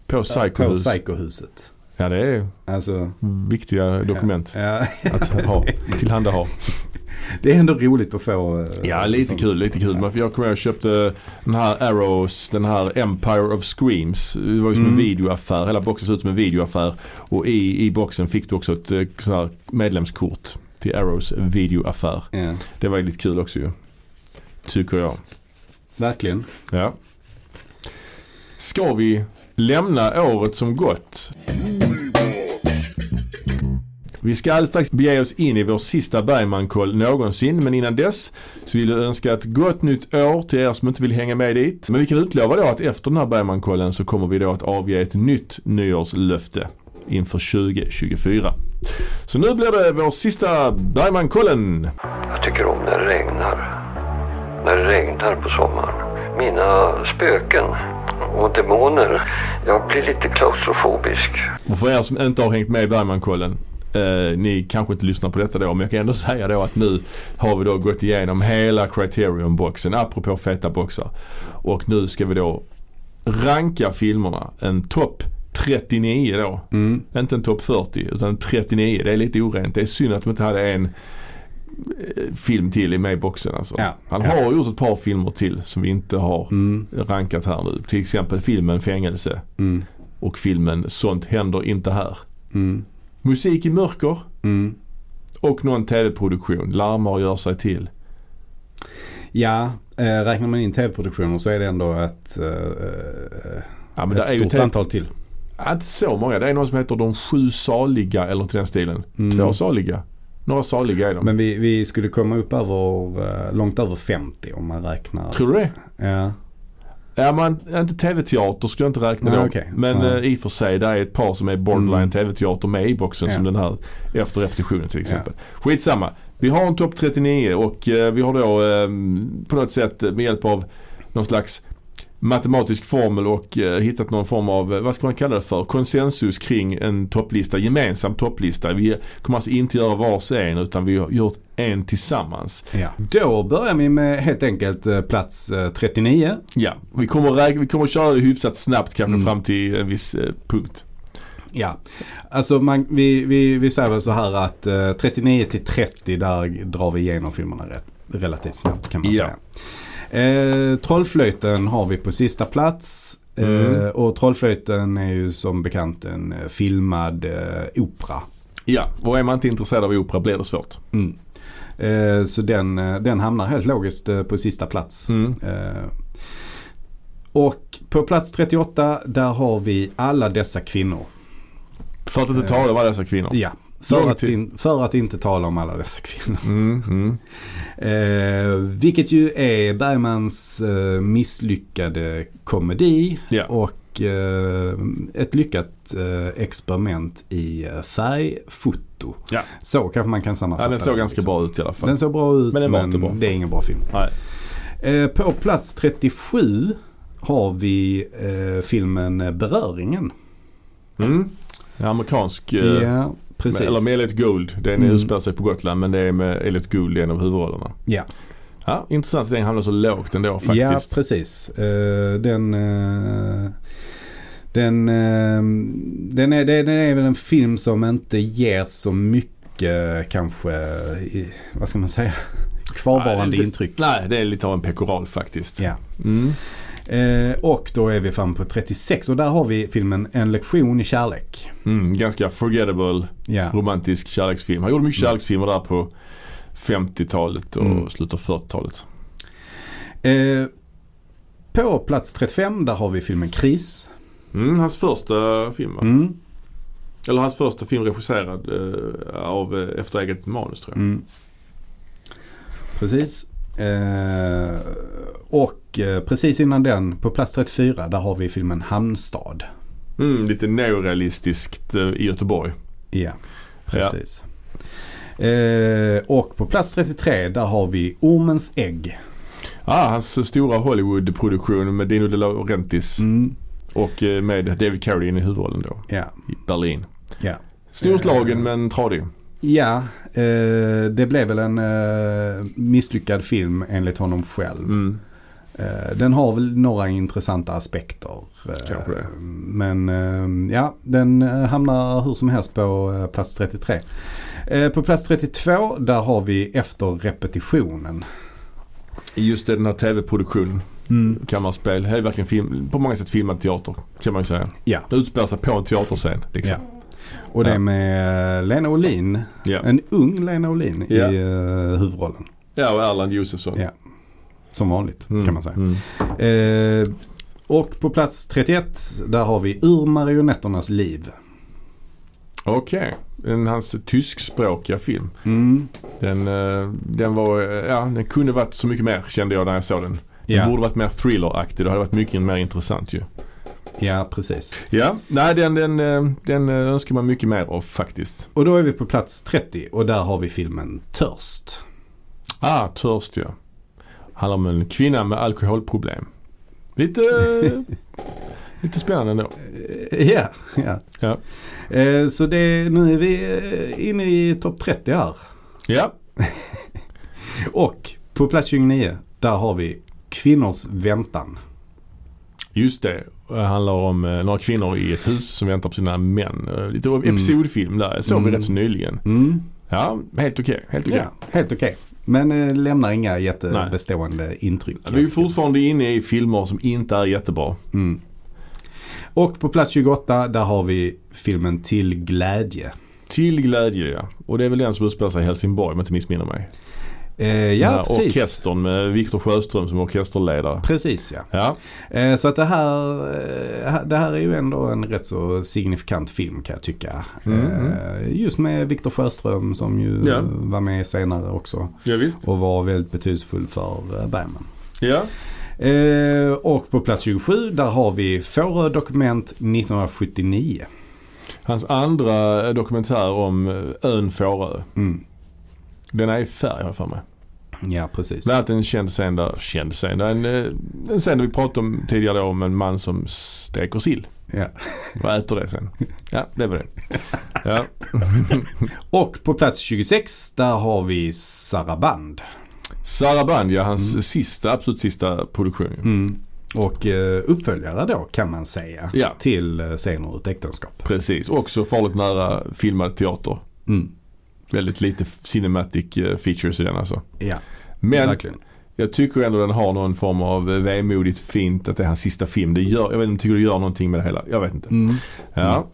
[SPEAKER 2] på
[SPEAKER 1] på
[SPEAKER 2] psykohus.
[SPEAKER 1] psykohuset.
[SPEAKER 2] Ja, det är
[SPEAKER 1] Alltså,
[SPEAKER 2] viktiga dokument
[SPEAKER 1] Ja, ja.
[SPEAKER 2] att ha, tillhandaha.
[SPEAKER 1] Det är ändå roligt att få. eh,
[SPEAKER 2] Ja, lite
[SPEAKER 1] sånt.
[SPEAKER 2] kul, lite kul. Men för jag kommer ihåg jag köpte den här Arrows, den här Empire of Screams. Det var ju som
[SPEAKER 1] Mm.
[SPEAKER 2] en videoaffär. Hela boxen såg ut som en videoaffär. Och i, i boxen fick du också ett eh, sån här medlemskort till Arrows videoaffär.
[SPEAKER 1] Ja,
[SPEAKER 2] Det var ju lite kul också ju. Tycker jag.
[SPEAKER 1] verkligen.
[SPEAKER 2] Ja. Ska vi lämna året som gått? Vi ska alldeles strax bege oss in i vår sista Bergmankoll någonsin men innan dess så vill jag önska ett gott nytt år till er som inte vill hänga med dit. Men vi kan utlova då att efter den här Bergmankollen så kommer vi då att avge ett nytt nyårslöfte inför 2024. Så nu blir det vår sista Bergmankollen.
[SPEAKER 3] Jag tycker om när det regnar. När det regnar på sommaren. Mina spöken och demoner. Jag blir lite klaustrofobisk.
[SPEAKER 2] Och för er som inte har hängt med i Bergmankollen. Eh, ni kanske inte lyssnar på detta då men jag kan ändå säga då att nu har vi då gått igenom hela Criterion-boxen apropå feta boxar. Och nu ska vi då ranka filmerna. En topp 39 då.
[SPEAKER 1] Mm.
[SPEAKER 2] Inte en topp 40 utan 39. Det är lite orent. Det är synd att de inte hade en eh, film till i med i boxen alltså.
[SPEAKER 1] Ja.
[SPEAKER 2] Han
[SPEAKER 1] Ja.
[SPEAKER 2] har gjort ett par filmer till som vi inte har
[SPEAKER 1] Mm.
[SPEAKER 2] rankat här nu. Till exempel filmen Fängelse
[SPEAKER 1] Mm.
[SPEAKER 2] och filmen Sånt händer inte här.
[SPEAKER 1] Mm.
[SPEAKER 2] Musik i mörker
[SPEAKER 1] Mm.
[SPEAKER 2] och någon tv-produktion. Larmar och gör sig till.
[SPEAKER 1] Ja, eh, räknar man in tv-produktioner så är det ändå ett, eh, eh,
[SPEAKER 2] Ja, men det
[SPEAKER 1] ett
[SPEAKER 2] är ju
[SPEAKER 1] stort
[SPEAKER 2] TV-
[SPEAKER 1] antal till.
[SPEAKER 2] Ja, Inte så många. Det är någon som heter De sju saliga eller till den stilen.
[SPEAKER 1] Mm.
[SPEAKER 2] Två saliga. Några saliga är de.
[SPEAKER 1] Men vi, vi skulle komma upp över, eh, långt över 50 om man räknar.
[SPEAKER 2] Tror du det?
[SPEAKER 1] Ja.
[SPEAKER 2] Ja, man, inte tv-teater skulle jag inte räkna
[SPEAKER 1] Nej,
[SPEAKER 2] dem.
[SPEAKER 1] okej.
[SPEAKER 2] Men
[SPEAKER 1] Nej.
[SPEAKER 2] eh, i och för sig, där är ett par som är borderline
[SPEAKER 1] Mm.
[SPEAKER 2] tv-teater med i boxen
[SPEAKER 1] Ja.
[SPEAKER 2] som den här efter repetitionen till exempel. Skitsamma. Vi har en topp 39 och eh, vi har då eh, på något sätt eh, med hjälp av någon slags matematisk formel och eh, hittat någon form av, eh, vad ska man kalla det för, konsensus kring en topplista, gemensam topplista. Vi kommer alltså inte göra vars en utan vi har gjort en tillsammans.
[SPEAKER 1] ja. Då börjar vi med helt enkelt eh, plats eh, 39.
[SPEAKER 2] Ja, vi kommer, räkna, vi kommer köra det hyfsat snabbt kanske
[SPEAKER 1] Mm.
[SPEAKER 2] fram till en viss eh, punkt.
[SPEAKER 1] Ja, alltså man, vi, vi, vi säger väl så här att eh, 39 till 30 där drar vi igenom filmerna rätt, relativt snabbt kan man
[SPEAKER 2] Ja.
[SPEAKER 1] säga. Eh, Trollflöjten har vi på sista plats. Eh,
[SPEAKER 2] Mm.
[SPEAKER 1] och Trollflöjten är ju som bekant en eh, filmad eh, opera.
[SPEAKER 2] Ja, och är man inte intresserad av opera blir det svårt.
[SPEAKER 1] Mm. Eh, så den, eh, den hamnar helt logiskt eh, på sista plats.
[SPEAKER 2] Mm.
[SPEAKER 1] Eh, och på plats 38 där har vi alla dessa kvinnor.
[SPEAKER 2] För att inte tala om alla dessa kvinnor.
[SPEAKER 1] Ja, för
[SPEAKER 2] Lång
[SPEAKER 1] att,
[SPEAKER 2] tid.
[SPEAKER 1] in, för att inte tala om alla dessa kvinnor.
[SPEAKER 2] Mm, mm.
[SPEAKER 1] Eh, vilket ju är Bergmans eh, misslyckade komedi
[SPEAKER 2] Ja.
[SPEAKER 1] och eh, ett lyckat eh, experiment i eh, färgfoto.
[SPEAKER 2] Ja.
[SPEAKER 1] Så kanske man kan sammanfatta
[SPEAKER 2] ja, den såg ganska
[SPEAKER 1] liksom.
[SPEAKER 2] bra ut i alla fall.
[SPEAKER 1] Den såg bra ut
[SPEAKER 2] Men den
[SPEAKER 1] men,
[SPEAKER 2] var inte bra.
[SPEAKER 1] det är ingen bra film.
[SPEAKER 2] Nej.
[SPEAKER 1] Eh, på plats 37 har vi eh, filmen Beröringen.
[SPEAKER 2] Mm. En Amerikansk, eh,
[SPEAKER 1] Ja, precis.
[SPEAKER 2] eller med Elliot Gould. Den
[SPEAKER 1] Mm.
[SPEAKER 2] utspelar sig på Gotland men det är med Elliot Gould i en av huvudrollerna.
[SPEAKER 1] ja.
[SPEAKER 2] Ja, intressant att den hamnar så lågt ändå faktiskt.
[SPEAKER 1] Ja, precis. Eh, den... eh, den, eh, den, är, den är väl en film som inte ger så mycket kanske, i, vad ska man säga, kvarvarande
[SPEAKER 2] Nej, det är lite-
[SPEAKER 1] intryck.
[SPEAKER 2] Nej, det är lite av en pekoral faktiskt.
[SPEAKER 1] Ja.
[SPEAKER 2] Mm.
[SPEAKER 1] Eh, och då är vi fram på 36 och där har vi filmen En lektion i kärlek.
[SPEAKER 2] Mm, ganska forgettable,
[SPEAKER 1] Ja,
[SPEAKER 2] romantisk kärleksfilm. Han gjorde mycket
[SPEAKER 1] Mm.
[SPEAKER 2] kärleksfilmer där på 50-talet och
[SPEAKER 1] Mm.
[SPEAKER 2] slutet av 40-talet.
[SPEAKER 1] eh, på plats 35 där har vi filmen Kris.
[SPEAKER 2] Mm, hans första film va?
[SPEAKER 1] Mm.
[SPEAKER 2] Eller hans första film regisserad eh, av, eh, efter eget manus tror jag.
[SPEAKER 1] Mm. Precis. Eh, och eh, precis innan den, på plats 34, där har vi filmen Hamnstad.
[SPEAKER 2] Mm, lite neorealistiskt eh, i Göteborg.
[SPEAKER 1] Ja, precis. Eh, och på plats 33, där har vi Ormens ägg.
[SPEAKER 2] Ah, hans eh, stora Hollywood-produktion med Dino De Laurentiis
[SPEAKER 1] Mm.
[SPEAKER 2] och eh, med David Carradine i huvudrollen då
[SPEAKER 1] Ja,
[SPEAKER 2] i Berlin.
[SPEAKER 1] ja.
[SPEAKER 2] Storslagen
[SPEAKER 1] Eh.
[SPEAKER 2] men tradig.
[SPEAKER 1] Ja, eh, det blev väl en eh, misslyckad film enligt honom själv.
[SPEAKER 2] Mm.
[SPEAKER 1] Eh, Den har väl några intressanta aspekter. eh,
[SPEAKER 2] Kanske det.
[SPEAKER 1] Men eh, ja, den eh, hamnar hur som helst på eh, plats 33. Eh, På plats 32 där har vi Efter repetitionen.
[SPEAKER 2] I Just det, den här tv-produktionen,
[SPEAKER 1] Mm.
[SPEAKER 2] kammarspel, det är verkligen film, på många sätt filmad teater kan man ju säga.
[SPEAKER 1] Ja.
[SPEAKER 2] Det utspelar sig på en teaterscen liksom.
[SPEAKER 1] Och det
[SPEAKER 2] Ja.
[SPEAKER 1] är med eh, Lena Olin,
[SPEAKER 2] Ja, ja.
[SPEAKER 1] en ung Lena Olin
[SPEAKER 2] Ja.
[SPEAKER 1] i eh, huvudrollen.
[SPEAKER 2] och Erland Josefsson.
[SPEAKER 1] Ja, Som vanligt
[SPEAKER 2] Mm,
[SPEAKER 1] kan man säga.
[SPEAKER 2] Mm.
[SPEAKER 1] Eh, och på plats 31 där har vi Ur marionetternas liv.
[SPEAKER 2] Okej, En- hans tyskspråkiga film. Mm. Den, eh, den var, eh, ja den kunde varit så mycket mer kände jag när jag såg den. Den
[SPEAKER 1] Ja,
[SPEAKER 2] borde varit mer thriller-aktig, det hade varit mycket mer intressant ju.
[SPEAKER 1] ja, precis.
[SPEAKER 2] Ja, nej den, den, eh, den eh, önskar man mycket mer av faktiskt.
[SPEAKER 1] Och då är vi på plats 30 och där har vi filmen Törst.
[SPEAKER 2] Ah, Törst ja. Handlar om en kvinna med alkoholproblem. Lite, eh, lite spännande ändå.
[SPEAKER 1] Eh, Ja, ja.
[SPEAKER 2] Ja.
[SPEAKER 1] Eh, så det, nu är vi eh, inne i topp 30 här.
[SPEAKER 2] Ja,
[SPEAKER 1] Och på plats 29 där har vi Kvinnors väntan.
[SPEAKER 2] just det. Det handlar om eh, några kvinnor i ett hus som väntar på sina män. Eh, Lite episodfilm där. Jag såg vi
[SPEAKER 1] Mm.
[SPEAKER 2] rätt så nyligen.
[SPEAKER 1] Mm.
[SPEAKER 2] Ja, helt okej. helt okej.
[SPEAKER 1] Ja, helt okej. Men eh, lämnar inga
[SPEAKER 2] Nej.
[SPEAKER 1] jättebestående intryck.
[SPEAKER 2] Vi är ju fortfarande inne i filmer som inte är jättebra.
[SPEAKER 1] Mm. Och på plats 28 där har vi filmen Till glädje.
[SPEAKER 2] Till glädje ja. Och det är väl den som utspelar sig i Helsingborg om jag inte missminner mig.
[SPEAKER 1] Eh, ja,
[SPEAKER 2] Den här
[SPEAKER 1] precis.
[SPEAKER 2] Orkestern med Viktor Sjöström som orkesterledare.
[SPEAKER 1] Precis ja.
[SPEAKER 2] Ja,
[SPEAKER 1] Eh, så att det här, eh, det här är ju ändå en rätt så signifikant film kan jag tycka. Eh, just med Viktor Sjöström som ju
[SPEAKER 2] Mm, Ja.
[SPEAKER 1] eh, var med senare också.
[SPEAKER 2] ja visst.
[SPEAKER 1] Och var väldigt betydelsefull för eh, Bergman.
[SPEAKER 2] Ja.
[SPEAKER 1] Eh, och på plats 27 där har vi Fårö dokument 1979.
[SPEAKER 2] Hans andra eh, dokumentär om eh, ön Fårö.
[SPEAKER 1] Mm.
[SPEAKER 2] Den är i färg har jag för mig.
[SPEAKER 1] Ja precis.
[SPEAKER 2] Bland annat en känd scen där, känd scen, där en, eh, en scen där vi pratade om tidigare då, om en man som steker sill.
[SPEAKER 1] Ja.
[SPEAKER 2] Och äter det sen. Ja, det var det. Ja.
[SPEAKER 1] Och på plats 26 där har vi Saraband.
[SPEAKER 2] Sarah Band, ja, hans
[SPEAKER 1] Mm.
[SPEAKER 2] sista, absolut sista produktion. ju.
[SPEAKER 1] Och eh, uppföljare då kan man säga
[SPEAKER 2] Mm. Ja.
[SPEAKER 1] till eh, Scener ur ett äktenskap.
[SPEAKER 2] Precis, också farligt nära filmad teater.
[SPEAKER 1] Mm.
[SPEAKER 2] Väldigt lite f- cinematic eh, features i den alltså.
[SPEAKER 1] Ja,
[SPEAKER 2] Men
[SPEAKER 1] verkligen.
[SPEAKER 2] jag tycker ändå den har någon form av eh, vemodigt fint att det är hans sista film. Det gör, jag vet inte, tycker det gör någonting med det hela. Jag vet inte.
[SPEAKER 1] Mm.
[SPEAKER 2] Ja.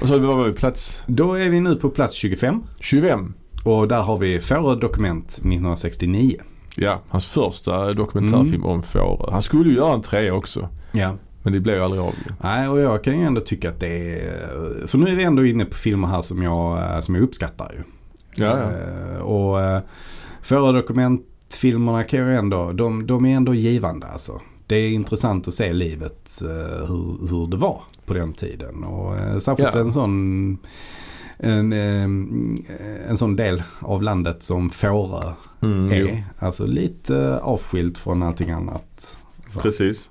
[SPEAKER 2] Och så var vi på plats
[SPEAKER 1] Då är vi nu på plats 25
[SPEAKER 2] 25.
[SPEAKER 1] och där har vi Fårö dokument 1969.
[SPEAKER 2] Ja, hans första dokumentärfilm
[SPEAKER 1] Mm.
[SPEAKER 2] om Fårö. Han skulle ju göra en trea också.
[SPEAKER 1] Ja.
[SPEAKER 2] Men det blev ju aldrig av.
[SPEAKER 1] Nej, och jag kan ju ändå tycka att det är... För nu är vi ändå inne på filmer här som jag, eh, som jag uppskattar ju.
[SPEAKER 2] Ja, ja.
[SPEAKER 1] Eh, Och eh, Fårö dokumentfilmerna kan jag ändå... De, de är ändå givande alltså. Det är intressant att se livet, eh, hur, hur det var på den tiden. Och eh, särskilt
[SPEAKER 2] Ja.
[SPEAKER 1] en sån... En, eh, en sån del av landet som Fårö
[SPEAKER 2] Mm,
[SPEAKER 1] är.
[SPEAKER 2] jo,
[SPEAKER 1] Alltså lite avskilt från allting annat.
[SPEAKER 2] precis.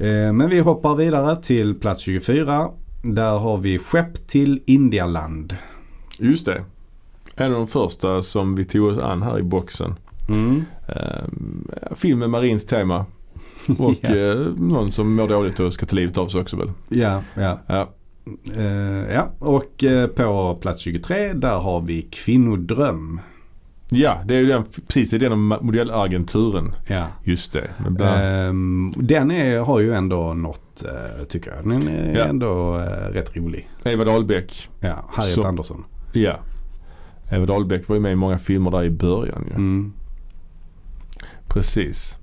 [SPEAKER 1] Eh, Men vi hoppar vidare till plats 24. Där har vi Skepp till Indialand.
[SPEAKER 2] Just det. En av de första som vi tog oss an här i boxen. Mm. Ehm, film med marint tema. Och
[SPEAKER 1] Ja.
[SPEAKER 2] eh, någon som mår dåligt och ska ta livet av sig också väl.
[SPEAKER 1] Ja, ja.
[SPEAKER 2] Ja.
[SPEAKER 1] Eh, ja. Och eh, på plats 23 där har vi Kvinnodröm.
[SPEAKER 2] ja, det är ju den, precis det är den om ma- modellagenturen.
[SPEAKER 1] Ja.
[SPEAKER 2] Just det. Men bland-
[SPEAKER 1] Ehm, den är, har ju ändå nått eh, tycker jag. Den är
[SPEAKER 2] Ja.
[SPEAKER 1] ändå eh, rätt rolig.
[SPEAKER 2] Eva Dahlbeck.
[SPEAKER 1] Ja, Harriet
[SPEAKER 2] Så-
[SPEAKER 1] Andersson.
[SPEAKER 2] Ja. Eva Dahlbeck var ju med i många filmer där i början ju.
[SPEAKER 1] Mm.
[SPEAKER 2] Precis.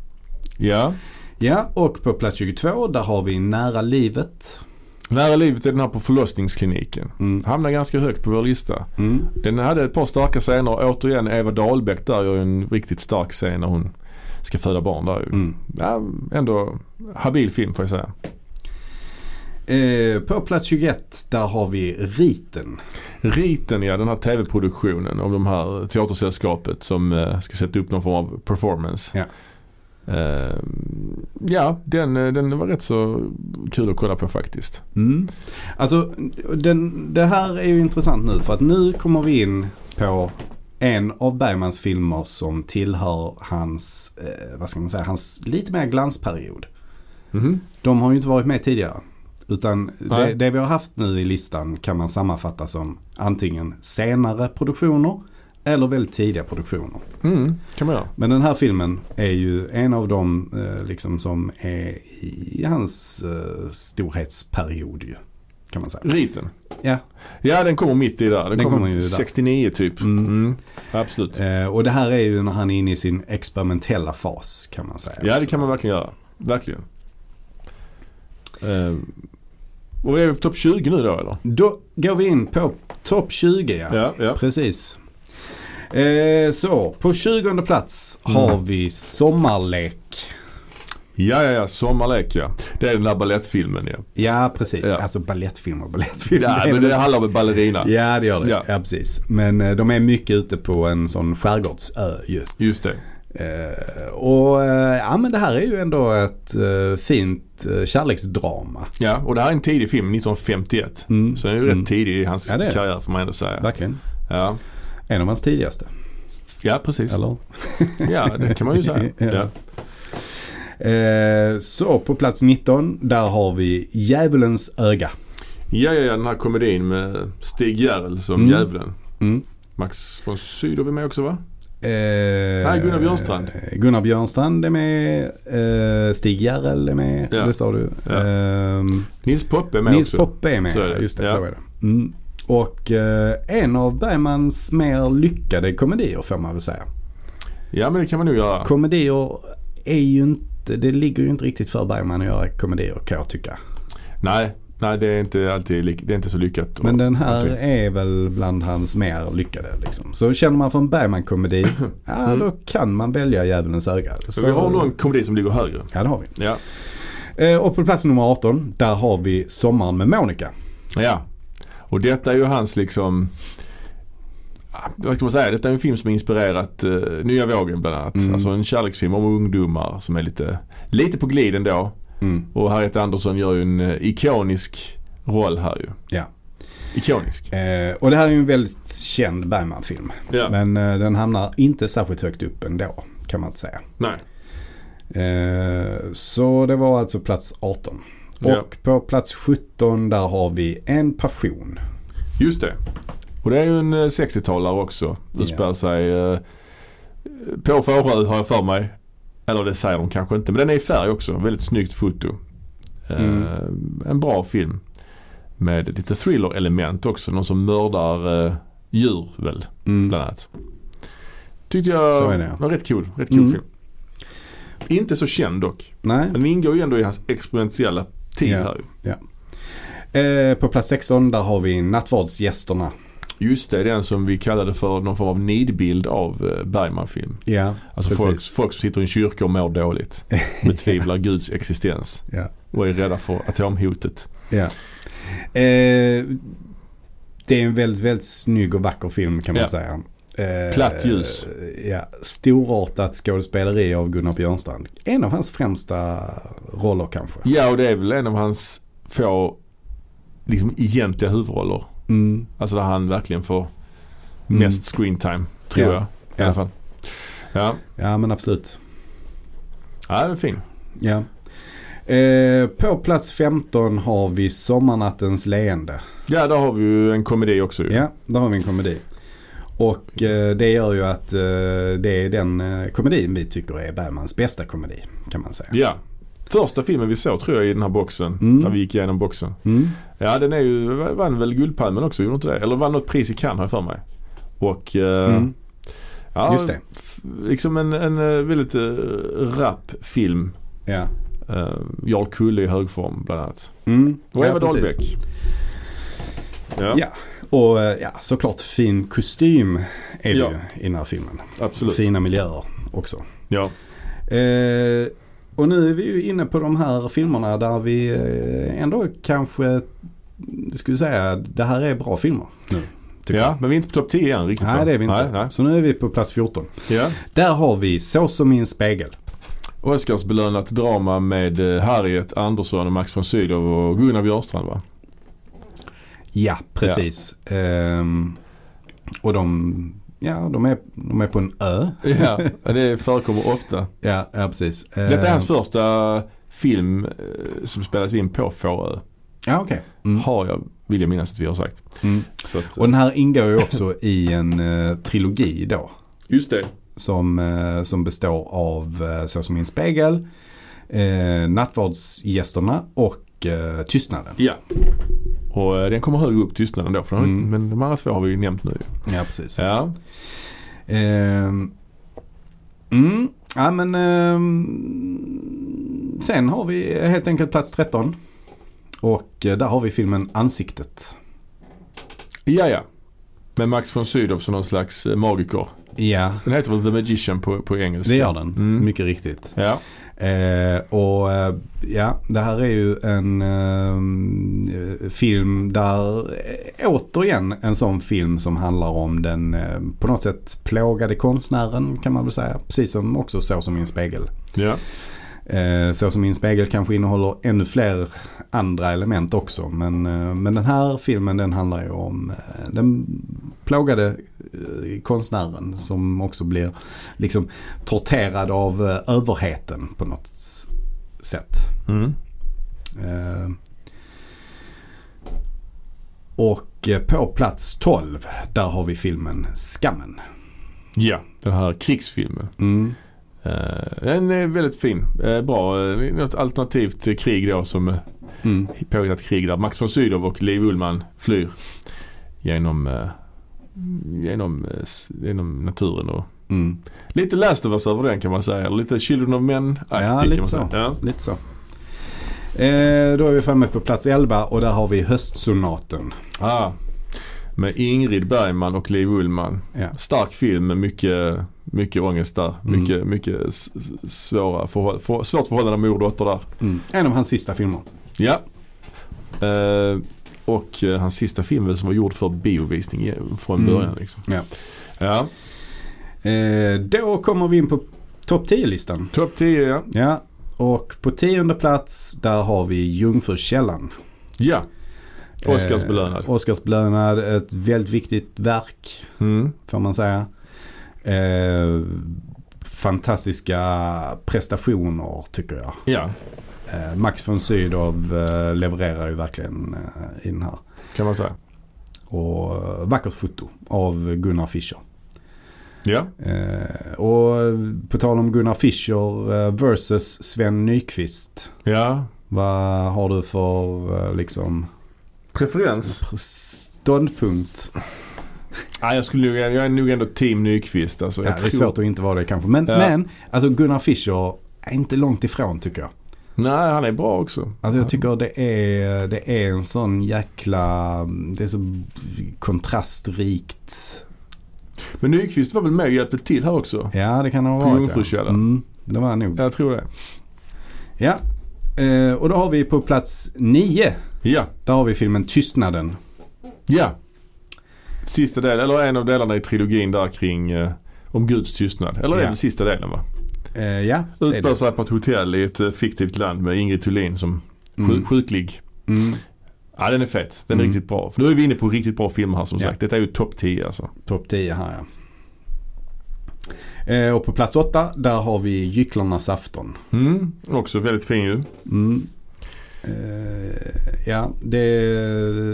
[SPEAKER 2] Ja.
[SPEAKER 1] Ja, och på plats 22 där har vi Nära livet.
[SPEAKER 2] Nära livet är den här på förlossningskliniken.
[SPEAKER 1] Mm.
[SPEAKER 2] Hamnar ganska högt på vår lista.
[SPEAKER 1] Mm.
[SPEAKER 2] Den hade ett par starka scener. Återigen Eva Dahlbeck där gör ju en riktigt stark scen när hon ska föda barn där ju.
[SPEAKER 1] Mm.
[SPEAKER 2] Ja, ändå habil film får jag säga.
[SPEAKER 1] Eh, på plats 21 där har vi Riten.
[SPEAKER 2] Riten ja, den här tv-produktionen om de här teatersällskapet som eh, ska sätta upp någon form av performance.
[SPEAKER 1] Ja.
[SPEAKER 2] Eh, ja, den, eh, den var rätt så kul att kolla på faktiskt.
[SPEAKER 1] Mm. Alltså den, det här är ju intressant nu för att nu kommer vi in på en av Bergmans filmer som tillhör hans, eh, vad ska man säga, hans lite mer glansperiod.
[SPEAKER 2] Mhm.
[SPEAKER 1] De har ju inte varit med tidigare. Utan det,
[SPEAKER 2] Nej.
[SPEAKER 1] det vi har haft nu i listan kan man sammanfatta som antingen senare produktioner eller väldigt tidiga produktioner.
[SPEAKER 2] Mm, kan man göra.
[SPEAKER 1] Men den här filmen är ju en av dem eh, liksom som är i hans eh, storhetsperiod ju. Kan man säga.
[SPEAKER 2] Riten.
[SPEAKER 1] Ja.
[SPEAKER 2] Ja, den kommer mitt i där. Den,
[SPEAKER 1] Den
[SPEAKER 2] kommer,
[SPEAKER 1] kommer ju där.
[SPEAKER 2] 69 typ.
[SPEAKER 1] Mm.
[SPEAKER 2] Mm, Absolut.
[SPEAKER 1] Eh, och det här är ju när han är inne i sin experimentella fas kan man säga.
[SPEAKER 2] Ja, det
[SPEAKER 1] också.
[SPEAKER 2] kan man verkligen göra. Verkligen. Eh, och är vi på topp 20 nu då eller?
[SPEAKER 1] Då går vi in på topp 20 ja.
[SPEAKER 2] Ja, ja.
[SPEAKER 1] Precis. Eh, så, på 20 plats har
[SPEAKER 2] Mm.
[SPEAKER 1] vi Sommarlek.
[SPEAKER 2] Ja, ja, ja. Sommarlek ja. Det är den där balettfilmen ja.
[SPEAKER 1] Ja, precis.
[SPEAKER 2] Ja.
[SPEAKER 1] Alltså balettfilm och balettfilm.
[SPEAKER 2] Ja, men det handlar om en ballerina.
[SPEAKER 1] Ja, det gör det. Ja.
[SPEAKER 2] Ja.
[SPEAKER 1] precis. Men eh, de är mycket ute på en sån skärgårdsö ju.
[SPEAKER 2] Just det.
[SPEAKER 1] Eh, och eh, ja, men det här är ju ändå ett eh, fint eh, kärleksdrama.
[SPEAKER 2] Ja, och det här är en tidig film, 1951.
[SPEAKER 1] Mm.
[SPEAKER 2] Så den är ju
[SPEAKER 1] Mm.
[SPEAKER 2] rätt tidig i hans
[SPEAKER 1] Ja, det är det.
[SPEAKER 2] karriär får man ändå säga.
[SPEAKER 1] Verkligen.
[SPEAKER 2] Ja,
[SPEAKER 1] En av hans tidigaste.
[SPEAKER 2] ja precis.
[SPEAKER 1] Eller?
[SPEAKER 2] Ja, det kan man ju säga.
[SPEAKER 1] Ja.
[SPEAKER 2] Ja.
[SPEAKER 1] Eh, så på plats 19, där har vi Djävulens öga.
[SPEAKER 2] Ja, ja, ja, den här komedin med Stig Järrel som
[SPEAKER 1] Mm.
[SPEAKER 2] djävulen.
[SPEAKER 1] Mm.
[SPEAKER 2] Max von Sydow är med också va?
[SPEAKER 1] Eh,
[SPEAKER 2] Nej, Gunnar Björnstrand.
[SPEAKER 1] Gunnar Björnstrand är med. Eh, Stig Järrel är med.
[SPEAKER 2] Ja.
[SPEAKER 1] Det sa du.
[SPEAKER 2] Ja.
[SPEAKER 1] Ehm,
[SPEAKER 2] Nils Poppe är med
[SPEAKER 1] Nils
[SPEAKER 2] också.
[SPEAKER 1] Poppe är med.
[SPEAKER 2] Så är det.
[SPEAKER 1] Just det,
[SPEAKER 2] Ja.
[SPEAKER 1] så är det. Mm. Och eh, en av Bergmans mer lyckade komedier får man väl säga.
[SPEAKER 2] Ja, men det kan man nog göra.
[SPEAKER 1] Komedier är ju inte, det ligger ju inte riktigt för Bergman att göra komedier kan jag tycka.
[SPEAKER 2] Nej, nej det är inte alltid lik- det är inte så lyckat.
[SPEAKER 1] Men den här
[SPEAKER 2] Okej.
[SPEAKER 1] är väl bland hans mer lyckade liksom. Så känner man för en Bergman-komedi, ja då kan man välja Djävulens öga.
[SPEAKER 2] Men Mm. vi har nog en komedi som ligger högre.
[SPEAKER 1] Ja det har vi.
[SPEAKER 2] Ja.
[SPEAKER 1] Eh, och på plats nummer 18, där har vi Sommaren med Monica.
[SPEAKER 2] ja. Och detta är ju hans liksom ah, vad ska man säga? Detta är en film som har inspirerat eh, nya vågen bland annat.
[SPEAKER 1] Mm.
[SPEAKER 2] Alltså en kärleksfilm om ungdomar som är lite, lite på glid ändå. Och Harriet Andersson gör ju en eh, ikonisk roll här ju.
[SPEAKER 1] Ja.
[SPEAKER 2] Ikonisk.
[SPEAKER 1] Eh, och det här är ju en väldigt känd Bergman-film.
[SPEAKER 2] Ja.
[SPEAKER 1] Men eh, den hamnar inte särskilt högt upp ändå, kan man inte säga.
[SPEAKER 2] Nej.
[SPEAKER 1] Eh, så det var alltså plats 18. Och
[SPEAKER 2] Ja.
[SPEAKER 1] på plats 17 där har vi En passion.
[SPEAKER 2] Just det. Och det är ju en eh, 60-talare också. Utspelar sig eh, på Fårö har jag för mig. Eller det säger de kanske inte. Men den är i färg också. Väldigt snyggt foto. Eh,
[SPEAKER 1] Mm.
[SPEAKER 2] En bra film. Med lite thriller-element också. Någon som mördar eh, djur väl, bland annat. Tyckte
[SPEAKER 1] Mm. Så
[SPEAKER 2] jag
[SPEAKER 1] är det, ja.
[SPEAKER 2] var rätt cool. Rätt cool
[SPEAKER 1] Mm.
[SPEAKER 2] film. Inte så känd dock.
[SPEAKER 1] Nej.
[SPEAKER 2] Men den ingår ju ändå i hans experimentella tid
[SPEAKER 1] Ja.
[SPEAKER 2] här ju.
[SPEAKER 1] Eh, på plats 16 där har vi Nattvardsgästerna.
[SPEAKER 2] Just det, den som vi kallade för någon form av nidbild av eh, Bergman-film.
[SPEAKER 1] Ja,
[SPEAKER 2] Alltså folk, folk som sitter i en kyrka och mår dåligt. Betvivlar Guds existens
[SPEAKER 1] Ja.
[SPEAKER 2] och är rädda för atomhotet.
[SPEAKER 1] Ja. Eh, det är en väldigt, väldigt snygg och vacker film kan man
[SPEAKER 2] Ja.
[SPEAKER 1] säga. Eh,
[SPEAKER 2] Platt ljus.
[SPEAKER 1] Ja, storartat skådespeleri av Gunnar Björnstrand. En av hans främsta roller kanske.
[SPEAKER 2] Ja, och det är väl en av hans få liksom, egentliga huvudroller.
[SPEAKER 1] Mm.
[SPEAKER 2] Alltså där han verkligen får
[SPEAKER 1] Mm.
[SPEAKER 2] mest screentime,
[SPEAKER 1] Ja.
[SPEAKER 2] tror jag. I
[SPEAKER 1] Ja.
[SPEAKER 2] alla fall. Ja.
[SPEAKER 1] Ja, men absolut.
[SPEAKER 2] ja, den är fin.
[SPEAKER 1] Ja. Eh, på plats 15 har vi Sommarnattens leende.
[SPEAKER 2] Ja, där har vi ju en komedi också ju.
[SPEAKER 1] Ja, där har vi en komedi. Och eh, det gör ju att eh, det är den eh, komedin vi tycker är Bergmans bästa komedi kan man säga.
[SPEAKER 2] Ja. Första filmen vi såg tror jag i den här boxen.
[SPEAKER 1] Mm.
[SPEAKER 2] Där vi gick igenom boxen.
[SPEAKER 1] Mm.
[SPEAKER 2] Ja, den är ju, vann väl Guldpalmen också, gjorde inte det? Eller vann något pris i Cannes har jag för mig. Och... eh,
[SPEAKER 1] Mm.
[SPEAKER 2] Ja,
[SPEAKER 1] Just det.
[SPEAKER 2] f- Liksom en, en eh, väldigt uh, rapp film.
[SPEAKER 1] Ja.
[SPEAKER 2] Eh, Jarl Kulle i hög form bland annat.
[SPEAKER 1] Mm.
[SPEAKER 2] Och Eva
[SPEAKER 1] precis.
[SPEAKER 2] Dahlbeck. Ja,
[SPEAKER 1] Ja. Och eh, ja, såklart fin kostym är det
[SPEAKER 2] Ja.
[SPEAKER 1] ju i den här filmen.
[SPEAKER 2] absolut.
[SPEAKER 1] Fina miljöer också.
[SPEAKER 2] Ja.
[SPEAKER 1] Eh, och nu är vi ju inne på de här filmerna där vi eh, ändå kanske skulle säga det här är bra filmer nu. tycker
[SPEAKER 2] ja, men vi är inte på topp 10 än riktigt
[SPEAKER 1] jag. Nej
[SPEAKER 2] va?
[SPEAKER 1] det är vi inte.
[SPEAKER 2] Nej, nej.
[SPEAKER 1] Så nu är vi på plats 14.
[SPEAKER 2] Ja.
[SPEAKER 1] Där har vi Så som i en spegel.
[SPEAKER 2] Oscarsbelönat drama med eh, Harriet Andersson och Max von Sydow och Gunnar Björstrand va?
[SPEAKER 1] Ja, precis. Ehm, och de Ja, de är, de är på en ö.
[SPEAKER 2] Ja, det förekommer ofta.
[SPEAKER 1] Ja, ja precis. Eh,
[SPEAKER 2] Detta är hans första film eh, som spelas in på Fårö.
[SPEAKER 1] Ja, okej. Mm.
[SPEAKER 2] Har jag, vill jag minnas att vi har sagt.
[SPEAKER 1] Mm.
[SPEAKER 2] Så att,
[SPEAKER 1] Och den här ingår ju också i en eh, trilogi då.
[SPEAKER 2] just det.
[SPEAKER 1] Som, eh, som består av eh, Så som i en spegel, eh, Nattvardsgästerna och eh, Tystnaden.
[SPEAKER 2] Ja. Och eh, den kommer högre upp tystnaden då. För den har
[SPEAKER 1] Mm.
[SPEAKER 2] inte- Men de andra två har vi ju nämnt nu.
[SPEAKER 1] Ja, precis.
[SPEAKER 2] Ja.
[SPEAKER 1] Ehm, mm, ja men ehm, sen har vi helt enkelt plats 13. Och eh, där har vi filmen Ansiktet.
[SPEAKER 2] ja, ja. Med Max von Sydow som någon slags eh, magiker.
[SPEAKER 1] Ja,
[SPEAKER 2] Den heter väl The Magician på, på engelska?
[SPEAKER 1] det gör den.
[SPEAKER 2] Mm.
[SPEAKER 1] Mycket riktigt.
[SPEAKER 2] Ja.
[SPEAKER 1] Eh, och eh, ja, det här är ju en ehm, eh, film där eh, återigen en sån film som handlar om den eh, på något sätt plågade konstnären kan man väl säga. Precis som också Så som i en spegel.
[SPEAKER 2] ja.
[SPEAKER 1] Eh, Så som min spegel kanske innehåller ännu fler andra element också. Men, eh, men den här filmen den handlar ju om eh, den plågade eh, konstnären som också blir liksom torterad av eh, överheten på något s- sätt.
[SPEAKER 2] Mm.
[SPEAKER 1] Eh, Och eh, på plats 12 där har vi filmen Skammen.
[SPEAKER 2] Ja, den här krigsfilmen.
[SPEAKER 1] Mm.
[SPEAKER 2] Eh, Den är väldigt fin. Eh, Bra. Eh, Något alternativt eh, krig då som eh,
[SPEAKER 1] Mm.
[SPEAKER 2] påhittat krig där Max von Sydow och Liv Ullman flyr genom, eh, genom, eh, s- genom naturen. Och
[SPEAKER 1] Mm.
[SPEAKER 2] lite Last of Us över den kan man säga. Eller lite Children of men
[SPEAKER 1] Ja, lite så.
[SPEAKER 2] Ja.
[SPEAKER 1] Lite så. Eh, då är vi framme på plats 11 och där har vi höstsonaten.
[SPEAKER 2] Ah, med Ingrid Bergman och Liv Ullman.
[SPEAKER 1] Ja.
[SPEAKER 2] Stark film med mycket, mycket ångest där.
[SPEAKER 1] Mm.
[SPEAKER 2] Mycket, mycket s- s- svåra förhåll- för, svårt förhållande med mor och dotter där.
[SPEAKER 1] En av hans sista filmer.
[SPEAKER 2] Ja. Eh, och eh, hans sista film väl som var gjord för biovisning i- från
[SPEAKER 1] Mm.
[SPEAKER 2] början. Liksom.
[SPEAKER 1] Ja.
[SPEAKER 2] Ja.
[SPEAKER 1] Eh, då kommer vi in på topp 10-listan.
[SPEAKER 2] Topp 10 ja.
[SPEAKER 1] Ja, och på tionde plats där har vi Jungfrukällan.
[SPEAKER 2] Ja. Oscarsbelönad.
[SPEAKER 1] Eh, Oscarsbelönad, ett väldigt viktigt verk
[SPEAKER 2] Mm.
[SPEAKER 1] får man säga. Eh, fantastiska prestationer tycker jag.
[SPEAKER 2] Ja,
[SPEAKER 1] Eh, Max von Sydow eh, levererar ju verkligen eh, i den här.
[SPEAKER 2] kan man säga.
[SPEAKER 1] och eh, vackert foto av Gunnar Fischer.
[SPEAKER 2] Ja.
[SPEAKER 1] Eh, och på tal om Gunnar Fischer eh, versus Sven Nykvist.
[SPEAKER 2] Ja.
[SPEAKER 1] Vad har du för eh, liksom
[SPEAKER 2] Preferens?
[SPEAKER 1] ståndpunkt?
[SPEAKER 2] Nej, jag, skulle nog, jag är nog ändå team Nyqvist. Alltså,
[SPEAKER 1] Ja,
[SPEAKER 2] jag
[SPEAKER 1] det är svårt att inte vara det kanske. Men,
[SPEAKER 2] Ja.
[SPEAKER 1] men alltså Gunnar Fischer är inte långt ifrån tycker jag.
[SPEAKER 2] Nej, han är bra också.
[SPEAKER 1] Alltså jag tycker det är, det är en sån jäkla, det är så kontrastrikt.
[SPEAKER 2] Men Nyqvist var väl med och hjälpte till här också?
[SPEAKER 1] Ja det kan ha
[SPEAKER 2] På
[SPEAKER 1] varit
[SPEAKER 2] Jungfrukällan.
[SPEAKER 1] Mm, det var han nog.
[SPEAKER 2] Jag tror det.
[SPEAKER 1] Ja, eh, och då har vi på plats nio.
[SPEAKER 2] Ja.
[SPEAKER 1] Där har vi filmen Tystnaden.
[SPEAKER 2] Ja. Sista delen, eller en av delarna i trilogin där kring eh, om Guds tystnad. Eller det är
[SPEAKER 1] Ja.
[SPEAKER 2] väl sista delen va?
[SPEAKER 1] Eh, ja, det är det.
[SPEAKER 2] Utspelar sig på ett hotell i ett eh, fiktivt land med Ingrid Thulin som sjuk,
[SPEAKER 1] Mm.
[SPEAKER 2] sjuklig.
[SPEAKER 1] Mm,
[SPEAKER 2] Ja den är fet. Den är
[SPEAKER 1] Mm.
[SPEAKER 2] riktigt bra. För nu är vi inne på riktigt bra filmer här som
[SPEAKER 1] Ja.
[SPEAKER 2] sagt. Detta är ju topp 10 alltså.
[SPEAKER 1] Topp 10 här ja. Eh, och på plats åtta, där har vi Gycklarnas afton.
[SPEAKER 2] Mm. Också väldigt fin ju.
[SPEAKER 1] Mm. Eh, ja, det,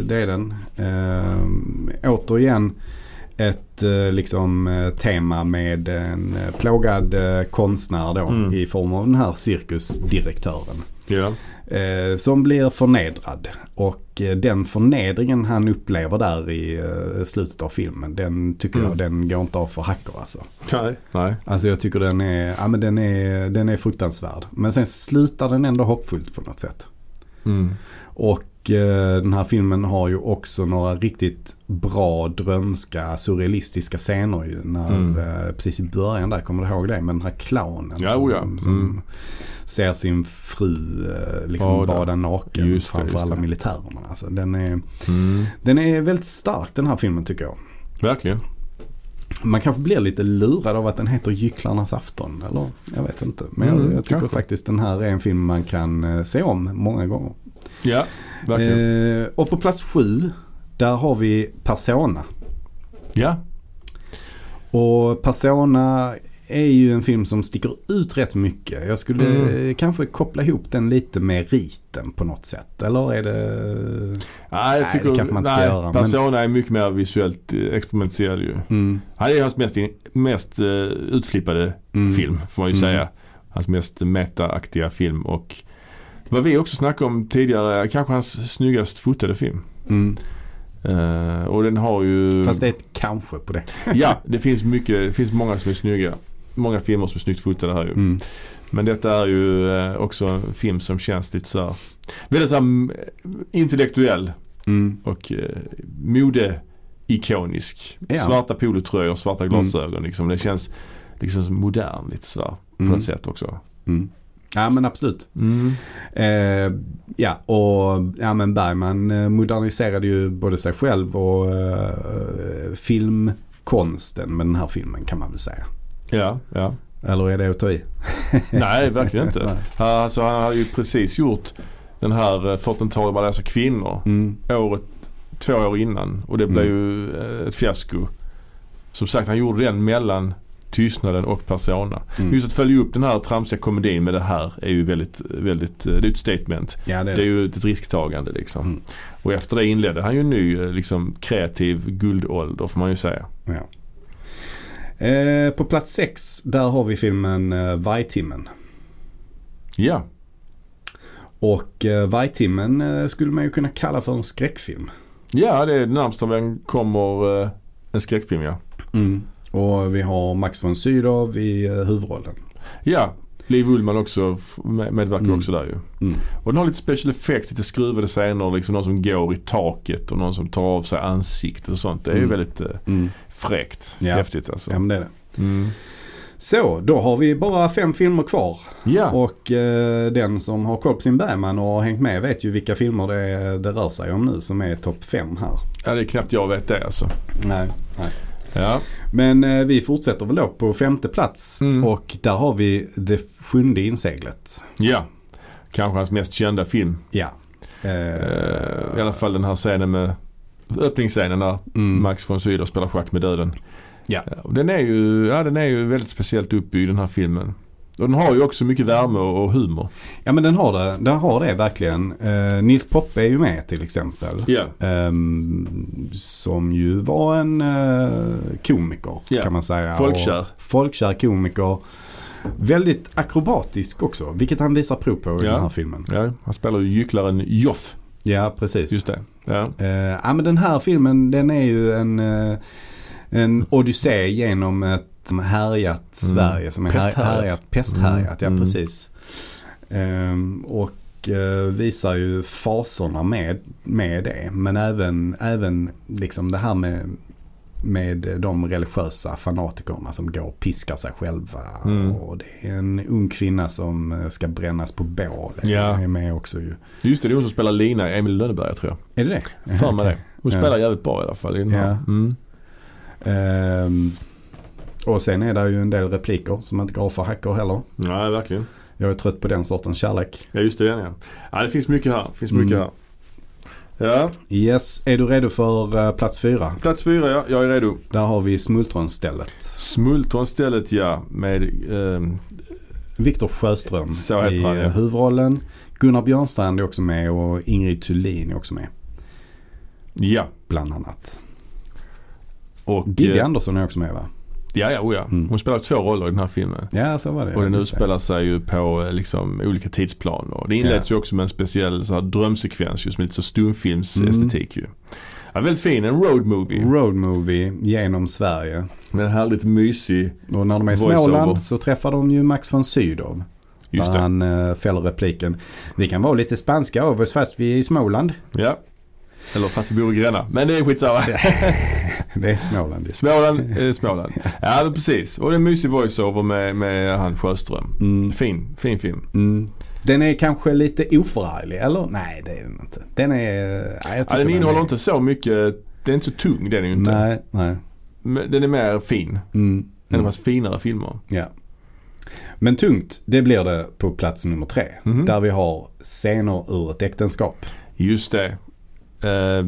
[SPEAKER 1] det är den. Eh, återigen ett eh, liksom, eh, tema med en eh, plågad eh, konstnär då
[SPEAKER 2] Mm.
[SPEAKER 1] i form av den här cirkusdirektören.
[SPEAKER 2] Ja.
[SPEAKER 1] Eh, som blir förnedrad. Och eh, den förnedringen han upplever där i eh, slutet av filmen, den tycker
[SPEAKER 2] Mm.
[SPEAKER 1] jag den går inte av för hackor alltså.
[SPEAKER 2] Nej. Nej.
[SPEAKER 1] Alltså jag tycker den är, ja, men den är, den är fruktansvärd. Men sen slutar den ändå hoppfullt på något sätt.
[SPEAKER 2] Mm.
[SPEAKER 1] Och eh, den här filmen har ju också några riktigt bra drömska surrealistiska scener ju. När,
[SPEAKER 2] Mm.
[SPEAKER 1] eh, precis i början där, kommer du ihåg det? Med den här clownen
[SPEAKER 2] Ja,
[SPEAKER 1] som,
[SPEAKER 2] oja. Mm.
[SPEAKER 1] som ser sin fru eh, liksom
[SPEAKER 2] Bada.
[SPEAKER 1] bada, naken
[SPEAKER 2] Just det,
[SPEAKER 1] framför
[SPEAKER 2] just
[SPEAKER 1] alla
[SPEAKER 2] det.
[SPEAKER 1] militärerna. Alltså, den, är,
[SPEAKER 2] Mm.
[SPEAKER 1] den är väldigt stark den här filmen tycker jag.
[SPEAKER 2] Verkligen.
[SPEAKER 1] Man kanske blir lite lurad av att den heter Gycklarnas afton. Eller jag vet inte. Men
[SPEAKER 2] Mm,
[SPEAKER 1] jag, jag tycker
[SPEAKER 2] kanske.
[SPEAKER 1] faktiskt den här är en film man kan eh, se om många gånger.
[SPEAKER 2] Ja. Verkligen.
[SPEAKER 1] Eh, och på plats sju, där har vi Persona.
[SPEAKER 2] Ja.
[SPEAKER 1] Och Persona är ju en film som sticker ut rätt mycket. Jag skulle
[SPEAKER 2] Mm.
[SPEAKER 1] eh, kanske koppla ihop den lite med riten på något sätt. Eller är det...
[SPEAKER 2] Nej, jag
[SPEAKER 1] Nej,
[SPEAKER 2] tycker,
[SPEAKER 1] det kanske man inte ska
[SPEAKER 2] nej,
[SPEAKER 1] göra, men-
[SPEAKER 2] Persona är mycket mer visuellt eh, experimenterad ju.
[SPEAKER 1] Mm.
[SPEAKER 2] Han är hans mest, in- mest eh, utflippade
[SPEAKER 1] Mm.
[SPEAKER 2] film får man ju
[SPEAKER 1] Mm.
[SPEAKER 2] säga. Hans mest metaaktiga film och vad vi också snackade om tidigare, kanske hans snyggast fotade film.
[SPEAKER 1] Mm.
[SPEAKER 2] Eh, och den har ju...
[SPEAKER 1] Fast det är ett kanske på det.
[SPEAKER 2] Ja, det finns mycket, det finns många som är snygga. Många filmer som är snyggt fotade här ju.
[SPEAKER 1] Mm.
[SPEAKER 2] Men detta är ju eh, också en film som känns lite så här, väldigt så här, mm, intellektuell
[SPEAKER 1] Mm.
[SPEAKER 2] och eh, modeikonisk.
[SPEAKER 1] Ja. Mm.
[SPEAKER 2] Svarta polotröjor, svarta glasögon liksom. Det känns liksom som modern lite sådär på
[SPEAKER 1] Mm.
[SPEAKER 2] något sätt också.
[SPEAKER 1] Mm. Ja men absolut. Eh, ja och ja, men Bergman eh, moderniserade ju både sig själv och eh, filmkonsten med den här filmen kan man väl säga.
[SPEAKER 2] Ja, ja.
[SPEAKER 1] Eller är det att ta i?
[SPEAKER 2] Nej, verkligen inte.
[SPEAKER 1] Nej.
[SPEAKER 2] Alltså han har ju precis gjort den här eh, 40-talet man läser kvinnor.
[SPEAKER 1] Mm.
[SPEAKER 2] året, två år innan. Och det blev ju eh, ett fiasko. Som sagt, han gjorde den mellan Tystnaden och Persona.
[SPEAKER 1] Mm.
[SPEAKER 2] Just att följa upp den här tramsiga komedin med det här är ju väldigt, väldigt, eh, det är ju ett statement.
[SPEAKER 1] Ja det är
[SPEAKER 2] Det
[SPEAKER 1] det.
[SPEAKER 2] är ju ett risktagande liksom.
[SPEAKER 1] Mm.
[SPEAKER 2] Och efter det inledde han ju en ny eh, liksom, kreativ guldålder får man ju säga.
[SPEAKER 1] Ja. Eh, på plats sex där har vi filmen eh, Vajtimmen.
[SPEAKER 2] Ja,
[SPEAKER 1] Och eh, Vajtimmen eh, skulle man ju kunna kalla för en skräckfilm.
[SPEAKER 2] ja det är närmast av en kommer eh, en skräckfilm ja.
[SPEAKER 1] Och vi har Max von Sydow i eh, huvudrollen.
[SPEAKER 2] Ja, Liv Ullman också f- med- medverkar
[SPEAKER 1] Mm.
[SPEAKER 2] också där ju.
[SPEAKER 1] Mm.
[SPEAKER 2] Och den har lite special effects, lite skruvade scener. Liksom någon som går i taket och någon som tar av sig ansiktet och sånt. Det är ju
[SPEAKER 1] Mm.
[SPEAKER 2] väldigt eh, fräckt.
[SPEAKER 1] Ja.
[SPEAKER 2] Häftigt alltså.
[SPEAKER 1] Ja men det är det.
[SPEAKER 2] Mm.
[SPEAKER 1] Så, då har vi bara fem filmer kvar.
[SPEAKER 2] Ja.
[SPEAKER 1] Och eh, den som har koll på sin Bergman och har hängt med vet ju vilka filmer det, det rör sig om nu som är topp fem här.
[SPEAKER 2] ja, det är knappt jag vet det alltså.
[SPEAKER 1] Nej. nej.
[SPEAKER 2] Ja,
[SPEAKER 1] Men eh, vi fortsätter väl då på femte plats
[SPEAKER 2] Mm.
[SPEAKER 1] och där har vi Det sjunde inseglet.
[SPEAKER 2] ja. kanske hans mest kända film.
[SPEAKER 1] Ja. Eh,
[SPEAKER 2] I alla fall den här scenen med öppningsscenen där
[SPEAKER 1] mm.
[SPEAKER 2] Max von Sydow spelar schack med döden.
[SPEAKER 1] Ja.
[SPEAKER 2] Den är, ju, ja, den är ju väldigt speciellt uppbyggd den här filmen. Och den har ju också mycket värme och och humor.
[SPEAKER 1] ja men den har det, den har det verkligen. Eh, Nils Poppe är ju med till exempel.
[SPEAKER 2] Ja.
[SPEAKER 1] Ehm, som ju var en eh, komiker
[SPEAKER 2] Ja.
[SPEAKER 1] kan man säga.
[SPEAKER 2] Folkkär.
[SPEAKER 1] Och Folkkär komiker. Väldigt akrobatisk också, vilket han visar prov på i
[SPEAKER 2] Ja.
[SPEAKER 1] den här filmen.
[SPEAKER 2] ja. Han spelar ju gycklaren Joff.
[SPEAKER 1] Ja, precis.
[SPEAKER 2] Just det. Ja.
[SPEAKER 1] Eh, ja, men den här filmen den är ju en, eh, en odyssé genom ett härjat Sverige som är här,
[SPEAKER 2] Mm. Pesthärjat.
[SPEAKER 1] härjat, pesthärjat.
[SPEAKER 2] Mm.
[SPEAKER 1] Ja,
[SPEAKER 2] Mm.
[SPEAKER 1] precis. Ehm, och eh, visar ju fasorna med, med det. Men även, även liksom det här med, med de religiösa fanatikerna som går och piskar sig själva.
[SPEAKER 2] Mm.
[SPEAKER 1] Och det är en ung kvinna som eh, ska brännas på bål.
[SPEAKER 2] Ja.
[SPEAKER 1] Är med också ju.
[SPEAKER 2] Just det, det är hon som spelar Lina i Emil i Lönneberga tror
[SPEAKER 1] Är det det?
[SPEAKER 2] jag. För mig det. Hon
[SPEAKER 1] Ja.
[SPEAKER 2] spelar jävligt bra i alla fall. i den här.
[SPEAKER 1] Ja.
[SPEAKER 2] Mm.
[SPEAKER 1] Ehm, och sen är det ju en del repliker som inte går för hackor heller.
[SPEAKER 2] Nej, verkligen.
[SPEAKER 1] Jag är trött på den sortens kärlek.
[SPEAKER 2] Ja, just det. Den, ja. ja, det finns mycket här. Finns mycket
[SPEAKER 1] Mm.
[SPEAKER 2] här. Ja,
[SPEAKER 1] Yes, är du redo för eh, plats fyra?
[SPEAKER 2] plats fyra ja. Jag är redo.
[SPEAKER 1] Där har vi Smultronstället.
[SPEAKER 2] Smultronstället ja. Med, ehm,
[SPEAKER 1] Viktor Sjöström
[SPEAKER 2] Så heter
[SPEAKER 1] i
[SPEAKER 2] han, ja.
[SPEAKER 1] eh, huvudrollen. Gunnar Björnstrand är också med och Ingrid Thulin är också med.
[SPEAKER 2] ja.
[SPEAKER 1] Bland annat.
[SPEAKER 2] Och,
[SPEAKER 1] Bibi
[SPEAKER 2] eh,
[SPEAKER 1] Andersson är också med va?
[SPEAKER 2] ja, ja, oh, ja.
[SPEAKER 1] Mm.
[SPEAKER 2] Hon spelar två roller i den här filmen.
[SPEAKER 1] Ja, så var det.
[SPEAKER 2] Och den
[SPEAKER 1] Just det.
[SPEAKER 2] utspelar sig ju på eh, liksom, olika tidsplan. Och det inleds ju också med en speciell så här, drömsekvens just med lite så stumfilmsestetik
[SPEAKER 1] Mm.
[SPEAKER 2] ju. Ja, väldigt fin. En road movie.
[SPEAKER 1] Road movie genom Sverige.
[SPEAKER 2] Men härligt mysig.
[SPEAKER 1] Och när de är i
[SPEAKER 2] Voiceover.
[SPEAKER 1] Småland så träffar de ju Max von Sydow.
[SPEAKER 2] Just
[SPEAKER 1] där
[SPEAKER 2] det.
[SPEAKER 1] han eh, fäller repliken. Vi kan vara lite spanska av oss fast vi är i Småland.
[SPEAKER 2] Ja. Eller fast vi bor i Gränna. Men det är skitsamma.
[SPEAKER 1] Det är Småland. det är Sm-
[SPEAKER 2] Småland är Småland. Ja men precis. Och det är en mysig voiceover med, med han Sjöström.
[SPEAKER 1] Mm.
[SPEAKER 2] Fin, fin film.
[SPEAKER 1] Mm. Den är kanske lite oförarglig eller? Nej det är den inte. Den är... eh, Nej, jag
[SPEAKER 2] Ja,
[SPEAKER 1] tycker
[SPEAKER 2] den innehåller
[SPEAKER 1] är-
[SPEAKER 2] inte så mycket. Den är inte så tung den är ju inte.
[SPEAKER 1] Nej, nej.
[SPEAKER 2] Men den är mer fin.
[SPEAKER 1] Mm.
[SPEAKER 2] En av
[SPEAKER 1] Mm.
[SPEAKER 2] hans finare filmer.
[SPEAKER 1] Ja. Men tungt, det blir det på plats nummer tre.
[SPEAKER 2] Mhm.
[SPEAKER 1] Där vi har scener ur ett äktenskap.
[SPEAKER 2] Just det. Eh,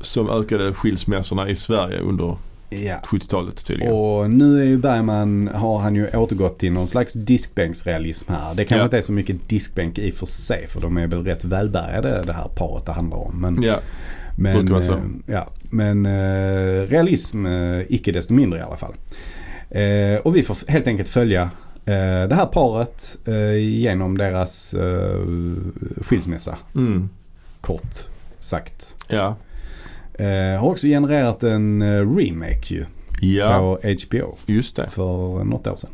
[SPEAKER 2] som ökade skilsmässorna i Sverige under
[SPEAKER 1] Ja.
[SPEAKER 2] 70-talet tydligen.
[SPEAKER 1] Och nu är ju Bergman, har han ju återgått till någon slags diskbänksrealism här. Det kanske
[SPEAKER 2] Ja.
[SPEAKER 1] inte är så mycket diskbänk i och för sig för de är väl rätt välbärgade det här paret det handlar om. Men,
[SPEAKER 2] Ja,
[SPEAKER 1] men,
[SPEAKER 2] brukar vara så.
[SPEAKER 1] eh, ja, men eh, realism eh, icke desto mindre i alla fall. Eh, och vi får helt enkelt följa eh, det här paret eh, genom deras eh, skilsmässa
[SPEAKER 2] mm.
[SPEAKER 1] kort sagt.
[SPEAKER 2] ja.
[SPEAKER 1] Eh, har också genererat en eh, remake ju
[SPEAKER 2] ja.
[SPEAKER 1] på HBO
[SPEAKER 2] just det.
[SPEAKER 1] för något år sedan.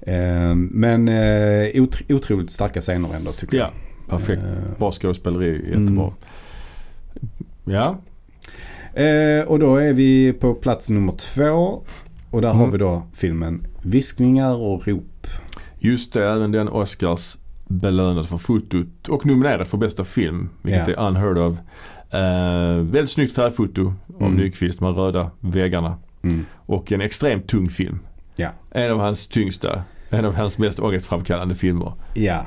[SPEAKER 1] Eh, Men eh, otr- otroligt starka scener ändå tycker
[SPEAKER 2] Ja, perfekt.
[SPEAKER 1] jag. Eh,
[SPEAKER 2] Bra skådespeleri, jättebra.
[SPEAKER 1] Mm.
[SPEAKER 2] Ja,
[SPEAKER 1] Eh, och då är vi på plats nummer två. Och där
[SPEAKER 2] Mm.
[SPEAKER 1] har vi då filmen Viskningar och rop.
[SPEAKER 2] just det. Även den Oscars belönad för fotot och nominerad för bästa film, vilket
[SPEAKER 1] Ja.
[SPEAKER 2] är unheard of. Eh, väldigt snyggt färgfoto av
[SPEAKER 1] Mm.
[SPEAKER 2] Nyqvist, de här röda väggarna.
[SPEAKER 1] Mm.
[SPEAKER 2] Och en extremt tung film.
[SPEAKER 1] Ja.
[SPEAKER 2] En av hans tyngsta. En av hans mest ångestframkallande filmer.
[SPEAKER 1] Ja,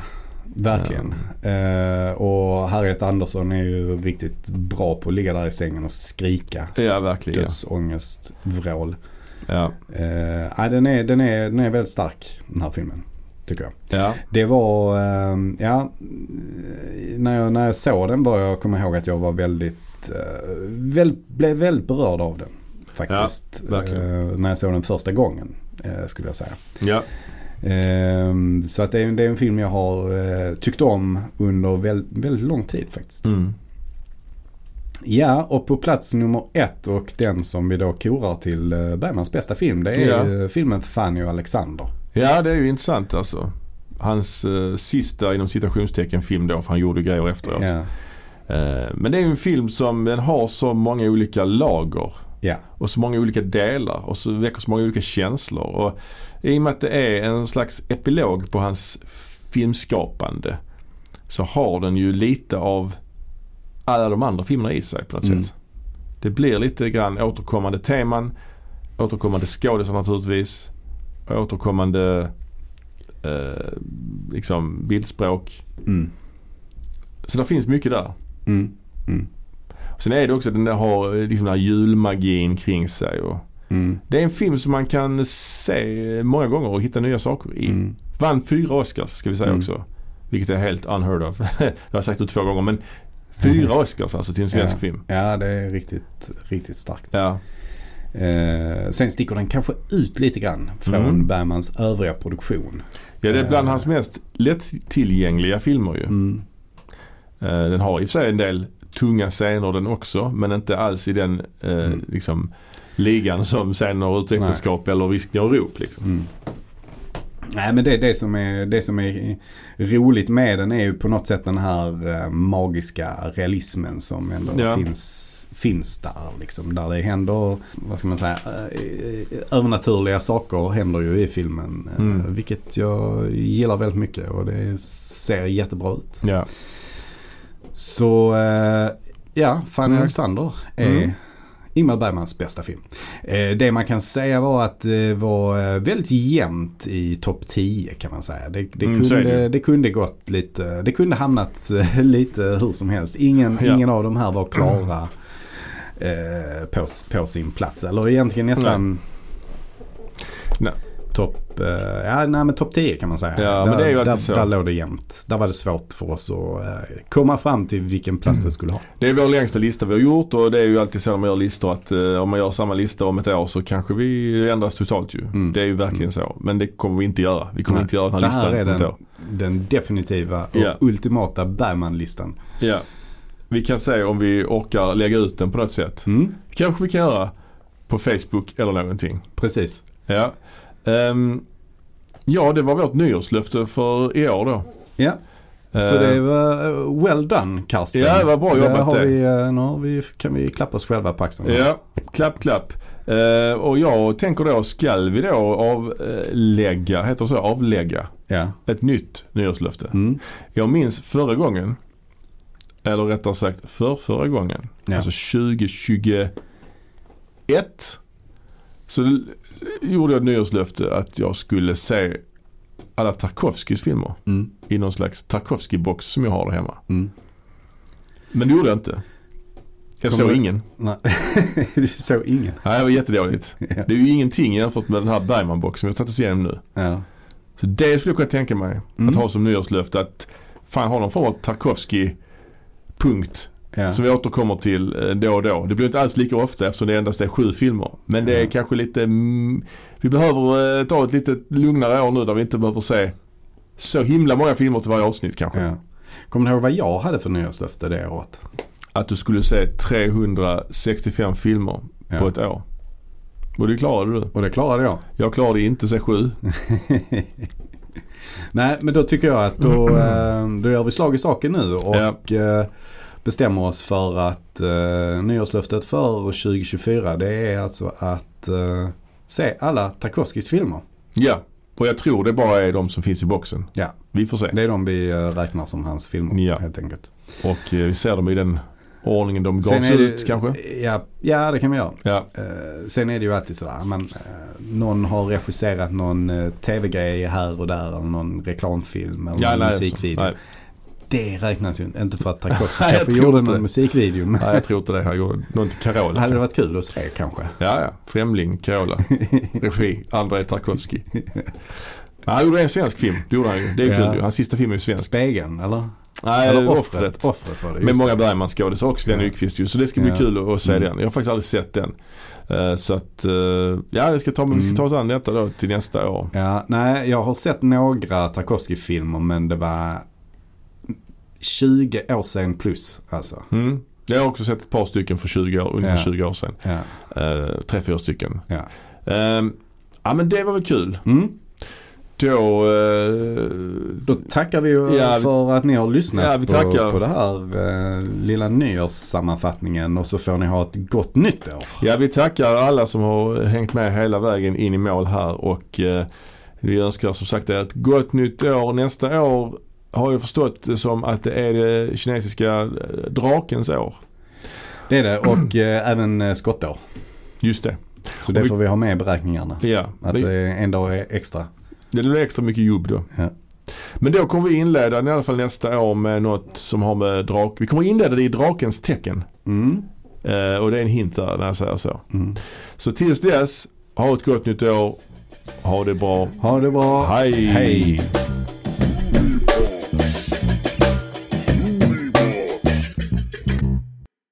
[SPEAKER 1] verkligen. Eh, och Harriet Andersson är ju riktigt bra på att ligga där i sängen och skrika.
[SPEAKER 2] Ja, verkligen.
[SPEAKER 1] Dödsångest, vrål.
[SPEAKER 2] Ja.
[SPEAKER 1] Eh, nej, den, är, den, är, den är väldigt stark den här filmen. Tycker jag.
[SPEAKER 2] Ja.
[SPEAKER 1] Det var, ehm, ja, eh, när jag, när jag såg den började jag komma ihåg att jag var väldigt, eh, väl, blev väldigt berörd av den. Faktiskt.
[SPEAKER 2] Ja, verkligen.
[SPEAKER 1] Eh, när jag såg den första gången eh, skulle jag säga.
[SPEAKER 2] ja.
[SPEAKER 1] Ehm, så att det, är, en- det är en film jag har eh, tyckt om under väl, väldigt lång tid faktiskt.
[SPEAKER 2] Mm.
[SPEAKER 1] Ja, och på plats nummer ett och den som vi då korar till eh, Bergmans bästa film. Det är
[SPEAKER 2] Ja.
[SPEAKER 1] ju eh, filmen Fanny och Alexander.
[SPEAKER 2] Ja, det är ju intressant alltså. Hans eh, sista inom citationstecken film då, för han gjorde grejer efteråt.
[SPEAKER 1] Ja,
[SPEAKER 2] Eh, men det är ju en film som den har så många olika lager
[SPEAKER 1] ja,
[SPEAKER 2] och så många olika delar och så väcker så många olika känslor. Och I och med att det är en slags epilog på hans filmskapande så har den ju lite av alla de andra filmerna i sig på något
[SPEAKER 1] Mm.
[SPEAKER 2] sätt. Det blir lite grann återkommande teman, återkommande skådisar naturligtvis, återkommande eh, liksom bildspråk.
[SPEAKER 1] mm,
[SPEAKER 2] Så det finns mycket där.
[SPEAKER 1] mm, mm,
[SPEAKER 2] Sen är det också den där har eh, liksom den här julmagin kring sig. Och
[SPEAKER 1] mm,
[SPEAKER 2] det är en film som man kan se många gånger och hitta nya saker i.
[SPEAKER 1] mm.
[SPEAKER 2] Vann fyra Oscars ska vi säga
[SPEAKER 1] Mm.
[SPEAKER 2] också. Vilket är helt unheard of. jag har sagt det två gånger men fyra Oscars alltså till en svensk
[SPEAKER 1] Ja.
[SPEAKER 2] film.
[SPEAKER 1] Ja, det är riktigt, riktigt starkt.
[SPEAKER 2] Ja.
[SPEAKER 1] Eh, sen sticker den kanske ut lite grann från
[SPEAKER 2] Mm.
[SPEAKER 1] Bergmans övriga produktion.
[SPEAKER 2] ja, det är bland
[SPEAKER 1] Eh. Mm.
[SPEAKER 2] hans mest lättillgängliga filmer ju. Eh, Den har i och för sig en del tunga scener den också men inte alls i den eh,
[SPEAKER 1] Mm.
[SPEAKER 2] liksom, ligan som scener ute i
[SPEAKER 1] Nej.
[SPEAKER 2] äktenskap eller viskningar och rop. Liksom.
[SPEAKER 1] Mm. Nej men det, det, som är, det som är roligt med den är ju på något sätt den här eh, magiska realismen som ändå
[SPEAKER 2] Ja.
[SPEAKER 1] finns, finns där. Liksom, där det händer, vad ska man säga, eh, eh, övernaturliga saker händer ju i filmen. eh,
[SPEAKER 2] Mm.
[SPEAKER 1] Vilket jag gillar väldigt mycket och det ser jättebra ut.
[SPEAKER 2] Ja.
[SPEAKER 1] Så eh, ja, Fanny
[SPEAKER 2] Mm.
[SPEAKER 1] Alexander är
[SPEAKER 2] Mm.
[SPEAKER 1] Ingmar Bergmans bästa film. Eh, det man kan säga var att det var eh, väldigt jämnt i topp 10 kan man säga. Det, det,
[SPEAKER 2] Mm, så är
[SPEAKER 1] kunde,
[SPEAKER 2] det
[SPEAKER 1] det.
[SPEAKER 2] ju.
[SPEAKER 1] kunde gått lite, det kunde hamnat eh, lite hur som helst. Ingen,
[SPEAKER 2] Ja.
[SPEAKER 1] ingen av de här var klara eh, på, s- på sin plats. Eller egentligen nästan
[SPEAKER 2] Nej.
[SPEAKER 1] topp eh, ja, nej, men top 10 kan man säga.
[SPEAKER 2] Ja,
[SPEAKER 1] där,
[SPEAKER 2] men det är ju alltid
[SPEAKER 1] där,
[SPEAKER 2] så.
[SPEAKER 1] där låg det jämnt. Där var det svårt för oss att eh, komma fram till vilken plats
[SPEAKER 2] Mm.
[SPEAKER 1] det skulle ha.
[SPEAKER 2] Det är vår längsta lista vi har gjort och det är ju alltid så när man gör listor att eh, om man gör samma lista om ett år så kanske vi ändras totalt ju. Det är ju verkligen så. Men det kommer vi inte göra. Vi kommer
[SPEAKER 1] Mm. Nej.
[SPEAKER 2] inte göra den här
[SPEAKER 1] Det här
[SPEAKER 2] listan
[SPEAKER 1] är
[SPEAKER 2] om ett år.
[SPEAKER 1] den, den definitiva och
[SPEAKER 2] Ja.
[SPEAKER 1] ultimata Bergman-listan.
[SPEAKER 2] Ja. Vi kan se om vi orkar lägga ut den på något sätt.
[SPEAKER 1] Mm,
[SPEAKER 2] Kanske vi kan göra på Facebook eller någonting.
[SPEAKER 1] precis.
[SPEAKER 2] Ja. Ehm, ja, det var vårt nyårslöfte för i år då.
[SPEAKER 1] Ja, så
[SPEAKER 2] Eh,
[SPEAKER 1] det var eh, well done Karsten.
[SPEAKER 2] Ja, det var bra
[SPEAKER 1] Där
[SPEAKER 2] jobbat
[SPEAKER 1] har
[SPEAKER 2] det.
[SPEAKER 1] vi, eh, nu har vi, kan vi klappa oss själva på axeln.
[SPEAKER 2] Ja, klapp klapp. Eh, och jag tänker då, skall vi då avlägga, heter det så, avlägga
[SPEAKER 1] Ja.
[SPEAKER 2] ett nytt nyårslöfte?
[SPEAKER 1] Mm.
[SPEAKER 2] Jag minns förra gången, eller rättare sagt för förra gången,
[SPEAKER 1] Ja.
[SPEAKER 2] alltså 2021, så l- gjorde jag ett nyårslöfte att jag skulle se alla Tarkovskis filmer
[SPEAKER 1] Mm.
[SPEAKER 2] i någon slags Tarkovsky-box som jag har där hemma.
[SPEAKER 1] Mm.
[SPEAKER 2] Men det gjorde jag inte. Jag
[SPEAKER 1] Kommer
[SPEAKER 2] såg
[SPEAKER 1] du-
[SPEAKER 2] ingen.
[SPEAKER 1] Nej, du såg ingen.
[SPEAKER 2] Nej, det var jättedåligt.
[SPEAKER 1] Ja.
[SPEAKER 2] Det är ju ingenting jämfört med den här Bergman-boxen vi har tagit oss igenom nu.
[SPEAKER 1] Ja.
[SPEAKER 2] Så det skulle jag kunna tänka mig
[SPEAKER 1] Mm.
[SPEAKER 2] att ha som nyårslöfte. Att fan ha någon form av Tarkovsky-punkt
[SPEAKER 1] Ja.
[SPEAKER 2] som vi återkommer till eh, då och då. Det blir inte alls lika ofta eftersom det endast är sju filmer. Men det är
[SPEAKER 1] Mm.
[SPEAKER 2] kanske lite... Mm, vi behöver eh, ta ett lite lugnare år nu där vi inte behöver se så himla många filmer till varje avsnitt kanske.
[SPEAKER 1] Ja. Kommer du ihåg vad jag hade för nyårslöfte det året?
[SPEAKER 2] Att du skulle se 365 filmer
[SPEAKER 1] Ja.
[SPEAKER 2] på ett år. Och det klarade du.
[SPEAKER 1] Och det klarade jag.
[SPEAKER 2] Jag klarade inte se sju.
[SPEAKER 1] Nej, men då tycker jag att då, eh, då gör vi slag i saken nu och eh, bestämmer oss för att eh, nyårslöftet för 2024 det är alltså att eh, se alla Tarkovskis filmer.
[SPEAKER 2] Ja, och jag tror det bara är de som finns i boxen.
[SPEAKER 1] Ja.
[SPEAKER 2] Vi får se.
[SPEAKER 1] Det är de vi eh, räknar som hans filmer
[SPEAKER 2] Ja.
[SPEAKER 1] helt enkelt.
[SPEAKER 2] Och eh, vi ser dem i den ordningen de gavs
[SPEAKER 1] är det-
[SPEAKER 2] ut kanske.
[SPEAKER 1] Ja, ja, det kan vi göra.
[SPEAKER 2] Ja,
[SPEAKER 1] Eh, sen är det ju alltid sådär, men eh, någon har regisserat någon eh, tv-grej här och där, eller någon reklamfilm eller
[SPEAKER 2] ja
[SPEAKER 1] någon
[SPEAKER 2] nej, alltså,
[SPEAKER 1] musikvideo.
[SPEAKER 2] Nej,
[SPEAKER 1] Det räknas ju inte, inte för att Tarkovsky
[SPEAKER 2] Nej, jag
[SPEAKER 1] kanske
[SPEAKER 2] tror
[SPEAKER 1] gjorde
[SPEAKER 2] inte.
[SPEAKER 1] någon musikvideo. Men
[SPEAKER 2] nej, jag tror inte det. Jag gjorde någon till Carola.
[SPEAKER 1] hade det varit kul att se kanske.
[SPEAKER 2] Ja, ja. Främling, Carola. Regi, Andrei Tarkovsky. Ja, han gjorde en svensk film. Det gjorde han ju. Det är
[SPEAKER 1] Ja.
[SPEAKER 2] kul ju. Hans sista film är ju svensk.
[SPEAKER 1] Spegeln eller?
[SPEAKER 2] Nej,
[SPEAKER 1] Eller
[SPEAKER 2] Offret.
[SPEAKER 1] Eh, offret. offret var det.
[SPEAKER 2] Med
[SPEAKER 1] Just.
[SPEAKER 2] många Bergman-skådisar och Sven
[SPEAKER 1] Ja.
[SPEAKER 2] Yqvist ju. Så det ska bli
[SPEAKER 1] Ja.
[SPEAKER 2] kul att- att se
[SPEAKER 1] Mm.
[SPEAKER 2] den. Jag har faktiskt aldrig sett den. Eh, Så att, eh, ja vi ska ta, vi ska
[SPEAKER 1] Mm.
[SPEAKER 2] ta oss an detta då till nästa år.
[SPEAKER 1] Ja, nej, jag har sett några Tarkovsky-filmer men det var 20 år sedan plus alltså.
[SPEAKER 2] Mm. Jag har också sett ett par stycken för 20 år, ungefär
[SPEAKER 1] Ja.
[SPEAKER 2] 20 år sedan.
[SPEAKER 1] Ja.
[SPEAKER 2] Eh, Tre, fyra stycken.
[SPEAKER 1] Ja.
[SPEAKER 2] Ehm, ja men det var väl kul.
[SPEAKER 1] Mm.
[SPEAKER 2] Då, eh,
[SPEAKER 1] Då tackar vi ju
[SPEAKER 2] Ja, vi-
[SPEAKER 1] för att ni har lyssnat
[SPEAKER 2] Ja, vi
[SPEAKER 1] på,
[SPEAKER 2] tackar.
[SPEAKER 1] på det här eh, lilla nyårssammanfattningen och så får ni ha ett gott nytt år.
[SPEAKER 2] ja vi tackar alla som har hängt med hela vägen in i mål här och eh, vi önskar som sagt er ett gott nytt år. Nästa år har jag förstått det som att det är det kinesiska eh, drakens år.
[SPEAKER 1] Det är det och eh, även eh, skottår.
[SPEAKER 2] Just det.
[SPEAKER 1] Så det
[SPEAKER 2] vi-
[SPEAKER 1] får vi ha med i beräkningarna.
[SPEAKER 2] Ja,
[SPEAKER 1] Att
[SPEAKER 2] vi-
[SPEAKER 1] det är en dag extra.
[SPEAKER 2] Det blir extra mycket jobb då.
[SPEAKER 1] Ja.
[SPEAKER 2] Men då kommer vi inleda i alla fall nästa år med något som har med drak... Vi kommer inleda det i drakens tecken.
[SPEAKER 1] Mm.
[SPEAKER 2] Eh, och det är en hint där när jag säger så.
[SPEAKER 1] Mm.
[SPEAKER 2] Så tills dess, ha ett gott nytt år. Ha det bra.
[SPEAKER 1] Ha det bra.
[SPEAKER 2] Hej!
[SPEAKER 1] Hej.